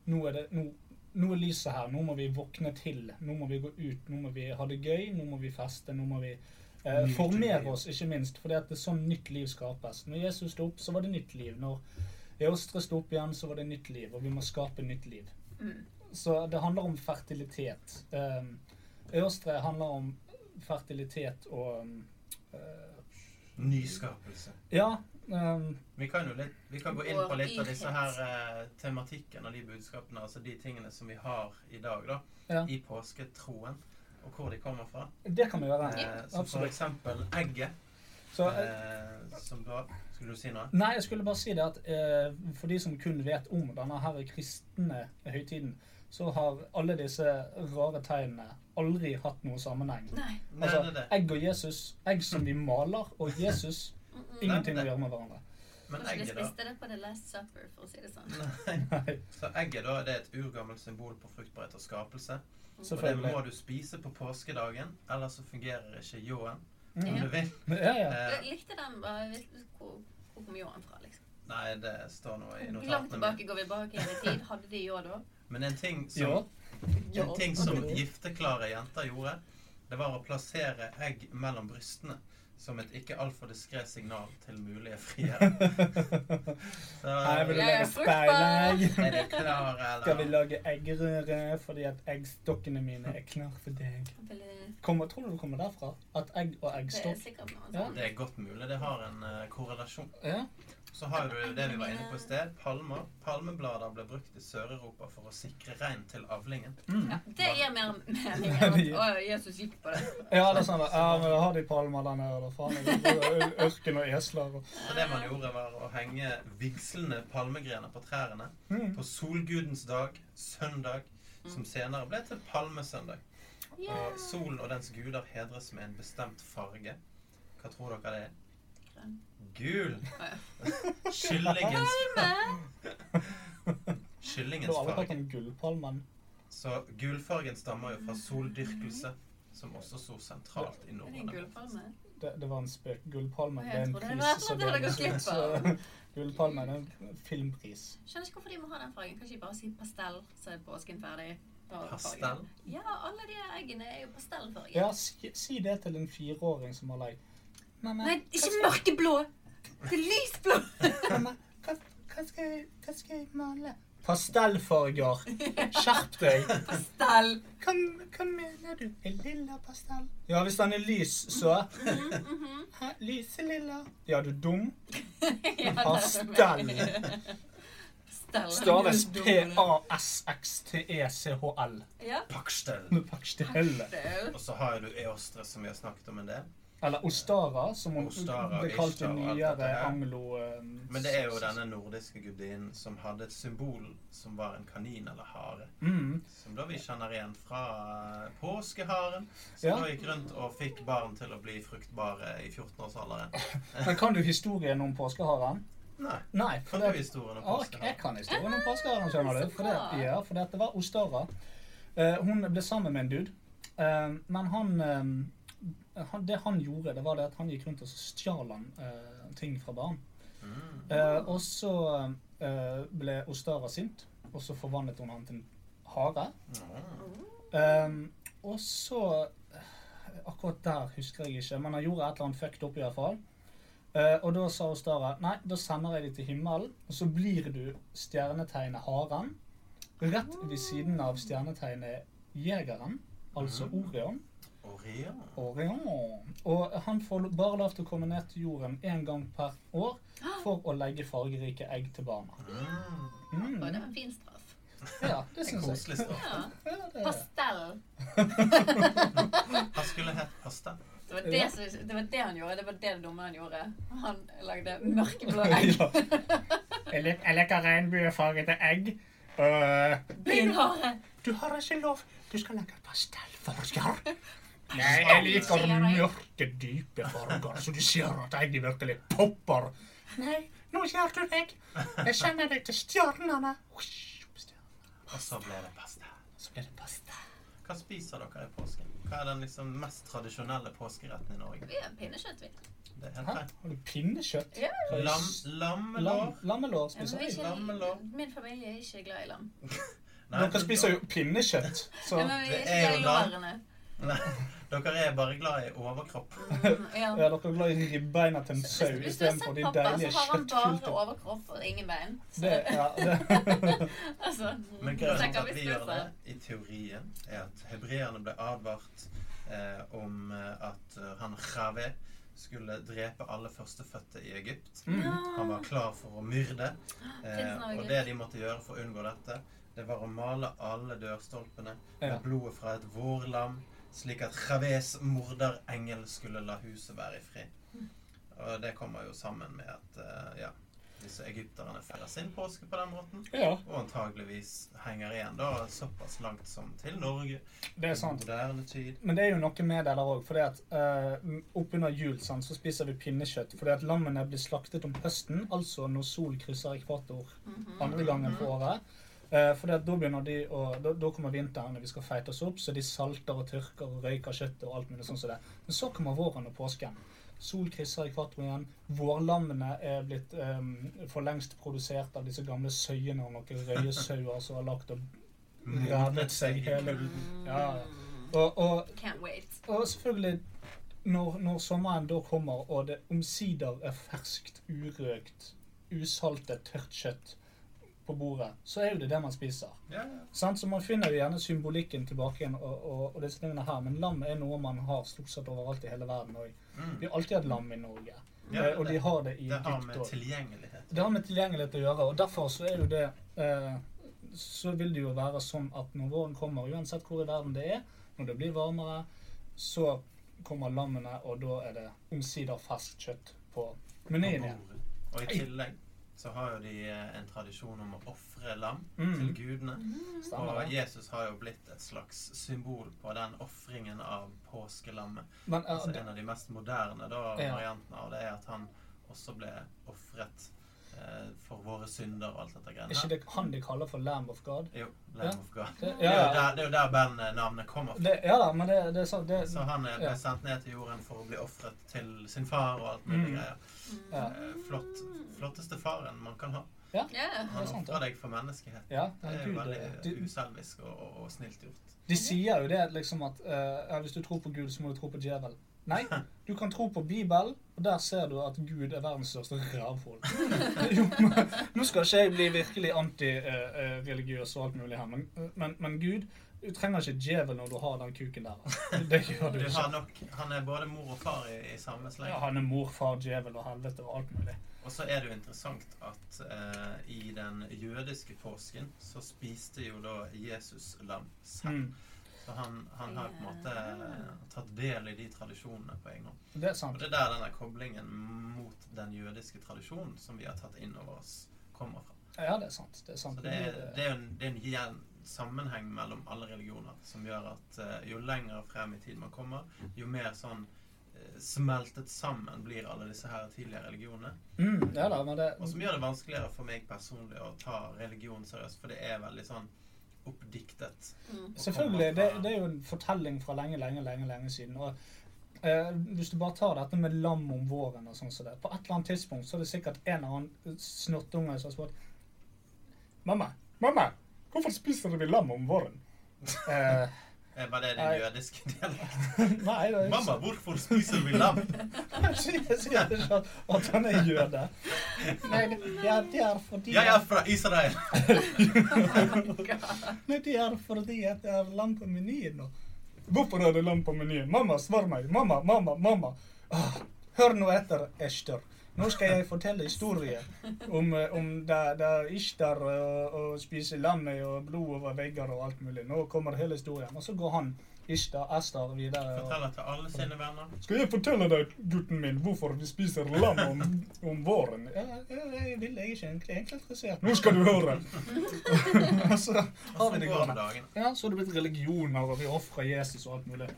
S5: nå er, det, nå, nå er lyset her, nå må vi våkne til, nå må vi gå ut, nå må vi ha det gøy, nå må vi feste, nå må vi eh,
S3: Nyte
S5: formere
S3: liv.
S5: oss, ikke minst. For det er sånn nytt liv skapes. Når Jesus sto opp, så var det nytt liv. Når Eostre sto opp igjen, så var det nytt liv, og vi må skape nytt liv.
S4: Mm.
S5: Så det handler om fertilitet. Um, Østre handler om fertilitet og um, eh,
S3: Nyskapelse.
S5: Ja. Um,
S3: Vi kan, jo litt, vi kan gå inn på
S4: Vår
S3: litt av disse her eh,
S4: ydmykhet.
S3: tematikken og de budskapene, altså de tingene som vi har i dag, da.
S5: Ja.
S3: I påsketroen, og hvor de kommer fra.
S5: det kan vi gjøre.
S3: Eh, som for
S5: Absolutt.
S3: eksempel egget,
S5: Så, eh,
S3: eh, som da Skulle du si noe?
S5: nei, jeg skulle bare si det at eh, for de som kun vet om denne her kristne høytiden, så har alle disse rare tegnene aldri hatt noen sammenheng.
S4: Nei.
S3: Nei, det er
S5: Altså,
S3: det.
S5: egg og Jesus. Egg som vi maler, og Jesus. Ingenting å gjøre med hverandre.
S3: Men
S4: Kanskje de
S3: egget, da.
S4: spiste det på The Last Supper, for å si det sånn.
S5: Nei,
S3: Så egget da, det er et urgammelt symbol på fruktbarhet og skapelse. Og det må
S5: selvfølgelig.
S3: du spise på påskedagen, ellers så fungerer ikke ljåen. Om
S5: Mm.
S3: du vil.
S5: Ja, ja.
S3: Eh,
S4: Jeg likte den bare hvis- Hvor hvor kom ljåen fra, liksom?
S3: nei, det står nå i
S4: Langt
S3: notatene mine.
S4: tilbake går vi bak igjen i tid. Hadde de ljå da?
S3: Men en ting som
S5: Ja.
S3: En ting som gifteklare jenter gjorde, det var å plassere egg mellom brystene. som et ikke altfor diskré signal til mulige friere. Så,
S5: Her vil du lage speilegg.
S3: Er de klare, eller?
S5: Skal vi lage eggerøre fordi at eggstokkene mine er klar for deg? Kommer, tror du det kommer derfra? At egg og eggstokk Ja.
S3: Det er godt mulig. Det har en eh, korrelasjon.
S5: Ja.
S3: Så har du det vi var inne på i sted. Palmer. Palmeblader ble brukt i Sør-Europa for å sikre rein til avlingen.
S4: Ja, det gir mer mening enn at å, Jesus gikk på det.
S5: Ja, det er sånn, ja, men da har de palmer der nede, da faen. Det er bare ø- Ørken og esler og
S3: Så det man gjorde, var å henge vigslende palmegrener på trærne
S5: Mm.
S3: på solgudens dag, søndag, som senere ble til palmesøndag. Og solen og dens guder hedres med en bestemt farge. Hva tror dere det er?
S4: Grønn.
S3: Gul!
S4: Å, ja.
S3: Kyllingens
S4: Palme!
S5: Du
S3: Kyllingens
S5: har aldri
S3: farge.
S5: hatt en gullpalmen.
S3: Så gulfargen stammer jo fra soldyrkelse, som også sto sentralt
S4: Er
S3: i
S4: det en
S3: Norden.
S4: gullpalme?
S5: Det, det var en spøk. Gullpalmen
S4: Jeg
S5: det er en
S4: trodde det
S5: pris.
S4: var
S5: så
S4: at dere
S5: det-
S4: går glipp
S5: så-
S4: av.
S5: Gullpalmen er en filmpris.
S4: Skjønner ikke hvorfor de må ha den fargen. Kan ikke de bare si pastell, så er påsken ferdig? Bare
S3: Pastell?
S4: fargen. Ja, alle de eggene er jo pastellfarge.
S5: Ja, si, si det til en fireåring som har lei. Mamma,
S4: Nei, ikke mørkeblå! Det er lysblå!
S5: mamma, hva, hva, skal jeg, hva skal jeg male? Pastellfarger. Skjerp deg.
S4: Pastell!
S5: Hva, hva mener du? En lilla pastell? Ja, hvis den er lys, så.
S3: Mm-hmm,
S5: Hæ, Lyselilla. Ja, du er dum.
S4: Ja, det er
S5: Pastell.
S4: Pastell.
S5: Staves P-A-S-X-T-E-C-H-L.
S4: Ja.
S3: Pakstell.
S5: Pakstelle.
S3: Og så har jo du Eostre, som vi har snakket om en del.
S5: Eller Ostara, som hun
S3: Ostara,
S5: ble kalt i
S3: Ishtar og alt dette
S5: nyere
S3: her.
S5: anglo... eh,
S3: Men det er jo denne nordiske gudinnen som hadde et symbol som var en kanin eller hare.
S5: Mm.
S3: Som da vi kjenner igjen fra eh, påskeharen, som
S5: Ja.
S3: da gikk rundt og fikk barn til å bli fruktbare i 14-årsalderen.
S5: Men kan du historien om påskeharen?
S3: Nei.
S5: Nei, for
S3: Kan
S5: det... Ah,
S3: du historien om
S5: Ja, jeg
S3: påskeharen?
S5: kan historien om påskeharen, skjønner du.
S4: Ah, så
S5: For det,
S4: bra.
S5: ja, for det var Ostara. Eh, hun ble sammen med en dude. Eh, men han, eh, han Det han gjorde, det var det at han gikk rundt og så stjal han eh, ting fra barn.
S3: Mm.
S5: Eh, og så eh, ble Ostara sint, og så forvandlet hun han til en hare.
S3: Ah.
S5: Eh, og så eh, Akkurat der husker jeg ikke, men han gjorde et eller annet fucked opp i hvert fall. Eh, og da sa Ostara nei, da sender jeg deg til himmelen, og så blir du stjernetegnet haren. Rett ved siden av stjernetegnet jegeren, altså Orion.
S3: Orion.
S5: Orion. Og han får bare lov til å komme ned til jorden én gang per år for å legge fargerike egg til barna.
S4: Og det
S5: Mm.
S4: var en fin straff.
S5: Ja, det
S3: En
S5: syns jeg.
S3: koselig straff.
S4: Ja.
S5: Ja, det er.
S4: Pastell.
S3: Han skulle hett Pasta.
S4: Det var det, som, det var det han gjorde. Det var det dumme han gjorde. Han lagde
S3: Mm.
S4: mørkeblå egg.
S5: Ja. Jeg lik- jeg liker regnbuefargede egg. Øh,
S4: Blir du hare?
S5: Du har ikke lov. Du skal lage pastellfarger. Nei, jeg liker mørke, dype farger, så du ser at eggene virkelig popper. Nei, nå ser du deg. Jeg sender deg til stjernene. Hush, opp stjernene.
S3: Og så ble det pasta.
S5: Så blir det pasta.
S3: Hva spiser dere i påsken? Hva er den liksom mest tradisjonelle påskeretten i Norge?
S4: Vi har pinnekjøtt, vi.
S3: Det er helt rett.
S5: Har du pinnekjøtt?
S4: Ja.
S3: Lam, lammelår.
S5: lammelår
S4: Ja, men vi
S5: jeg.
S4: er
S3: Lammelår.
S4: ikke, min familie er ikke glad i lam.
S3: Nei,
S5: Dere spiser jo pinnekjøtt. Så
S4: Nei, men vi er
S3: Det
S4: ikke glad i
S3: er jo lam.
S4: lårene.
S3: Nei, dere er bare glad i overkropp.
S4: Mm, Ja.
S5: er dere glad i ribbeina til en
S4: Hvis-
S5: sau
S4: Hvis du har
S5: istedenfor
S4: sett
S5: de
S4: pappa, så
S5: deilige
S4: har han bare
S5: kjøttfyltene.
S4: overkropp og ingen bein. Så,
S5: Det, ja, det.
S4: altså,
S3: Men
S4: så kan
S3: grunnen til at
S4: vi
S3: vi gjør
S4: spise.
S3: det, i teorien, er at hebreerne ble advart eh, om eh, at eh, han Chave skulle drepe alle førstefødte i Egypt. Han var klar for å myrde.
S4: Finnes
S3: Eh,
S4: noe
S3: og
S4: greit.
S3: det de måtte gjøre for å unngå dette, det var å male alle dørstolpene med
S5: Ja.
S3: blodet fra et vårlam, slik at Chaves morderengel skulle la huset være i fred. Og det kommer jo sammen med at eh, ja, disse egypterne feirer sin påske på den måten.
S5: Ja,
S3: Og antageligvis henger igjen da såpass langt som til Norge.
S5: det er sant.
S3: Moderne tid.
S5: Men det er jo noe med det der òg. For uh, oppunder jul sant, så spiser vi pinnekjøtt. Fordi at lammene blir slaktet om høsten, altså når sol krysser ekvator andre gangen på året. Uh, for da begynner de å da, da kommer vinteren, og vi skal feite oss opp, så de salter og tørker og røyker kjøttet og alt mulig sånn som det. Men så kommer våren og påsken. Sol krysser ekvator igjen. Vårlammene er blitt eh, for lengst produsert av disse gamle søyene og noen røyesauer som har lagt og revet seg hele
S3: kulden.
S5: Ja, ja. Og, og
S4: Can't wait.
S5: og selvfølgelig når, når sommeren da kommer, og det omsider er ferskt, urøkt, usaltet, tørt kjøtt på bordet, så er jo det det man spiser.
S3: Ja,
S5: Sant? Så man finner jo gjerne symbolikken tilbake igjen, og, og, og disse tingene her. Men lam er noe man har stort sett overalt i hele verden òg.
S3: Mm.
S5: Vi har alltid hatt lam i Norge.
S3: Ja,
S5: Eh, og de har det i
S3: Det har
S5: Egypt
S3: med
S5: også.
S3: tilgjengelighet
S5: Det har med tilgjengelighet å gjøre, og derfor så er jo det eh, Så vil det jo være sånn at når våren kommer, uansett hvor i verden det er, når det blir varmere, så kommer lammene, og da er det omsider ferskt kjøtt på menyen igjen.
S3: Og i tillegg så har jo de eh, en tradisjon om å ofre lam
S5: Mm.
S3: til gudene.
S5: Stemmer det.
S3: Og Jesus har jo blitt et slags symbol på den ofringen av påskelammet.
S5: Men, eh,
S3: altså
S5: det-
S3: en av de mest moderne da,
S5: Ja.
S3: variantene av det er at han også ble ofret eh, for våre synder og alt dette
S5: Er ikke
S3: greiene.
S5: det han de kaller for Lamb of God?
S3: Jo, Lamb of God.
S5: Det,
S3: Det er jo
S5: ja,
S3: der, det er jo der bandnavnet kommer fra.
S5: det, ja da, men det, det er sant. Det,
S3: Så han er ble
S5: Mm. ja.
S3: sendt ned til jorden for å bli ofret til sin far og alt mulig
S5: Mm.
S3: greier.
S5: Ja.
S3: Eh, Flott, flotteste faren man kan ha.
S5: Ja,
S4: det
S5: er
S3: Han
S5: sant,
S3: ofrer deg for menneskehet.
S5: Ja,
S3: det er jo
S5: Gud,
S3: veldig
S5: det-
S3: uselvisk og, og, og snilt gjort.
S5: De sier jo det liksom at eh, ja, hvis du tror på Gud, så må du tro på djevel. Nei, du kan tro på Bibelen, og der ser du at Gud er verdens største rævhål. Jo, men- Nå skal ikke jeg bli virkelig antireligiøs og alt mulig her, men, eh, men, men Gud Du trenger ikke djevel når du har den kuken der. Det gjør du
S3: Du
S5: ikke.
S3: har nok, han er både mor og far i, i samme sleng.
S5: Ja, han er mor, far, djevel og helvete og alt mulig.
S3: Og så er det jo interessant at eh, i den jødiske påsken så spiste jo da Jesus lam selv.
S5: Mm,
S3: Så han, han har på en måte eh, tatt del i de tradisjonene på egen hånd.
S5: det er
S3: Og
S5: sant.
S3: det er der denne koblingen mot den jødiske tradisjonen som vi har tatt inn over oss, kommer fra.
S5: Ja, det er sant. Det er sant.
S3: Så det er, det er, en, det er en jevn sammenheng mellom alle religioner som gjør at eh, jo lenger frem i tid man kommer,
S5: Mm.
S3: jo mer sånn eh, smeltet sammen blir alle disse her tidligere religionene.
S5: Mm, ja da, men det
S3: Og som gjør det vanskeligere for meg personlig å ta religion seriøst, for det er veldig sånn oppdiktet.
S5: Mm.
S3: og
S5: Selvfølgelig. Det,
S3: kommer fra-
S5: det er jo en fortelling fra lenge, lenge, lenge lenge siden. Og, eh, hvis du bare tar dette med lam om våren og sånn som det, på et eller annet tidspunkt så er det sikkert en eller annen snottunge som har spurt Mamma, mamma, hvorfor spiser vi lam om våren? Eh,
S3: Eh, Var det
S5: Nei.
S3: din jødiske dialekt?
S5: nei, det er ikke
S3: Mamma, hvorfor spiser vi lam?
S5: sånn. Jeg sier ikke at- at han er jøde. Nei, det- ja, det er fordi
S3: Jeg er fra Israel!
S5: Nei, det er fordi at det er lam på menyen nå. Hvorfor er det lam på menyen? Mamma, svar meg. Mamma, mamma, mamma. Åh, hør nå etter, Eshter. Nå skal jeg fortelle historie om, eh, om da, da Ishtar eh, og spiser lam og blod over vegger og alt mulig. Nå kommer hele historien. Og så går han, Ishtar, Ester, videre. Og
S3: Forteller til alle sine venner.
S5: skal jeg fortelle deg, gutten min, hvorfor vi spiser lam om, om våren? Ja, ja, jeg vil jeg er ikke egentlig, egentlig interessert. Nå skal du høre! og så har vi det
S3: går
S5: gående.
S3: med dagen.
S5: Ja, så har det blitt religioner, og vi ofrer Jesus og alt mulig.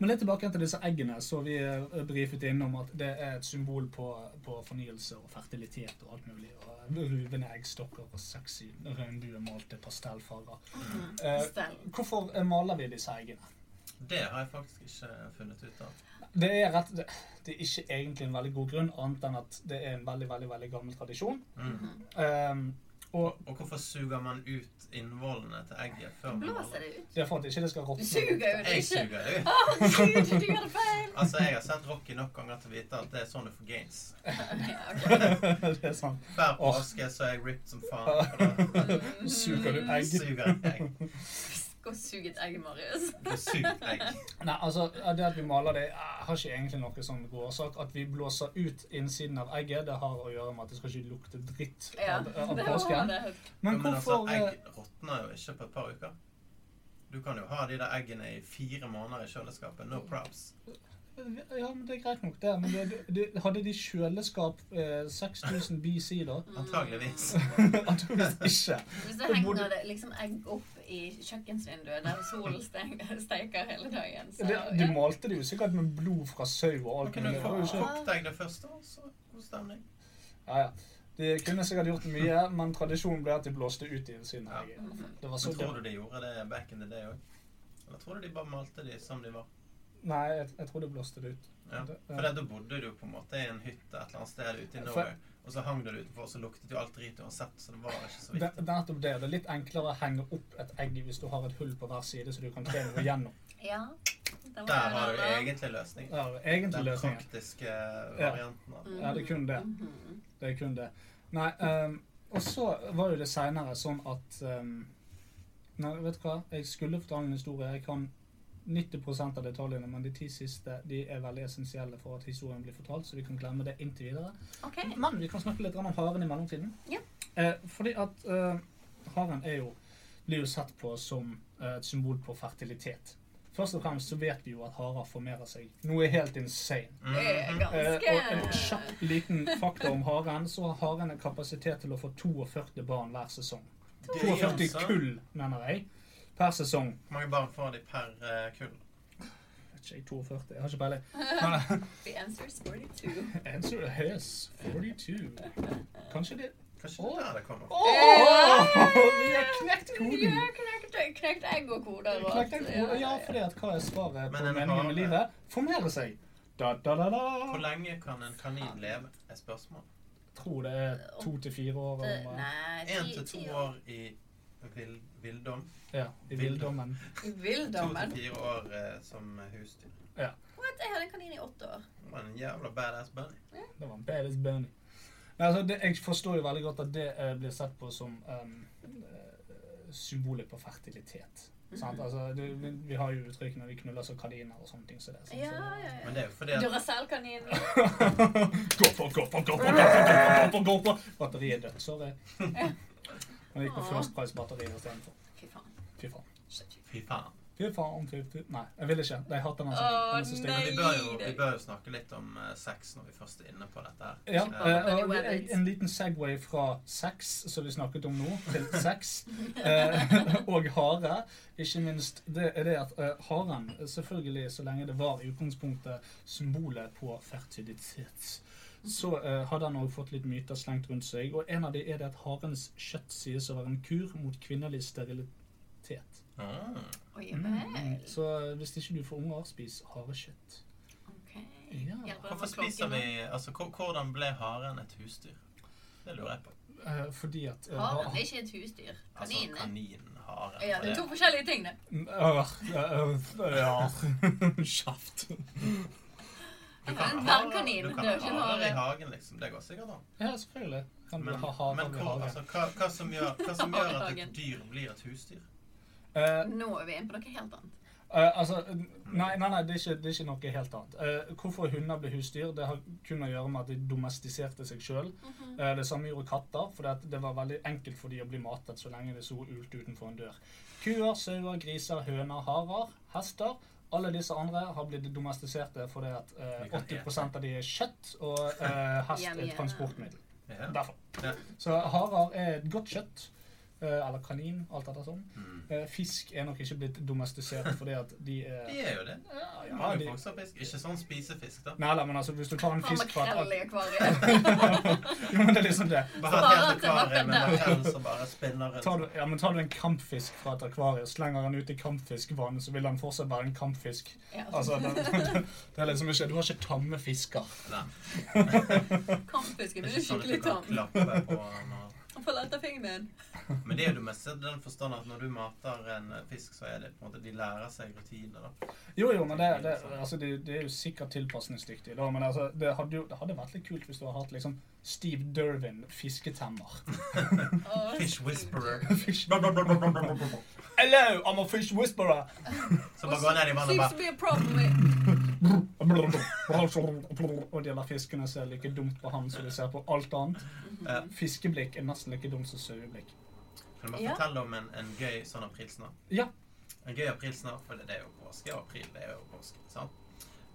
S5: Men litt tilbake til disse eggene, så vi eh, brifet innom at det er et symbol på, på fornyelse og fertilitet og alt mulig. Og ruvende eggstokker og sexy regnbuemalte pastellfarger. Eh,
S4: Stell.
S5: hvorfor eh, maler vi disse eggene?
S3: Det har jeg faktisk ikke eh, funnet ut av.
S5: Det er, rett, det, det er ikke egentlig en veldig god grunn, annet enn at det er en veldig veldig, veldig gammel tradisjon. Ehm, og
S3: Og hvorfor suger man ut innvollene til egget før man
S4: Blåser
S3: holder?
S4: det ut?
S5: det er for at ikke det skal
S4: Du
S5: råtne.
S4: suger jo det
S3: Jeg
S4: ikke.
S3: suger det ut.
S4: Å, gud, du gjør det feil!
S3: Altså, jeg har sett Rocky nok ganger til å vite at det er sånn du får gains.
S5: det er sånn, sant.
S3: Hver
S5: Åh.
S3: påske så er jeg ripped som faen. for da
S5: Suger du egg?
S3: Suger jeg egg.
S4: Gå og sug et egg, Marius.
S3: Du suger egg.
S5: Nei, altså, det at vi maler det, eh, har ikke egentlig noe sånn god årsak. At vi blåser ut innsiden av egget, det har å gjøre med at det skal ikke lukte dritt
S4: Ja,
S5: av, eh, av
S4: det var
S5: påsken.
S4: det.
S3: Men,
S5: Men
S3: altså,
S5: hvorfor eh,
S3: egg råtner jo ikke på et par uker. Du kan jo ha de der eggene i fire måneder i kjøleskapet. No props.
S5: eh, Ja, men det er greit nok, det. Men det, det, hadde de kjøleskap eh, 6000 BC, da?
S3: Antageligvis.
S5: Antakeligvis ikke.
S4: Hvis det henger det liksom egg opp i kjøkkensvinduet der solen ste- steiker hele dagen, så
S5: Det, de malte det jo sikkert med blod fra sau og
S3: Da
S5: alt
S3: kan du
S5: mulig. Det var jo
S3: koke
S5: ikke-
S3: kokt egg det første, og så god stemning.
S5: Ja, ja. De kunne sikkert gjort mye, men tradisjonen ble at de blåste ut i sin
S3: Ja.
S5: egen. Det var så
S3: Men tror du de gjorde det back in the day òg? Eller tror du de bare malte de som de var?
S5: Nei, jeg, jeg tror de blåste det ut.
S3: Ja.
S5: Det-
S3: For da bodde du på en måte i en hytte et eller annet sted ute i Norway, og så hang du det utenfor, og så luktet jo alt drit uansett, så det var ikke så
S5: Det,
S3: viktig.
S5: nettopp det. Det er litt enklere å henge opp et egg hvis du har et hull på hver side, så du kan tre noe gjennom.
S4: Ja. Der var
S3: Der
S4: det
S3: har du
S4: da.
S3: egentlig løsning.
S5: Ja, egentlig
S3: Den
S5: løsningen.
S3: praktiske varianten av det.
S5: Ja,
S4: Mm.
S5: det er kun det. Det er kun det. Nei, ehm, og så var jo det seinere sånn at ehm, Nei, vet du hva? Jeg skulle fortelle en historie. Jeg kan 90 av detaljene, men de ti siste de er veldig essensielle for at historien blir fortalt, så vi kan glemme det inntil videre. Men vi kan snakke litt grann om haren i mellomtiden. Eh, fordi at eh, haren er jo, blir jo sett på som eh, et symbol på fertilitet. Først og fremst så vet vi jo at harer formerer seg. Noe helt insane.
S4: Det
S3: Mm.
S4: er ganske-
S5: Eh, og en kjapp liten fakta om haren, så har haren en kapasitet til å få 42 barn hver sesong.
S3: Det er
S5: 42
S3: altså-
S5: kull, mener jeg, per sesong.
S3: Hvor mange barn får de per eh, kull?
S5: Vet ikke, jeg 42, jeg har ikke peiling. Men,
S4: The answer is 42.
S5: Answer is 42. Kanskje det
S3: Kanskje det er der det kommer fra.
S5: Åh, Vi har knekt
S4: Vi
S5: koden!
S4: har knekt, knekt egg og koder. og alt.
S5: Knekt den
S4: eh,
S5: koden. Ja, fordi at hva er svaret på
S3: Men en
S5: meningen
S3: hare.
S5: med livet? Formere seg. Da, da, da, da.
S3: Hvor lenge kan en kanin leve? Er spørsmål.
S5: Tror det er to til fire år.
S4: Det-
S5: Om, eh,
S4: Nei,
S3: Én
S4: ti-
S3: til
S4: ti
S3: to år i vill, villdom.
S5: ja, i villdommen.
S4: I
S3: To til
S4: villdommen.
S3: fire år eh, som husdyr.
S4: What? Jeg hadde en kanin i åtte år.
S3: Det var en jævla badass bunny.
S5: Det var en badass bunny. Nei, altså, det, jeg forstår jo veldig godt at det eh, blir sett på som em, eh, symbolet på fertilitet. Sant?
S4: Mhm.
S5: Altså, det, vi, vi har jo uttrykk når vi knuller som kaniner og sånne ting. Så det, sant?
S4: Ja,
S5: Så
S4: ja,
S3: Men
S4: ja.
S3: det er jo fordi at
S4: Duracell-kanin.
S5: Gå på, gå på, gå på, gå på, gå på, gå på! Batteriet er dødt, sorry. Jeg gikk på First Price-batteri istedenfor.
S4: Fy faen.
S5: Fy faen.
S4: Shit.
S3: Fy faen.
S5: Fy faen, fy fy Nei, jeg vil ikke. Jeg hater den
S4: Åh,
S5: sangen. Den
S3: Men
S5: er
S3: vi
S5: så stygg.
S3: bør, jo, vi bør jo snakke litt om eh, sex når vi først er inne på dette her.
S5: Ja,
S3: Eh,
S5: eh, og jeg- en liten Segway fra sex, som vi snakket om nå, til sex eh, og hare. Ikke minst det er det at eh, haren, selvfølgelig så lenge det var i utgangspunktet symbolet på fertilitet, så eh, hadde han også fått litt myter slengt rundt seg. Og en av de er det at harens kjøtt sies å være en kur mot kvinnelig sterilitet.
S3: ah,
S4: Oi,
S5: Mm.
S4: vel.
S5: Så eh, hvis ikke du får unger, spis harekjøtt.
S4: Ok.
S5: Ja.
S4: Hjelper det
S3: Hvorfor
S4: med
S3: spiser vi
S4: klokken?
S3: Altså, hvor- hvordan ble haren et husdyr? Det lurer jeg på.
S5: Eh, fordi at eh,
S4: Haren
S5: har-
S4: er ikke et husdyr.
S3: Altså
S4: Kaninen. er-
S3: kanin, haren
S4: Ja,
S3: for
S4: det er
S3: det-
S4: to forskjellige ting, det.
S5: Øh, øh, øh, Kjaft.
S3: Du
S4: Jeg
S3: kan
S4: har en
S3: ha hare-
S4: dvergkanin.
S3: Du kan
S4: Det er jo ikke en
S3: ha hare i
S4: hare.
S3: hagen, liksom. Det går sikkert an.
S5: Ja, selvfølgelig. Kan du
S3: Men,
S5: ha hare
S3: men
S5: i
S3: hvor,
S5: hagen.
S3: altså, hva, hva, som gjør, hva som gjør at et
S4: Hagen.
S3: dyr blir et husdyr?
S5: Eh,
S4: Nå er vi inne på noe helt annet.
S5: eh, altså, nei, nei, nei det, er ikke, det er ikke noe helt annet. Eh, hvorfor hunder ble husdyr, det har kun å gjøre med at de domestiserte seg sjøl. Eh, det samme gjorde katter, for det, det var veldig enkelt for de å bli matet så lenge det så ult utenfor en dør. Kuer, sauer, griser, høner, harer, hester. Alle disse andre har blitt domestiserte fordi at eh,
S3: Vi kan
S5: 80 av de er kjøtt, og eh, hest
S4: Ja,
S5: er
S4: vi
S5: et
S4: er-
S5: transportmiddel.
S3: Ja.
S5: Derfor.
S3: Ja.
S5: Så harer er et godt kjøtt. eh, Eller kanin, alt dette sånn. Eh, Fisk er nok ikke blitt domestisert fordi at de er
S3: De er jo det.
S5: Ja, ja,
S3: Mange
S5: de-
S3: folk som har fisk. Ikke sånn spisefisk, da.
S5: Nei, nei, men altså, hvis du tar en
S4: Faen,
S5: fisk fra et
S4: makrell liksom.
S5: ak-
S4: i akvariet.
S5: Jo, men det er liksom det.
S3: Bare
S4: Bare
S3: et
S4: at
S3: helt
S4: det var
S3: akvarium med
S4: der.
S3: makrell som bare spinner
S5: Tar du,
S3: rundt.
S5: ja, men tar du en kampfisk fra et akvarium og slenger den ut i kampfiskvann, så vil den fortsatt være en kampfisk.
S4: Ja.
S5: Altså, den, det er liksom ikke, Du har ikke tamme fisker.
S3: Nei,
S4: Kampfisken
S3: det
S4: min er
S3: er ikke sånn at du
S4: skikkelig tam.
S3: kan klappe på når
S4: Han får lette fingeren.
S3: Men det er jo det meste i den forstand at når du mater en eh, fisk, så er det på en måte De lærer seg rutiner, da.
S5: Jo, jo, men det, det, altså, det, det er jo sikkert tilpasningsdyktig, da, men altså, det hadde jo det hadde vært litt kult hvis du hadde hatt liksom Steve Dervin fisketemmer.
S4: Åh,
S3: Fish whisperer.
S5: Fish-
S3: Som
S5: Hello, I'm a fish whisperer!
S3: bare går ned i vannet og
S4: Seems to
S3: bare
S4: be a problem with
S5: Og de der fiskene ser like dumt på han som de ser på alt annet.
S3: Ja.
S5: Fiskeblikk er nesten like dumt som saueblikk.
S3: Kan du bare
S4: Ja.
S3: fortelle om en, en gøy sånn aprilsnarr?
S5: Ja.
S3: En gøy aprilsnarr, for det er jo påske, og april det er jo påske. sant?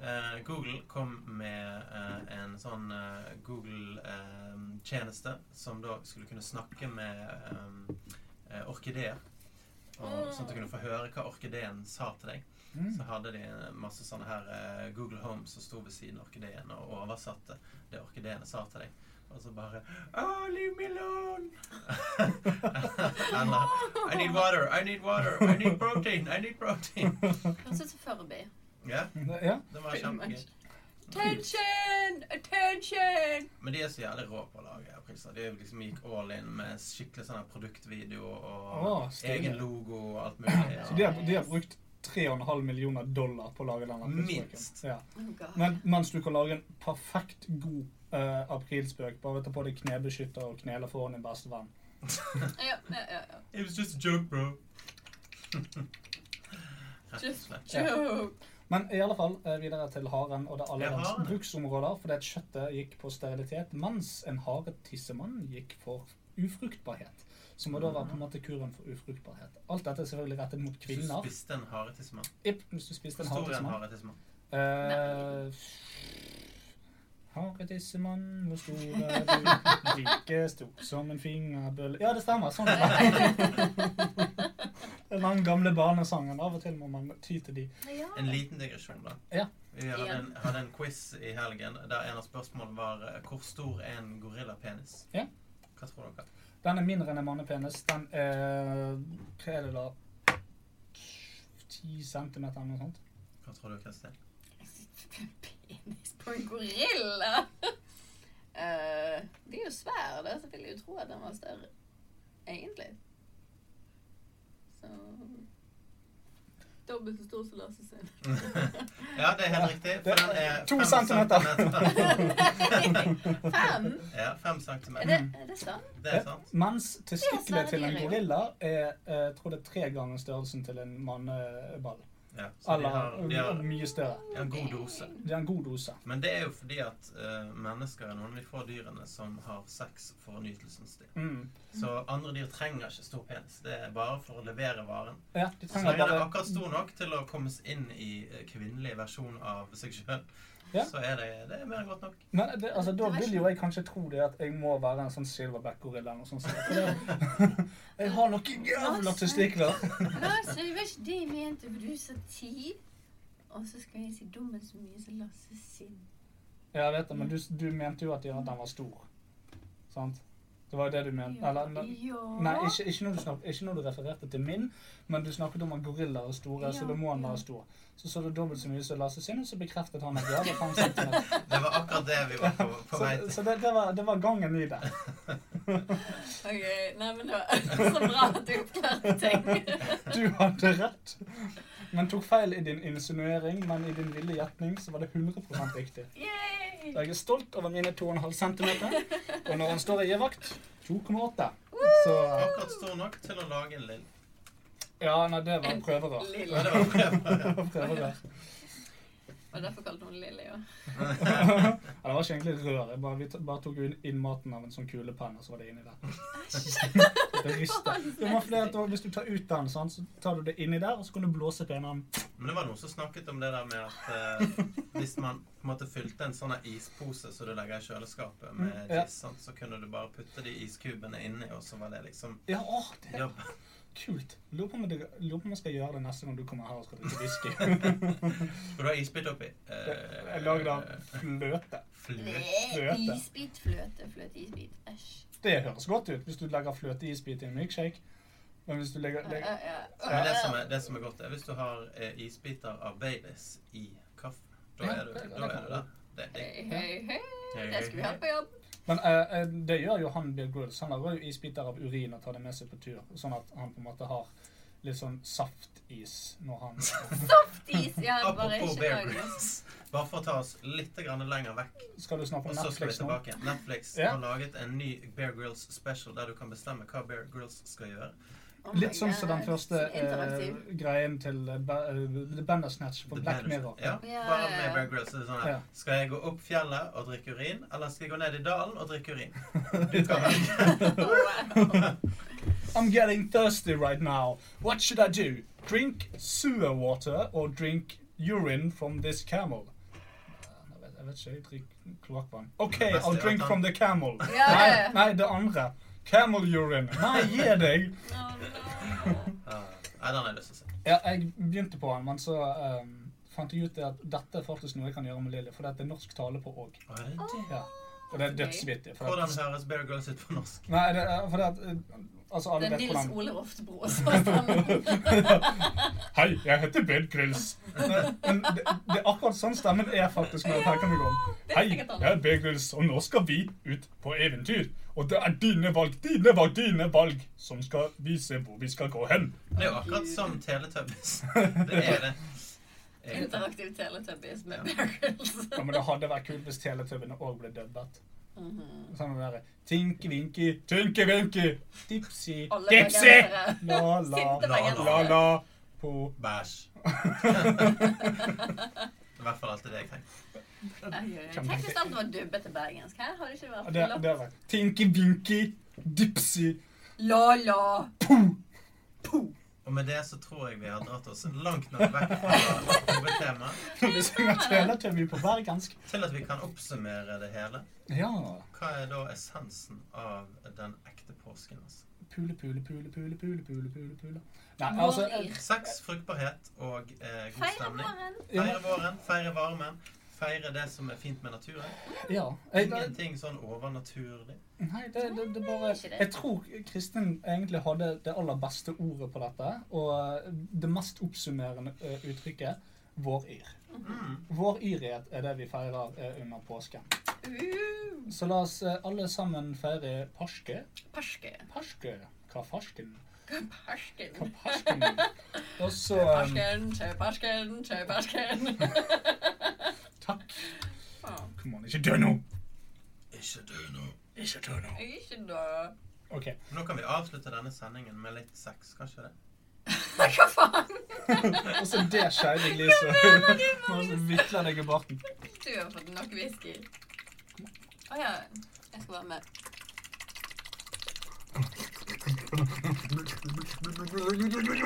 S3: Eh, Google kom med eh, en sånn Google-tjeneste som da skulle kunne snakke med eh, eh, orkideer. Og, sånn at du kunne få høre hva orkideen sa til deg. Så hadde de masse sånne her eh, Google Home som sto ved siden av orkideen og oversatte det orkideene sa til deg. Og så bare Oh, leave me alone! Eller I need water, I need water, I need protein, I need protein.
S4: Høres ut som Furby.
S3: Ja,
S5: ja.
S3: det var kjempegøy.
S4: Attention! Attention!
S3: Men de er så jævlig rå på å lage aprilsnarr. De liksom gikk all in med skikkelig sånn her produktvideo og
S5: Å, stilig.
S3: egen logo og alt mulig.
S5: Så de har, de har brukt 3,5 millioner dollar på å lage den aprilspøken.
S3: Minst.
S5: Ja.
S4: Oh God.
S5: Men, mens du kan lage en perfekt god eh, aprilspøk. Bare ta på deg knebeskytter og knele foran din beste venn.
S4: Ja, ja, ja, ja.
S3: It was just a joke, bro. Rett og
S4: Just
S3: slett.
S4: joke.
S5: Men i alle fall eh, videre til haren og det alle
S3: Ja, haren.
S5: dens bruksområder, fordi at kjøttet gikk på sterilitet, mens en haretissemann gikk for ufruktbarhet. Som må da være på en måte kuren for ufruktbarhet. Alt dette er selvfølgelig rettet mot
S3: Hvis du
S5: kvinner.
S3: spiste en haretissemann
S5: Ipp, hvis du spiste
S3: Hvor
S5: en
S3: stor er en
S5: haretissemann.
S3: haretissemann?
S5: Eh, Haretissemann, hvor stor er du? Like stor som en fingerbølle Ja, det stemmer. Sånn er det. Den lang, gamle barnesangen. Av og til må man ty til de.
S4: Ja.
S3: En liten digresjon, da.
S5: Ja.
S3: Vi hadde
S4: Ja.
S3: en, hadde en quiz i helgen der en av spørsmålene var eh, hvor stor er en gorillapenis?
S5: Ja.
S3: Hva tror dere?
S5: Den er mindre enn en mannepenis. Den er Hva er det da? 10 cm eller noe sånt.
S3: Hva tror du, Kristin?
S4: Penis på en gorilla? Eh, de er jo svære, da, så vil jeg jo tro at den var større. Egentlig. Så Dobbelt så stor som Lasse sin.
S3: Ja, det er helt riktig.
S5: det
S3: For den er
S5: to
S3: fem
S5: centimeter.
S4: Fem?
S3: ja, fem
S4: Er
S3: centimeter. Mm,
S4: det, er det sant?
S3: Det er sant.
S5: Mens
S4: Det er
S5: testiklet
S4: svære
S5: til en
S4: dyr, jo.
S5: gorilla er eh, tror det er tre ganger størrelsen til en manneball.
S3: Ja, så de
S5: Eller
S3: har, de har
S5: mye større.
S3: de har en god dose.
S5: Det er en god dose.
S3: Men det er jo fordi at eh, mennesker er noen av de få dyrene som har sex for nytelsens del.
S5: Mm.
S3: Så andre dyr trenger ikke stor penis. Det er bare for å levere varen.
S5: Ja, de
S3: Så lenge den
S5: trenger
S3: er
S5: bare
S3: akkurat stor nok til å komme inn i eh, kvinnelig versjon av seg sjøl,
S5: Ja.
S3: så er det, det er mer enn godt nok.
S5: Men det, altså, da
S4: Det var
S5: vil
S4: ikke-
S5: jo jeg kanskje tro det at jeg må være en sånn silverback-gorilla eller noe sånt. For det- Jeg har noen jævla
S4: Lasse.
S5: testikler.
S4: Lasse, det var ikke det jeg mente, for du sa ti. Og så skal jeg si dobbelt så mye som Lasse sin.
S5: Ja, jeg vet det, men du, du mente jo at de- at den var stor. Sant? Det var jo det du mente. Eller, men- Nei,
S4: Ja.
S5: ikke, ikke, når du snak, ikke når du refererte til min, men du snakket om at gorillaer er store, så
S4: Ja,
S5: da må han
S4: ja.
S5: være stor. Så så du dobbelt så mye som Lasse sin, og så bekreftet han at ja, det var fem centimeter.
S3: Det var akkurat det vi var på, på vei
S5: Så,
S3: til.
S5: så det, det, var, det var gangen i det.
S4: Ok, nei, men det var så bra at du oppklarte ting.
S5: Du hadde rett. Men tok feil i din insinuering, men i din ville gjetning så var det 100 riktig.
S4: Yay!
S5: Så jeg er stolt over mine 2,5 cm, og når han står og gir vakt 2,8. Så
S3: Akkurat stor nok til å lage en lill.
S5: Ja, nei, det var prøverør.
S3: Ja,
S4: Lille.
S3: det var prøver.
S5: Det var prøverør.
S4: Og derfor kalte hun Lille, ja.
S5: Ja, det var ikke egentlig rør. Jeg bare, vi t- bare tok inn- inn maten av en sånn kulepenn, og så var det inni der. Det rister. Det var fordi at da, hvis du tar ut den, sånn, så tar du det inni der, og så kan du blåse på en annen.
S3: Men det var noen som snakket om det der med at eh, hvis man på en måte fylte en sånn her ispose som du legger i kjøleskapet med
S5: Mm, ja.
S3: giss, sant, så kunne du bare putte de iskubene inni, og så var det liksom
S5: Ja, åh, det er
S3: jobb.
S5: kult. Lurer på om jeg lurer på om jeg skal gjøre det neste gang du kommer her og skal drikke whisky.
S3: Skal du ha isbit oppi? eh,
S5: Jeg er laget av fløte.
S3: Fløte.
S5: Fløte.
S4: Isbit, fløte, fløte, isbit. Æsj.
S5: Det høres godt ut hvis du legger fløteisbit i en milkshake. Men hvis du legger, legger
S4: Ja, ja.
S3: Men det som, er, det som er godt, er hvis du har eh, isbiter av Baileys i kaffen. Da
S5: Ja,
S3: er du,
S5: det-
S3: da
S5: det kan
S3: er
S5: du.
S3: du der. Det er digg.
S4: Hei, hei, hei. Det skal vi ha på jobb.
S5: Men eh, eh, det gjør jo han Bill Grylls. Han lager jo isbiter av urin og tar det med seg på tur. Sånn at han på en måte har litt sånn saftis når han
S4: Is, ja, bare
S3: Apropos
S4: ikke
S3: Bear
S4: lag noe.
S3: Grylls. Bare for å ta oss litt grann lenger vekk,
S5: Skal du snakke
S3: og
S5: om
S3: så skal vi
S5: Netflix nå?
S3: tilbake. igjen. Netflix
S5: Ja.
S3: har laget en ny Bear Grylls special der du kan bestemme hva Bear Grylls skal gjøre.
S4: Oh my
S5: Litt sånn som den
S4: God,
S5: første
S4: så interaktiv.
S5: eh, greien til eh, Ba- eh, The Bandersnatch på
S3: The
S5: Black
S3: Banner-
S5: Mirror.
S3: Ja,
S4: Ja,
S3: bare
S4: ja, ja.
S3: med Bear Grylls. er det Sånn her.
S5: Ja.
S3: Skal jeg gå opp fjellet og drikke urin, eller skal jeg gå ned i dalen og drikke urin? Du kan velge.
S5: I'm getting thirsty right now. What should I do? Drink sewer water or drink urine from this camel? Uh, Jeg vet- Jeg vet ikke, jeg drikker kloakkvann. OK,
S3: Det beste
S5: I'll
S3: er
S5: drink
S3: at han-
S5: from the camel.
S4: Ja, ja,
S5: Nei,
S4: ja.
S5: nei, det andre. Camel urine. Nei, gi deg!
S4: Oh, no.
S3: Ja. Nei, den har jeg lyst til å se.
S5: Ja, jeg begynte på den, men så ehm, fant jeg ut det at dette er faktisk noe jeg kan gjøre med Lilly, for det er norsk tale på òg.
S3: Å, er det det?
S5: Ja. Og det er dødsvittig. for at-
S3: Hvordan høres Bear Girls ut på norsk?
S5: Nei, det er fordi at eh, Altså, alle
S4: Det er
S5: vet
S4: Nils
S5: hvordan
S4: Ole Roftbro som har stemmen.
S5: Hei, jeg heter Ben Grills. Men det, det er akkurat sånn stemmen er faktisk når jeg tenker meg om. Hei, jeg er Ben Grills, og nå skal vi ut på eventyr. Og det er dine valg, dine valg, dine valg som skal vise hvor vi skal gå hen.
S3: Det er jo akkurat som Teletubbies. Det er det.
S4: Interaktiv teletubbies med Bear Grylls.
S5: Ja, men det hadde vært kult hvis Teletubbiene òg ble dubbet. Sånn det derre Tinky-winky, tinky-winky, dipsy,
S4: Alle
S5: dipsy,
S4: bergensere.
S5: la-la,
S4: Sinte bergensere.
S5: la-la, på
S3: Bæsj. I hvert fall alltid det jeg tenker.
S4: Tenk hvis alt var dubbet til bergensk. Hæ? Har det ikke vært
S5: Det, det er vært tinky-winky, dipsy.
S4: La-la.
S3: Og med det så tror jeg vi har dratt oss langt nok vekk fra hovedtemaet.
S5: Vi synger Teletubby på bergensk.
S3: Til at vi kan oppsummere det hele.
S5: Ja.
S3: Hva er da essensen av den ekte påsken? Altså?
S5: Pule, pule, pule, pule, pule, pule, pule, pule. Nei,
S4: Mål
S5: altså
S4: i.
S3: Sex, fruktbarhet og eh, god
S4: Feire
S3: stemning.
S4: våren.
S3: Feire våren, feire varmen. Feire det som er fint med naturen.
S5: Ja. Jeg, nei,
S3: Ingenting sånn overnaturlig.
S5: det, det, det bare Jeg tror Kristin egentlig hadde det aller beste ordet på dette, og det mest oppsummerende eh, uttrykket vår yr. Vår yrighet er det vi feirer eh, under påsken.
S4: Uh.
S5: Så la oss eh, alle sammen feire parske.
S4: Perske.
S5: Parske? Hva farsken?
S4: Persken.
S5: Parsken. Og så eh,
S4: Persken, kjøpersken, kjøpersken.
S5: Takk.
S4: Ja.
S5: Kom an, ikke dø nå!
S3: Ikke dø nå.
S5: Ikke dø nå.
S4: Jeg er ikke død.
S5: OK.
S3: Nå kan vi avslutte denne sendingen med litt sex, kanskje det?
S4: Hva faen?
S5: Altså, det skjærer jeg lyset. Nå vikler deg i barten.
S4: Du har fått nok whisky. Å ja. Jeg skal være med.